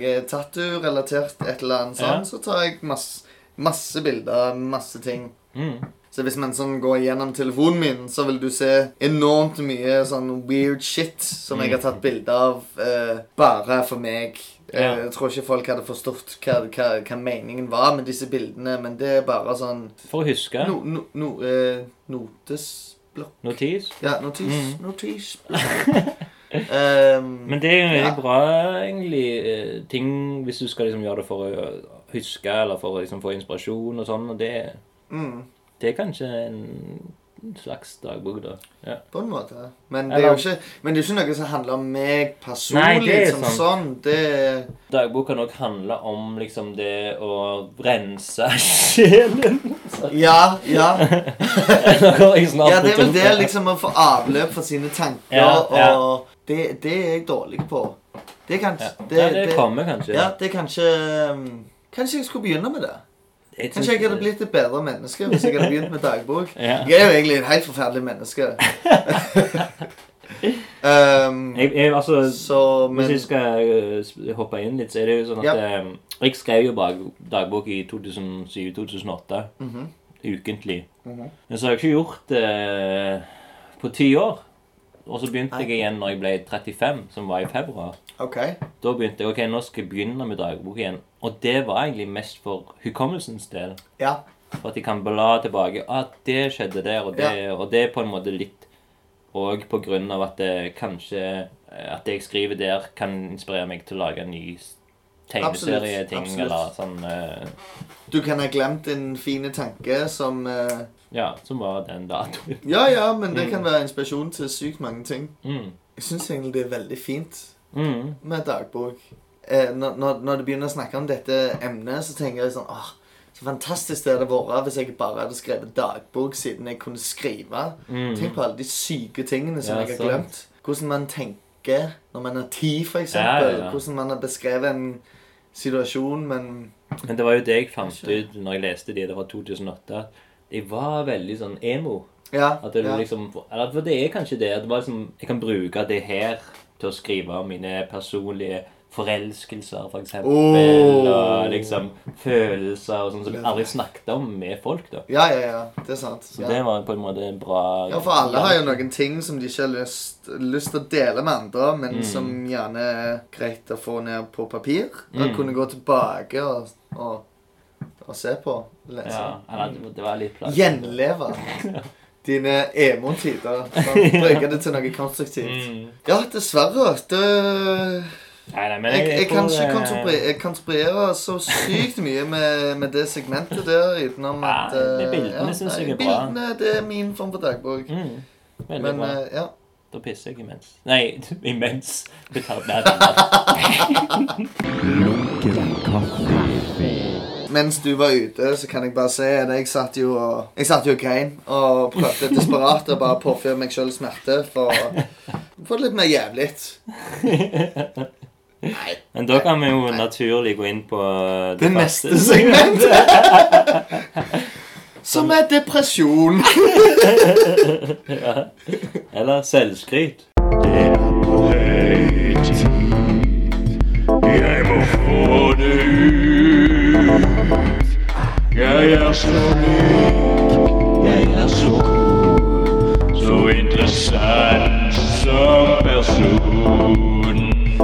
Speaker 2: tattoo-relatert et eller annet sånn.
Speaker 1: Ja.
Speaker 2: Så tar jeg masse, masse bilder, masse ting.
Speaker 1: Mm.
Speaker 2: Så hvis man sånn går gjennom telefonen min, så vil du se enormt mye sånn weird shit som
Speaker 1: Mm.
Speaker 2: jeg har tatt bilder av eh, bare for meg. Eh,
Speaker 1: Ja.
Speaker 2: Jeg tror ikke folk hadde forstått hva, hva, hva meningen var med disse bildene, men det er bare sånn
Speaker 1: For å huske.
Speaker 2: no, no, no, eh, notesblokk.
Speaker 1: Notis.
Speaker 2: Ja, notis.
Speaker 1: Mm.
Speaker 2: Notisblokk. Ehm,
Speaker 1: Men det er jo en
Speaker 2: Ja.
Speaker 1: veldig bra egentlig eh, ting hvis du skal liksom gjøre det for å huske eller for å liksom få inspirasjon og sånn. og det,
Speaker 2: mm.
Speaker 1: det er kanskje en slags dagbok, da. Ja.
Speaker 2: På en måte. Men det er
Speaker 1: Eller-
Speaker 2: jo ikke, men det er jo ikke noe som handler om meg personlig.
Speaker 1: Nei, det er
Speaker 2: som
Speaker 1: sant.
Speaker 2: sånn. Det
Speaker 1: Dagbok kan òg handle om liksom det å rense sjelen.
Speaker 2: Ja, ja. ja,
Speaker 1: ja,
Speaker 2: det er vel det liksom å få avløp for sine tanker,
Speaker 1: Ja, ja.
Speaker 2: og det, det er jeg dårlig på. Det er kanskje
Speaker 1: Ja, det, kommer kanskje.
Speaker 2: Ja, det er kanskje um, Kanskje jeg skulle begynne med det.
Speaker 1: Jeg synes-
Speaker 2: Kanskje jeg hadde blitt et bedre menneske hvis jeg hadde begynt med dagbok.
Speaker 1: Ja.
Speaker 2: Jeg er jo egentlig et helt forferdelig menneske. um,
Speaker 1: jeg, jeg, altså,
Speaker 2: så,
Speaker 1: Hvis
Speaker 2: men
Speaker 1: jeg skal eh, sp- hoppe inn litt, så er det jo sånn at
Speaker 2: Ja.
Speaker 1: eh, Jeg skrev jo bag- dagbok i 2007-2008.
Speaker 2: Mhm.
Speaker 1: Ukentlig. Men så har jeg ikke gjort det eh, på ti år. Og så begynte jeg igjen når jeg ble 35, som var i februar.
Speaker 2: OK.
Speaker 1: Da begynte jeg ok, nå skal jeg begynne med dagbok igjen. Og det var egentlig mest for hukommelsens del.
Speaker 2: Ja.
Speaker 1: For at jeg kan bla tilbake. Ah, det skjedde der og det. Og det er på en måte litt òg på grunn av at det kanskje eh, At det jeg skriver der, kan inspirere meg til å lage en ny s- tegneserieting
Speaker 2: Absolutt, absolutt.
Speaker 1: eller sånn eh,
Speaker 2: Du kan ha glemt en fine tanke som eh,
Speaker 1: Ja, som var den datoen.
Speaker 2: Ja, ja, men det kan være inspirasjon til sykt mange ting.
Speaker 1: Mm.
Speaker 2: Jeg syns egentlig det er veldig fint
Speaker 1: Mm.
Speaker 2: med dagbok. Eh, når, når, når du begynner å snakke om dette emnet, så tenker jeg sånn åh, Så fantastisk det hadde vært hvis jeg bare hadde skrevet dagbok siden jeg kunne skrive.
Speaker 1: Mm.
Speaker 2: Tenk på alle de syke tingene som
Speaker 1: Ja,
Speaker 2: jeg har
Speaker 1: sant.
Speaker 2: glemt. Hvordan man tenker når man har tid, for
Speaker 1: Ja,
Speaker 2: eksempel.
Speaker 1: ja, ja.
Speaker 2: Hvordan man har beskrevet en situasjon, men
Speaker 1: Men det var jo det jeg fant ut når jeg leste de der fra 2008. De var veldig sånn emo.
Speaker 2: Ja.
Speaker 1: At det
Speaker 2: ja.
Speaker 1: liksom Eller for det er kanskje det. At det var liksom, jeg kan bruke det her til å skrive om mine personlige forelskelser, for eksempel.
Speaker 2: Oh.
Speaker 1: Og liksom følelser og sånn som jeg aldri snakket om med folk, da.
Speaker 2: ja, ja, ja. Det er sant.
Speaker 1: Så
Speaker 2: ja.
Speaker 1: det var på en måte en bra
Speaker 2: Ja, for alle har jo noen ting som de ikke har lyst, lyst til å dele med andre, men
Speaker 1: Mm.
Speaker 2: som gjerne er greit å få ned på papir. Og
Speaker 1: Mm.
Speaker 2: kunne gå tilbake og, og, og se på. Lese.
Speaker 1: ja, eller, det- Det var litt plagsomt.
Speaker 2: Gjenleve dine emo-tider. sånn, Bruke det til noe konstruktivt.
Speaker 1: Mm.
Speaker 2: Ja, dessverre. Det
Speaker 1: Nei, nei, men
Speaker 2: Jeg, jeg kan
Speaker 1: tror,
Speaker 2: ikke
Speaker 1: eh,
Speaker 2: konspirere, jeg konspirere så sykt mye med, med det segmentet der, utenom
Speaker 1: Ja,
Speaker 2: at eh,
Speaker 1: det bildene synes
Speaker 2: nei,
Speaker 1: jeg er bra.
Speaker 2: Bildene, det er min form for dagbok.
Speaker 1: Mm, veldig
Speaker 2: Men
Speaker 1: bra.
Speaker 2: eh, ja.
Speaker 1: Da pisser jeg imens. Nei, imens. Vi tar det her.
Speaker 3: Lunken kaffe.
Speaker 2: Mens du var ute, så kan jeg bare si at jeg satt jo og, jeg satt jo og grein og prøvde desperat å bare påføre meg sjøl smerte for å få det litt mer jævlig. Nei.
Speaker 1: Men da kan vi jo naturlig gå inn på
Speaker 2: Det neste segmentet. Som er depresjon.
Speaker 1: Eller selvskryt.
Speaker 4: Jeg må få det ut. Jeg er så lik, jeg er så god, så interessant som person.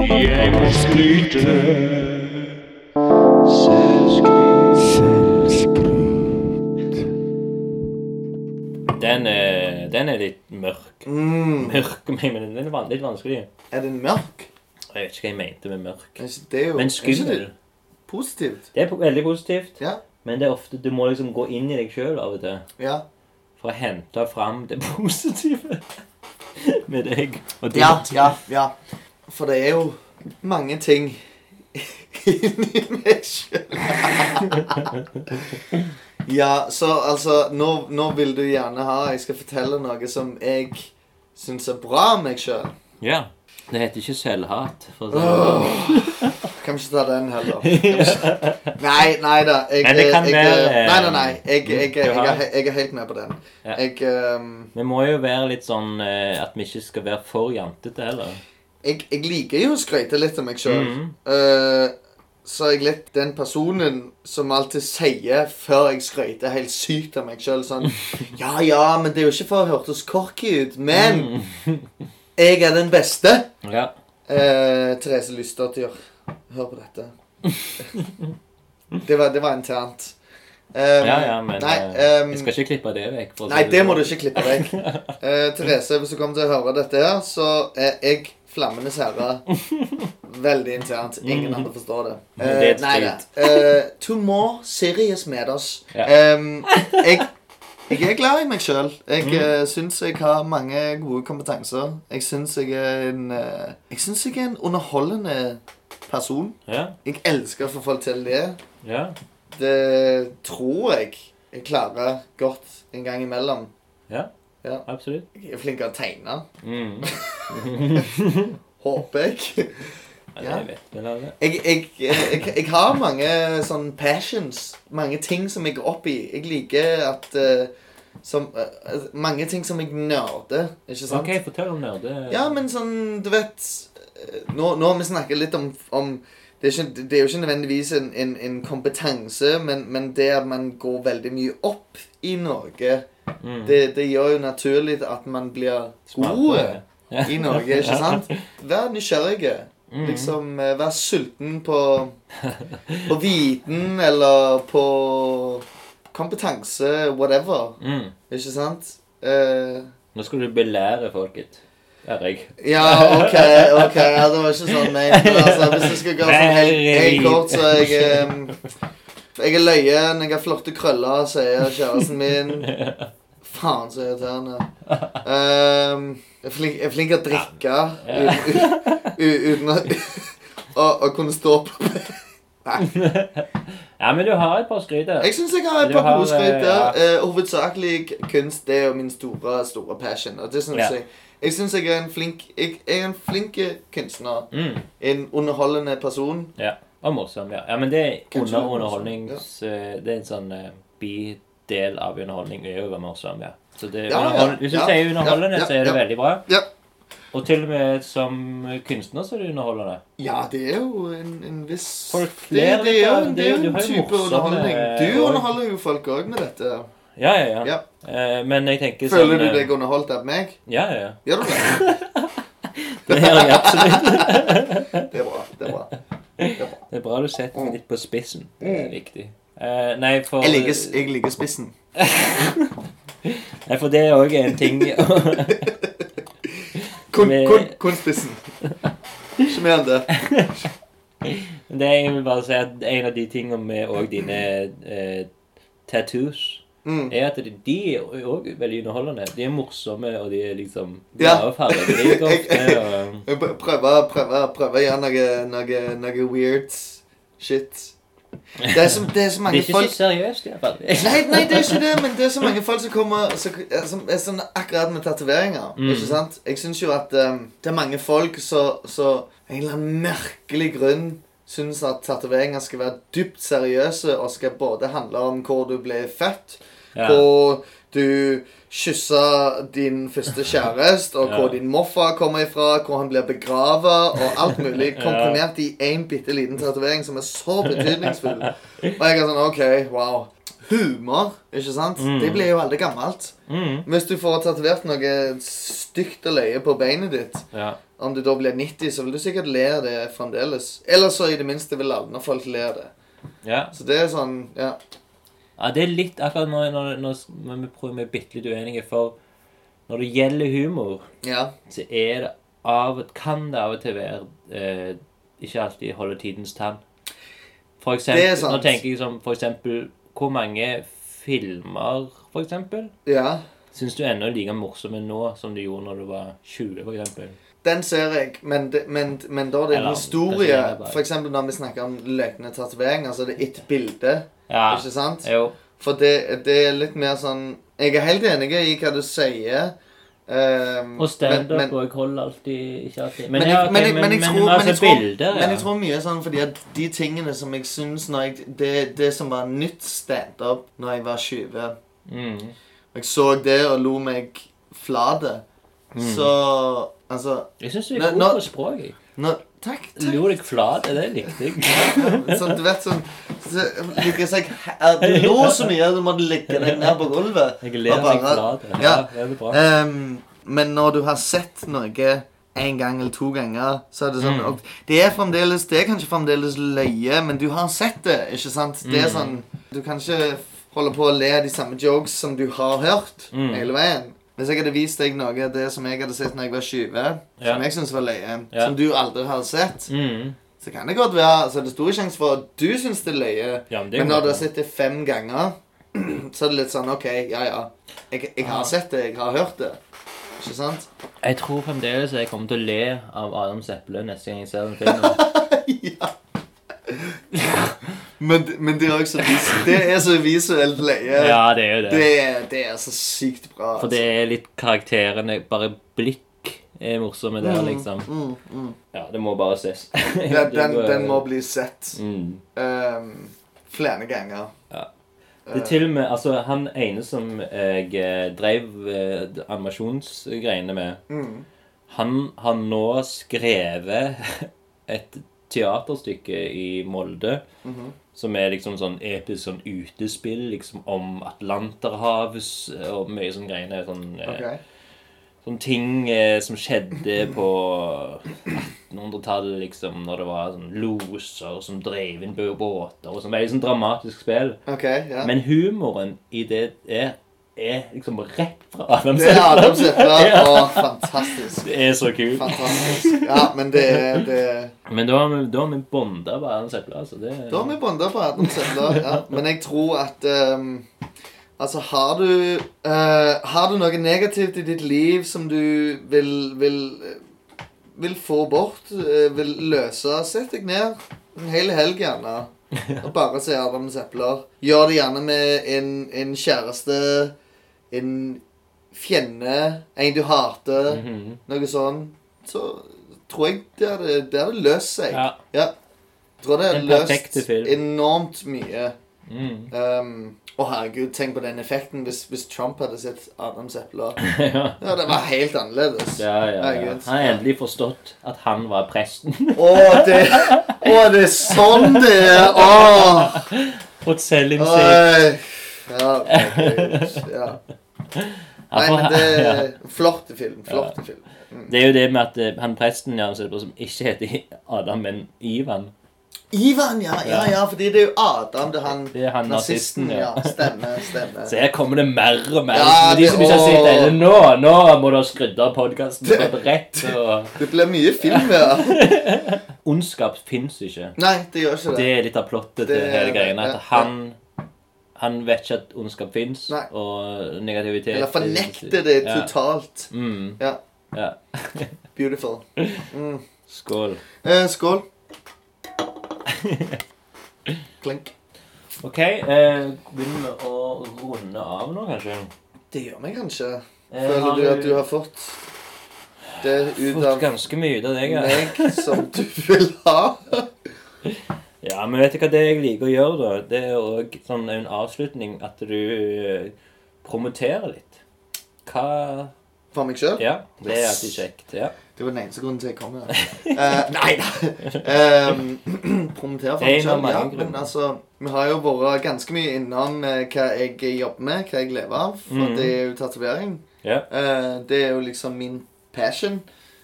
Speaker 4: Jeg må skryte. Selvskryt.
Speaker 1: Den er, den er litt mørk.
Speaker 2: Mm.
Speaker 1: Mørk, men den er van- litt vanskelig.
Speaker 2: Er den mørk?
Speaker 1: Jeg vet ikke hva jeg mente med mørk.
Speaker 2: Er ikke det jo
Speaker 1: Men
Speaker 2: er ikke det
Speaker 1: skummel.
Speaker 2: Positivt.
Speaker 1: Det er po- veldig positivt,
Speaker 2: Ja.
Speaker 1: men det er ofte, du må liksom gå inn i deg sjøl av og til
Speaker 2: Ja.
Speaker 1: for å hente fram det positive med deg. Og ditt.
Speaker 2: Ja, ja, ja. For det er jo mange ting inni meg sjøl. ja, så altså nå, nå vil du gjerne ha Jeg skal fortelle noe som jeg syns er bra om meg sjøl.
Speaker 1: ja. Det heter ikke selvhat. For å si det sånn.
Speaker 2: Kan ikke ta den heller. Kan ikke- Nei, nei da. Jeg,
Speaker 1: Men det kan
Speaker 2: jeg,
Speaker 1: være- Mm,
Speaker 2: Nei, nei, nei. Jeg, jeg, jeg,
Speaker 1: Du har-
Speaker 2: er he- jeg er helt med på den.
Speaker 1: Ja.
Speaker 2: Jeg, ehm,
Speaker 1: Vi må jo være litt sånn eh, at vi ikke skal være for jantete heller.
Speaker 2: jeg, jeg liker jo å skryte litt av meg sjøl.
Speaker 1: Mhm.
Speaker 2: Eh, så er jeg litt den personen som alltid sier før jeg skryter helt sykt av meg sjøl sånn Ja, ja, men det er jo ikke for å hørtes cocky ut,
Speaker 1: Mhm.
Speaker 2: men jeg er den beste.
Speaker 1: Mm. Ja.
Speaker 2: Eh, Therese Lystadtyr, hør på dette. det, var, det var internt. Um,
Speaker 1: ja, ja, men
Speaker 2: nei,
Speaker 1: eh,
Speaker 2: ehm,
Speaker 1: jeg skal ikke klippe det vekk. for å si
Speaker 2: Nei, det må
Speaker 1: sånn.
Speaker 2: du ikke klippe vekk. Eh, Therese, hvis du kommer til å høre dette her, så er jeg Flammenes herre. Veldig internt. Ingen andre forstår det.
Speaker 1: Men det er et
Speaker 2: nei da. Eh, to more serious med oss.
Speaker 1: Ja.
Speaker 2: jeg, jeg er glad i meg sjøl. Jeg mm. syns jeg har mange gode kompetanser. Jeg syns jeg er en eh, Jeg syns jeg er en underholdende person.
Speaker 1: Ja,
Speaker 2: Jeg elsker å få folk til å le.
Speaker 1: ja.
Speaker 2: Det tror jeg jeg klarer godt en gang imellom.
Speaker 1: Absolutt.
Speaker 2: Jeg er flink til å tegne.
Speaker 1: Mm.
Speaker 2: Håper jeg.
Speaker 1: Ja,
Speaker 2: Ja.
Speaker 1: Jeg vet vel alle.
Speaker 2: Jeg, jeg, jeg, jeg har mange sånn passions. Mange ting som jeg går opp i. Jeg liker at eh, som, eh, Mange ting som jeg nerder. Ikke sant?
Speaker 1: OK, fortell om nerde...
Speaker 2: Ja, men sånn, du vet eh, Nå, nå har vi snakket litt om, om det, er ikke, det er jo ikke nødvendigvis en, en, en kompetanse, men, men det at man går veldig mye opp i Norge,
Speaker 1: Mm.
Speaker 2: det, det gjør jo naturlig at man blir god
Speaker 1: Smartere. Ja.
Speaker 2: i Norge, ikke sant? Vær nysgjerrig.
Speaker 1: Mm.
Speaker 2: Liksom, eh, vær sulten på, på viten eller på kompetanse, whatever.
Speaker 1: Mm.
Speaker 2: Ikke sant? Eh,
Speaker 1: Nå skal du belære folket. Der er jeg.
Speaker 2: Ja, ok, ok, ja, det var ikke sånn ment. Men altså, hvis jeg skal gå sånn helt, helt kort, så er jeg em, Jeg er løyen, jeg har flotte krøller, sier kjæresten min. Faen, så irriterende. Um, jeg, er flink, jeg er flink til å drikke u- u- uten å å- å kunne stå på
Speaker 1: Ja, men du har et par skryt der.
Speaker 2: Jeg syns jeg har et par
Speaker 1: Du har,
Speaker 2: gode skryt
Speaker 1: eh,
Speaker 2: der. Eh, hovedsakelig kunst. Det er jo min store store passion. Og det synes
Speaker 1: Ja.
Speaker 2: jeg Jeg syns jeg er en flink Jeg er en flink kunstner.
Speaker 1: Mm.
Speaker 2: En underholdende person.
Speaker 1: Ja. Og morsom, ja. ja. Men det er
Speaker 2: Kanskje
Speaker 1: under
Speaker 2: det er
Speaker 1: underholdnings... eh, Det er en sånn eh, bidel av underholdning er jo å være morsom, ja. Så det er
Speaker 2: Ja, ja,
Speaker 1: underhold... Hvis du
Speaker 2: ja,
Speaker 1: sier underholdende,
Speaker 2: ja, ja,
Speaker 1: så er det
Speaker 2: ja.
Speaker 1: veldig bra.
Speaker 2: Ja.
Speaker 1: Og til og med som kunstner så er du underholdende.
Speaker 2: Ja, det er jo en, en viss
Speaker 1: Folk
Speaker 2: det,
Speaker 1: ler
Speaker 2: det er
Speaker 1: litt av
Speaker 2: jo,
Speaker 1: det,
Speaker 2: det er jo
Speaker 1: du
Speaker 2: en
Speaker 1: har jo
Speaker 2: type
Speaker 1: morsomme,
Speaker 2: underholdning. Du
Speaker 1: og-
Speaker 2: underholder jo folk òg med dette.
Speaker 1: Ja, ja, ja.
Speaker 2: Ja.
Speaker 1: Eh, Men jeg tenker
Speaker 2: Føler du
Speaker 1: sånn, eh,
Speaker 2: deg underholdt av meg?
Speaker 1: Ja, ja, ja.
Speaker 2: Gjør du det?
Speaker 1: Det gjør jeg absolutt.
Speaker 2: Det er bra. det er bra.
Speaker 1: Det er bra du setter den litt på spissen. Det er viktig. Eh, nei, for
Speaker 2: Mm. Jeg liker, jeg liker spissen.
Speaker 1: Nei, for det er òg en ting
Speaker 2: Kun,
Speaker 1: Med-
Speaker 2: kun, kun spissen. Ikke mer enn det.
Speaker 1: Men Det jeg vil bare si at En av de tingene med og dine eh, tattoos
Speaker 2: Mm.
Speaker 1: er at de, de er òg veldig underholdende. De er morsomme, og de er liksom De
Speaker 2: Ja.
Speaker 1: er fargerike ofte. Og,
Speaker 2: Jeg pr- Prøver, prøver, prøver å gjøre noe, noe, noe weird shit. Det er så, det er
Speaker 1: det
Speaker 2: så
Speaker 1: er
Speaker 2: mange
Speaker 1: ikke
Speaker 2: folk
Speaker 1: så seriøst, i hvert fall.
Speaker 2: Nei, nei, det er ikke det, men det er så mange folk som kommer som, som er sånn akkurat med tatoveringer.
Speaker 1: Mm.
Speaker 2: Ikke sant? Jeg syns jo at eh, det er mange folk som som av en eller annen merkelig grunn syns at tatoveringer skal være dypt seriøse og skal både handle om hvor du ble født,
Speaker 1: Ja.
Speaker 2: hvor du kyssa din første kjæreste, og
Speaker 1: Ja.
Speaker 2: hvor din morfar kommer ifra, hvor han blir begrava, og alt mulig
Speaker 1: Ja.
Speaker 2: komprimert i én bitte liten tatovering som er så betydningsfull. Og jeg er sånn OK, wow. Humor, ikke sant? Det blir jo aldri gammelt.
Speaker 1: Mm,
Speaker 2: Hvis du får tatovert noe stygt og løye på beinet ditt,
Speaker 1: ja.
Speaker 2: om du da blir 90, så vil du sikkert le av det fremdeles. Eller så i det minste vil alle folk le av det.
Speaker 1: Ja.
Speaker 2: Så det er sånn Ja.
Speaker 1: ja, det er litt akkurat når, når, når, når vi prøver med bitte litt uenige, for når det gjelder humor,
Speaker 2: ja.
Speaker 1: så er det av, kan det av og til være eh, ikke alltid holde tidens tann. For eksempel,
Speaker 2: Det er sant.
Speaker 1: Nå tenker jeg som for eksempel Hvor mange filmer, for eksempel,
Speaker 2: ja.
Speaker 1: syns du ennå er like morsomme nå som du gjorde når du var 20, for eksempel?
Speaker 2: Den ser jeg, men, det, men, men da er det en
Speaker 1: Eller,
Speaker 2: historie.
Speaker 1: kanskje det er bare-
Speaker 2: For eksempel når vi snakker om løgne tatoveringer, så er det ett bilde.
Speaker 1: Ja.
Speaker 2: Ikke sant?
Speaker 1: Jo.
Speaker 2: For det, det er litt mer sånn Jeg er helt enig i hva du sier. ehm,
Speaker 1: Og
Speaker 2: men-
Speaker 1: standup
Speaker 2: men-
Speaker 1: og koll alltid Ikke alltid.
Speaker 2: men
Speaker 1: ja,
Speaker 2: jeg-
Speaker 1: ok,
Speaker 2: men jeg- men jeg tror- men
Speaker 1: altså,
Speaker 2: jeg tror-
Speaker 1: bilder,
Speaker 2: men jeg
Speaker 1: ja.
Speaker 2: tror mye sånn fordi at de tingene som jeg syns når jeg, det, det som var nytt standup når jeg var 20
Speaker 1: mm.
Speaker 2: Jeg så det og lo meg flate.
Speaker 1: Mm.
Speaker 2: Så Altså
Speaker 1: Jeg syns du er
Speaker 2: Nå-
Speaker 1: god
Speaker 2: nå-
Speaker 1: på språk. jeg.
Speaker 2: når, Takk, takk.
Speaker 1: Lo deg flat, det likte jeg.
Speaker 2: Sånn, du vet sånn så, ligger seg, her- Du lå så mye at du måtte ligge deg ned på gulvet.
Speaker 1: Jeg ler
Speaker 2: Og
Speaker 1: meg
Speaker 2: bare-
Speaker 1: flat. Ja,
Speaker 2: Ja.
Speaker 1: det er bra.
Speaker 2: Ehm, men når du har sett noe en gang eller to ganger, så er det
Speaker 1: Mm.
Speaker 2: sånn og Det er fremdeles, det er kanskje fremdeles løye, men du har sett det, ikke sant? Det
Speaker 1: Mm.
Speaker 2: er sånn Du kan ikke holde på å le av de samme jokes som du har hørt
Speaker 1: Mm.
Speaker 2: hele veien. Hvis jeg hadde vist deg noe av det som jeg hadde sett når jeg var 20,
Speaker 1: Ja.
Speaker 2: som jeg syntes var løye,
Speaker 1: Ja.
Speaker 2: som du aldri har sett,
Speaker 1: Mm.
Speaker 2: så kan det godt være Så er det stor sjanse for at du syns det er løye.
Speaker 1: Ja, men det er
Speaker 2: Men
Speaker 1: godt.
Speaker 2: når du har sett det fem ganger, så er det litt sånn OK, ja ja. Jeg, jeg har sett det, jeg har hørt det. Ikke sant?
Speaker 1: Jeg tror fremdeles jeg kommer til å le av Adam Sepple neste gang jeg ser den filmen.
Speaker 2: ja. men, men det er også vis, Det er så visuelt løye.
Speaker 1: ja, det er jo det.
Speaker 2: Det, er- det er så sykt bra.
Speaker 1: For det er litt karakterene Bare blikk er morsomme der, liksom.
Speaker 2: Mm, mm.
Speaker 1: Ja, det må bare ses.
Speaker 2: altså. Den, den, den må bli sett
Speaker 1: mm.
Speaker 2: ehm, flere ganger.
Speaker 1: Det er til og med Altså, han ene som jeg eh, drev eh, animasjonsgreiene med,
Speaker 2: Mm.
Speaker 1: han har nå skrevet et teaterstykke i Molde.
Speaker 2: Mhm.
Speaker 1: Som er liksom sånn episk sånn utespill liksom om Atlanterhavs eh, og mye sånn greiene. Sånn, eh,
Speaker 2: Ok.
Speaker 1: sånne ting eh, som skjedde på 1800-tallet, liksom, når det var sånn loser som drev inn bø- båter og sånn. Veldig sånn dramatisk spill.
Speaker 2: Ok, ja.
Speaker 1: Men humoren i det er, er liksom rett fra Adam
Speaker 2: det er
Speaker 1: Sandler.
Speaker 2: Adam Sætla.
Speaker 1: Ja.
Speaker 2: Å, fantastisk.
Speaker 1: Det er så kult.
Speaker 2: Fantastisk. Ja, men det er det er-
Speaker 1: Men da har vi, da har vi bonda på Adam Sandler, altså. Det,
Speaker 2: Da har vi bonda på Adam Sandler. Ja. Men jeg tror at ehm, Altså, har du eh, Har du noe negativt i ditt liv som du vil Vil, eh, vil få bort? eh, vil løse? Sett deg ned en hel helg, gjerne. Og bare se Adams epler. Gjør det gjerne med en, en kjæreste, en fjende, en du hater,
Speaker 1: Mhm.
Speaker 2: noe sånn. Så tror jeg det hadde, det hadde løst seg.
Speaker 1: Ja.
Speaker 2: Ja. Jeg tror det har
Speaker 1: Den
Speaker 2: løst
Speaker 1: perfekte film.
Speaker 2: enormt mye.
Speaker 1: Mm.
Speaker 2: Um, Å, herregud, tenk på den effekten hvis, hvis Trump hadde sett Adams epler.
Speaker 1: ja.
Speaker 2: Ja, det var helt annerledes.
Speaker 1: Ja, ja, ja.
Speaker 2: Herregud.
Speaker 1: Han har endelig forstått at han var presten.
Speaker 2: Å, det, å, det er sånn det er! Å!
Speaker 1: Fått selvinnsikt.
Speaker 2: Oi. Ja, herregud. ja.
Speaker 1: Ja,
Speaker 2: Nei,
Speaker 1: for
Speaker 2: men
Speaker 1: han-
Speaker 2: det
Speaker 1: ja.
Speaker 2: er flott film. Flott film.
Speaker 1: Det er jo det med at eh, han presten ja, som heter- som ikke heter Adam, men Ivan.
Speaker 2: Ivan, ja, ja, ja, fordi det er jo Adam, det er han,
Speaker 1: Det er han nazisten,
Speaker 2: ja.
Speaker 1: ja.
Speaker 2: Stemmer, stemmer.
Speaker 1: Så her kommer det mer og mer.
Speaker 2: Ja,
Speaker 1: Men de som
Speaker 2: det-
Speaker 1: ikke har sett
Speaker 2: åh.
Speaker 1: det nå, nå må du ha skrudd av podkasten. Rett og
Speaker 2: Det blir mye film, ja.
Speaker 1: Ondskap fins ikke.
Speaker 2: Nei, det gjør ikke
Speaker 1: Det
Speaker 2: det.
Speaker 1: er litt av plottet til
Speaker 2: Det-
Speaker 1: hele greia.
Speaker 2: ja,
Speaker 1: At han han vet ikke at ondskap fins,
Speaker 2: Nei.
Speaker 1: og negativitet
Speaker 2: Eller fornekter det
Speaker 1: Ja.
Speaker 2: totalt.
Speaker 1: Mm,
Speaker 2: Ja,
Speaker 1: ja.
Speaker 2: beautiful. Mm.
Speaker 1: Skål.
Speaker 2: Eh, skål. Klink.
Speaker 1: OK, eh, begynner vi å runde av nå, kanskje?
Speaker 2: Det gjør meg kanskje.
Speaker 1: Eh,
Speaker 2: Føler du at du har fått det ut
Speaker 1: fått
Speaker 2: av
Speaker 1: ganske mye ut av deg? Ja.
Speaker 2: meg som du vil ha?
Speaker 1: ja, men vet du hva det jeg liker å gjøre, da? Det er òg sånn en avslutning at du eh, promoterer litt. Hva
Speaker 2: For meg sjøl?
Speaker 1: Ja, det er alltid kjekt. Ja.
Speaker 2: Det var den eneste grunnen til jeg kom her. Eh, nei da! Um, Promotere for meg
Speaker 1: En av
Speaker 2: sjøl,
Speaker 1: mange
Speaker 2: ja.
Speaker 1: grunner.
Speaker 2: Men altså, vi har jo vært ganske mye innom eh, hva jeg jobber med, hva jeg lever av. For
Speaker 1: Mhm.
Speaker 2: det er jo tatovering.
Speaker 1: ja.
Speaker 2: Eh, det er jo liksom min passion.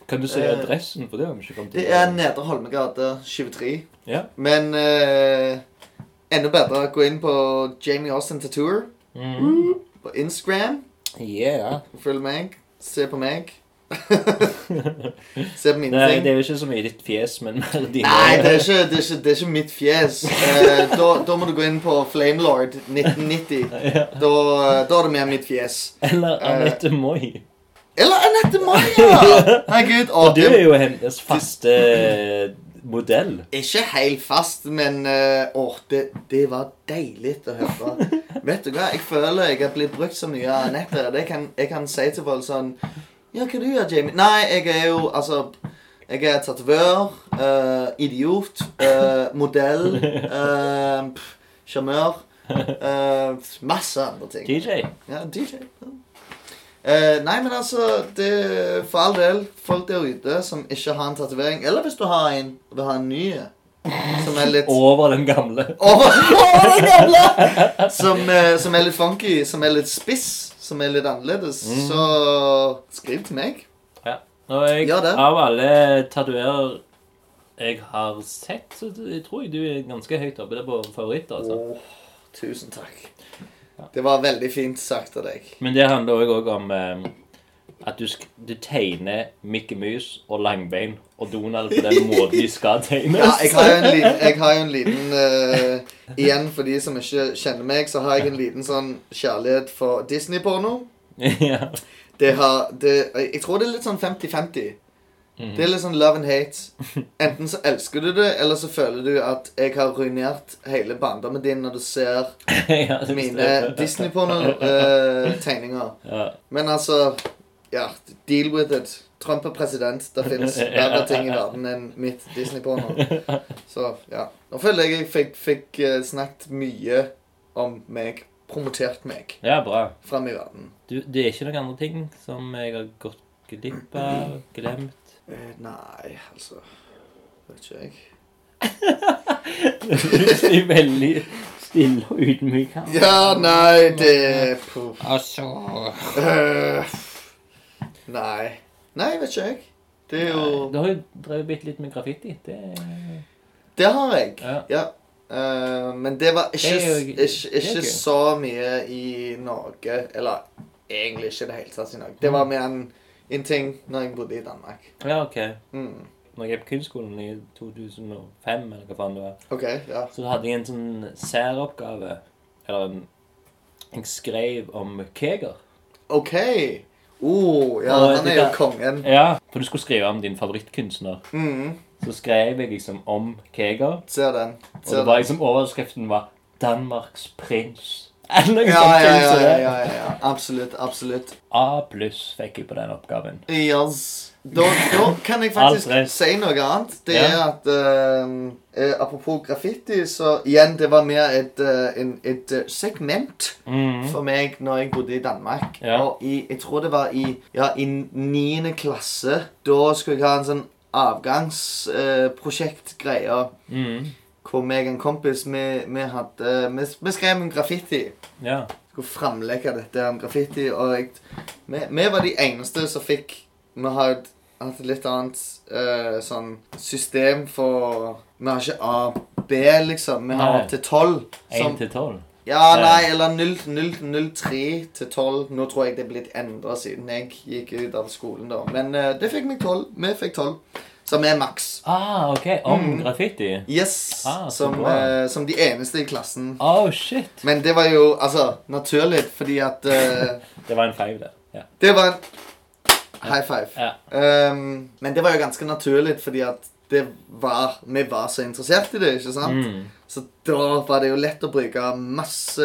Speaker 1: Kan du si
Speaker 2: Eh,
Speaker 1: adressen på det? om vi ikke kom til
Speaker 2: Det er Nedre Holmegate 23.
Speaker 1: Ja.
Speaker 2: Men eh, enda bedre, gå inn på Jamie Austin Tattooer
Speaker 1: Mm.
Speaker 2: på Instagram.
Speaker 1: Yeah.
Speaker 2: Følg meg. Se på meg. se på mine
Speaker 1: Nei,
Speaker 2: ting.
Speaker 1: det er jo ikke så mye ditt fjes, men mer dine
Speaker 2: Nei, det er ikke, det er ikke, det er ikke mitt fjes. Eh, da, da må du gå inn på Flamelord 1990.
Speaker 1: Ja.
Speaker 2: Da, eh, da er det mer mitt fjes.
Speaker 1: Eller Anette Moi.
Speaker 2: Eller Anette Maja! Herregud. å,
Speaker 1: Og du
Speaker 2: det-
Speaker 1: er jo hennes faste eh, modell.
Speaker 2: Ikke helt fast, men eh, åh, det, det var deilig å høre. Vet du hva, jeg føler jeg har blitt brukt så mye av Anette. Det kan, jeg kan si til folk sånn Ja, hva du gjør Jamie? Nei, jeg er jo altså Jeg er tatovør, eh, idiot, eh, modell, eh, pff, sjarmør eh, Masse andre ting.
Speaker 1: DJ.
Speaker 2: Ja, DJ. ja. Eh, nei, men altså det, For all del, folk der ute som ikke har en tatovering, eller hvis du har en og vil ha en ny som er litt
Speaker 1: Over den gamle.
Speaker 2: over, over den gamle! Som, eh, som er litt funky, som er litt spiss, som er litt annerledes, så skriv til meg.
Speaker 1: Og jeg,
Speaker 2: Ja, det.
Speaker 1: av alle tatoverer jeg har sett, så jeg tror jeg du er ganske høyt oppe der på favoritter. altså.
Speaker 2: Åh, tusen takk. Det var veldig fint sagt av deg.
Speaker 1: Men det handler også også om eh, at du, sk du tegner Mickey Mouse og Langbein og Donald på den måten de skal tegnes.
Speaker 2: Ja, jeg har jo en liten, jeg har jo en liten eh, Igjen, for de som ikke kjenner meg, så har jeg en liten sånn kjærlighet for Disney-porno.
Speaker 1: ja.
Speaker 2: Det har det, Jeg tror det er litt sånn 50-50. Det er litt sånn love and hate. Enten så elsker du det, eller så føler du at jeg har ruinert hele barndommen din når du ser
Speaker 1: ja, det
Speaker 2: mine
Speaker 1: stemmer.
Speaker 2: Disney-porno-tegninger.
Speaker 1: Ja.
Speaker 2: Men altså Ja, deal with it. Trump er president. Det fins verre ting i verden enn mitt Disney-porno. Så ja. Nå føler jeg jeg fikk, fikk eh, snakket mye om meg. Promotert meg
Speaker 1: ja, bra.
Speaker 2: fram i verden.
Speaker 1: Du, det er ikke noen andre ting som jeg har gått glipp av, glemt
Speaker 2: Eh, nei, altså Vet ikke jeg.
Speaker 1: Du er veldig stille og ydmyk her.
Speaker 2: Ja, nei, det puh,
Speaker 1: Altså
Speaker 2: øh, Nei. Nei, vet ikke jeg. Det er
Speaker 1: Du
Speaker 2: jo
Speaker 1: har jo drevet bitte litt med graffiti. Det er-
Speaker 2: Det har jeg.
Speaker 1: Ja.
Speaker 2: Ja. Eh, men det var ikke,
Speaker 1: Det er jo-
Speaker 2: ikke,
Speaker 1: det er
Speaker 2: ikke
Speaker 1: gøy.
Speaker 2: så mye i Norge. Eller egentlig ikke i det hele tatt i Norge. Det
Speaker 1: Mm.
Speaker 2: var mer en, en ting når jeg bodde i Danmark.
Speaker 1: Ja, OK.
Speaker 2: Mm.
Speaker 1: Når jeg gikk på kunstskolen i 2005, eller hva faen det var,
Speaker 2: OK, ja.
Speaker 1: så hadde jeg en sånn særoppgave. Eller en Jeg skrev om Keger.
Speaker 2: OK. Oh, ja,
Speaker 1: Og
Speaker 2: han
Speaker 1: det
Speaker 2: er jo
Speaker 1: der-
Speaker 2: kongen.
Speaker 1: Ja. For du skulle skrive om din favorittkunstner.
Speaker 2: Mm,
Speaker 1: Så skrev jeg liksom om Keger.
Speaker 2: ser den.
Speaker 1: Og
Speaker 2: Ser
Speaker 1: det
Speaker 2: den.
Speaker 1: var liksom overskriften var 'Danmarks prins'. Eller noe
Speaker 2: Ja,
Speaker 1: sånt.
Speaker 2: ja,
Speaker 1: tull
Speaker 2: ja,
Speaker 1: som
Speaker 2: ja,
Speaker 1: det.
Speaker 2: ja, ja. Absolutt. Absolutt.
Speaker 1: A pluss fikk jeg på den oppgaven.
Speaker 2: Yes. Da, da kan jeg faktisk
Speaker 1: Alt rett.
Speaker 2: si noe annet. Det
Speaker 1: Ja.
Speaker 2: er at eh, eh, Apropos graffiti, så igjen, det var mer et, eh, en, et eh, segment for meg når jeg bodde i Danmark.
Speaker 1: Mm. Ja.
Speaker 2: Og i, jeg tror det var i ja, i niende klasse. Da skulle jeg ha en sånn avgangsprosjektgreie.
Speaker 1: Mhm.
Speaker 2: hvor meg og en kompis vi, vi, hadde, vi, vi skrev om graffiti
Speaker 1: Ja.
Speaker 2: skulle fremlegge dette om graffiti, og jeg, vi, vi var de eneste som fikk Vi har hatt et litt annet eh, sånn system for Vi har ikke A, B, liksom. Vi har
Speaker 1: Nei.
Speaker 2: opp til 12.
Speaker 1: 1
Speaker 2: Som,
Speaker 1: til 12.
Speaker 2: ja,
Speaker 1: Ja.
Speaker 2: nei, eller 0, 0, 03 til 12. Nå tror jeg det er blitt endra siden jeg gikk ut av skolen, da. Men eh, det fikk meg 12. Vi fikk 12, som er maks.
Speaker 1: Ah, OK. Om
Speaker 2: Mm.
Speaker 1: graffiti.
Speaker 2: Yes.
Speaker 1: Ah, så
Speaker 2: som,
Speaker 1: bra.
Speaker 2: eh, som de eneste i klassen.
Speaker 1: Oh, shit.
Speaker 2: Men det var jo altså naturlig, fordi at eh,
Speaker 1: Det var en feil der. Ja.
Speaker 2: Det var en high five.
Speaker 1: Ja.
Speaker 2: Ehm, men det var jo ganske naturlig, fordi at det var, vi var så interessert i det. ikke sant?
Speaker 1: Mm.
Speaker 2: Så da var det jo lett å bruke masse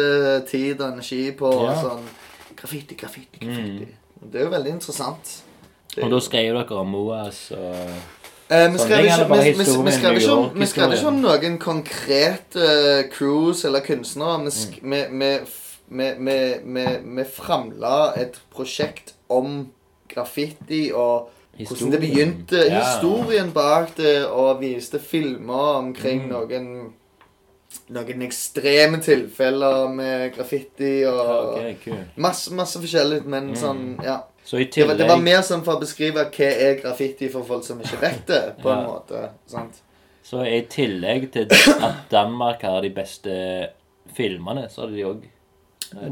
Speaker 2: tid og energi på
Speaker 1: Ja. Mm.
Speaker 2: sånn graffiti, graffiti, graffiti. Det er jo veldig interessant. Det er
Speaker 1: Og
Speaker 2: jo-
Speaker 1: da skrev dere om Moas og
Speaker 2: Eh, vi
Speaker 1: Sånn,
Speaker 2: skrev
Speaker 1: det er
Speaker 2: ikke-
Speaker 1: bare
Speaker 2: vi- vi-
Speaker 1: historien
Speaker 2: vi skrev
Speaker 1: i
Speaker 2: ikke om-
Speaker 1: York,
Speaker 2: vi skrev ikke om
Speaker 1: historien.
Speaker 2: noen konkrete crews eller kunstnere. Vi, sk
Speaker 1: Mm.
Speaker 2: vi, vi, f- vi, vi, vi, vi framla et prosjekt om graffiti og hvordan det begynte.
Speaker 1: Ja.
Speaker 2: Historien bak det, og viste filmer omkring noen noen ekstreme tilfeller med graffiti og
Speaker 1: Ok, kul.
Speaker 2: masse, masse forskjellig, men sånn, ja.
Speaker 1: Så i
Speaker 2: Det var,
Speaker 1: tillegg
Speaker 2: det var mer sånn for å beskrive hva er graffiti for folk som ikke vet det. på en
Speaker 1: Ja.
Speaker 2: måte, sant?
Speaker 1: Så i tillegg til at Danmark har de beste filmene, så har de òg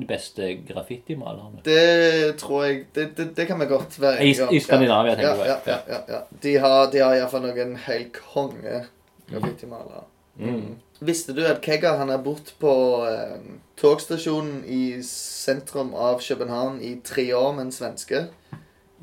Speaker 1: de beste graffitimalerne.
Speaker 2: Det tror jeg Det, det, det kan vi godt være
Speaker 1: I- i Skandinavia,
Speaker 2: ja,
Speaker 1: tenker jeg.
Speaker 2: ja, ja, ja, ja. De har, de har iallfall noen helt konge graffitimalere.
Speaker 1: Mm.
Speaker 2: Visste du at Kegger han har bodd på eh, togstasjonen i sentrum av København i tre år med en svenske?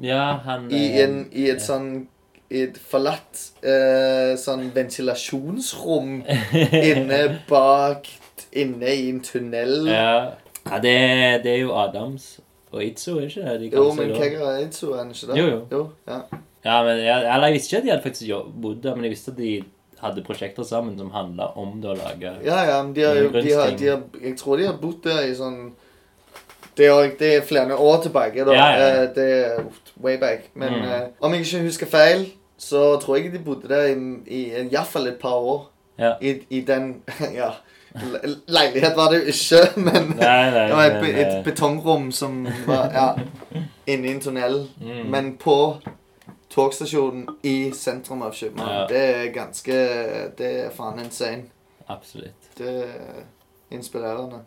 Speaker 1: Ja, han
Speaker 2: I,
Speaker 1: eh,
Speaker 2: en, i et sånn i et forlatt eh, sånn ventilasjonsrom inne bak Inne i en tunnel.
Speaker 1: Ja, ja det, det er jo Adams og Itzo, er ikke det? De
Speaker 2: Jo,
Speaker 1: kaller seg
Speaker 2: men
Speaker 1: da?
Speaker 2: Kegger er ikke så, er han ikke det?
Speaker 1: Jo, jo.
Speaker 2: ja.
Speaker 1: Ja, men jeg, eller jeg visste ikke at de hadde faktisk jobb- bodd der, men jeg visste at de hadde prosjekter sammen som handla om det å lage
Speaker 2: ja, ja, men de har jo de har, de har, Jeg tror de har bodd der i sånn det er, det er flere år tilbake. da.
Speaker 1: Ja, ja, ja.
Speaker 2: Eh, Det er way back. Men
Speaker 1: Mm.
Speaker 2: eh, om jeg ikke husker feil, så tror jeg de bodde der i, i, i hvert fall et par år.
Speaker 1: Ja.
Speaker 2: I, i den Ja. Le- Leilighet var det jo ikke, men
Speaker 1: Nei, nei,
Speaker 2: Det var et,
Speaker 1: men,
Speaker 2: be-
Speaker 1: eh,
Speaker 2: et betongrom som var ja, inni en tunnel,
Speaker 1: Mm.
Speaker 2: men på togstasjonen i sentrum av København.
Speaker 1: Ja.
Speaker 2: Det er ganske Det er faen insane.
Speaker 1: eh, Absolutt.
Speaker 2: Det er inspirerende.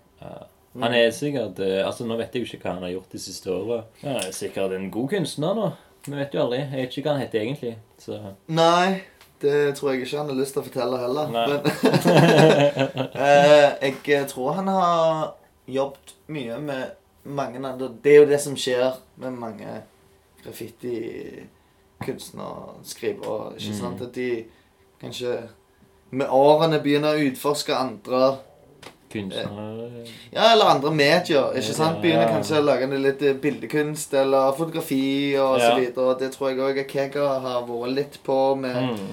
Speaker 1: Han er sikkert eh, Altså, nå vet jeg jo ikke hva han har gjort de siste åra. Han er sikkert en god kunstner, nå. Vi vet jo aldri. Jeg vet ikke hva han heter egentlig. Så
Speaker 2: Nei, det tror jeg ikke han har lyst til å fortelle heller.
Speaker 1: Nei.
Speaker 2: Men, eh, jeg tror han har jobbet mye med mange andre Det er jo det som skjer med mange graffitikunstnerskrivere. Ikke sant? At de kanskje med årene begynner å utforske andre
Speaker 1: kunstner eh,
Speaker 2: ja, eller andre medier. ikke sant? Begynner
Speaker 1: Ja.
Speaker 2: kanskje å lage det litt eh, bildekunst eller fotografi og så
Speaker 1: Ja.
Speaker 2: videre. Det tror jeg òg Kegger har vært litt på med
Speaker 1: mm.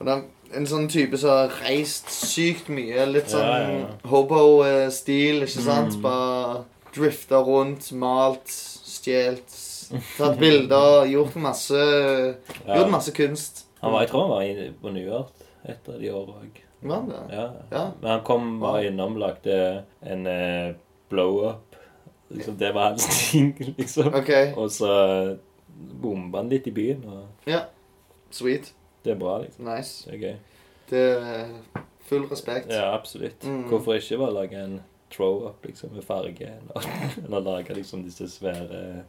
Speaker 2: og det er en sånn type som har reist sykt mye. Litt sånn
Speaker 1: Ja, ja, ja.
Speaker 2: hobo-stil, ikke sant?
Speaker 1: Mm.
Speaker 2: Bare drifta rundt, malt, stjålet, tatt bilder, gjort masse Gjort
Speaker 1: ja.
Speaker 2: masse kunst.
Speaker 1: Han var, jeg tror han var i, på New York et av de åra òg.
Speaker 2: Var han det?
Speaker 1: Ja.
Speaker 2: Ja.
Speaker 1: Men han kom bare innom, lagde en eh, blow-up. Liksom, det var hans ting, liksom.
Speaker 2: OK.
Speaker 1: Og så bomba han litt i byen, og
Speaker 2: Sweet.
Speaker 1: det er bra, liksom.
Speaker 2: Nice.
Speaker 1: Det er gøy.
Speaker 2: Det er full respekt.
Speaker 1: Ja, absolutt.
Speaker 2: Mm.
Speaker 1: Hvorfor ikke bare lage en throw-up liksom, med farge? Eller, eller lage liksom disse svære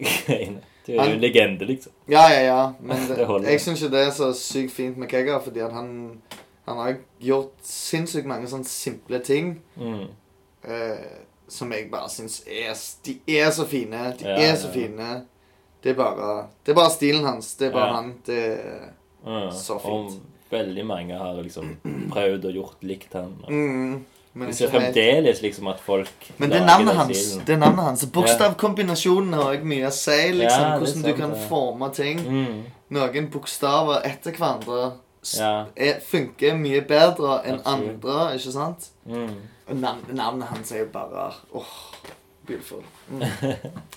Speaker 1: greiene. Det er jo en
Speaker 2: Han-
Speaker 1: legende, liksom.
Speaker 2: Ja, ja, ja. Men det,
Speaker 1: Det holder.
Speaker 2: jeg syns ikke det er så sykt fint med Kegger, fordi at han, han har gjort sinnssykt mange sånne simple ting.
Speaker 1: Mm.
Speaker 2: eh, som jeg bare syns er s- De er så fine. De
Speaker 1: Ja,
Speaker 2: er så
Speaker 1: ja.
Speaker 2: fine. Det er bare Det er bare stilen hans. Det er bare
Speaker 1: Ja.
Speaker 2: han. Det er
Speaker 1: Mm.
Speaker 2: Så fint.
Speaker 1: Og veldig mange har liksom prøvd og gjort likt han. og
Speaker 2: mm,
Speaker 1: Vi
Speaker 2: Men ikke
Speaker 1: ser
Speaker 2: helt.
Speaker 1: fremdeles liksom at folk
Speaker 2: Men det er
Speaker 1: lager
Speaker 2: navnet
Speaker 1: den
Speaker 2: hans.
Speaker 1: stilen.
Speaker 2: Det er navnet hans. Bokstavkombinasjonen har også mye å si. Liksom,
Speaker 1: Ja, det er
Speaker 2: hvordan du
Speaker 1: sant,
Speaker 2: kan
Speaker 1: det.
Speaker 2: forme ting.
Speaker 1: Mm.
Speaker 2: Noen bokstaver etter hverandre s-
Speaker 1: Ja.
Speaker 2: er, funker mye bedre enn
Speaker 1: Absolutt.
Speaker 2: andre, ikke sant?
Speaker 1: Mm.
Speaker 2: Og navn, navnet hans er jo bare åh, beautiful. Mm.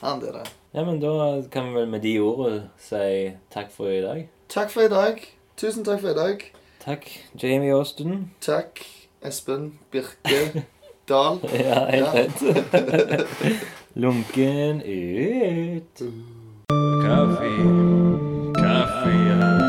Speaker 2: Han er det.
Speaker 1: ja, men da kan vi vel med de ordene si takk for i dag.
Speaker 2: Takk for i dag. Tusen takk for i dag.
Speaker 1: Takk, Jamie Austin.
Speaker 2: Takk, Espen Birke Dahl.
Speaker 1: Ja, helt
Speaker 2: Ja.
Speaker 1: rett. Lunken ut.
Speaker 4: Kaffee, Kaffee, ja.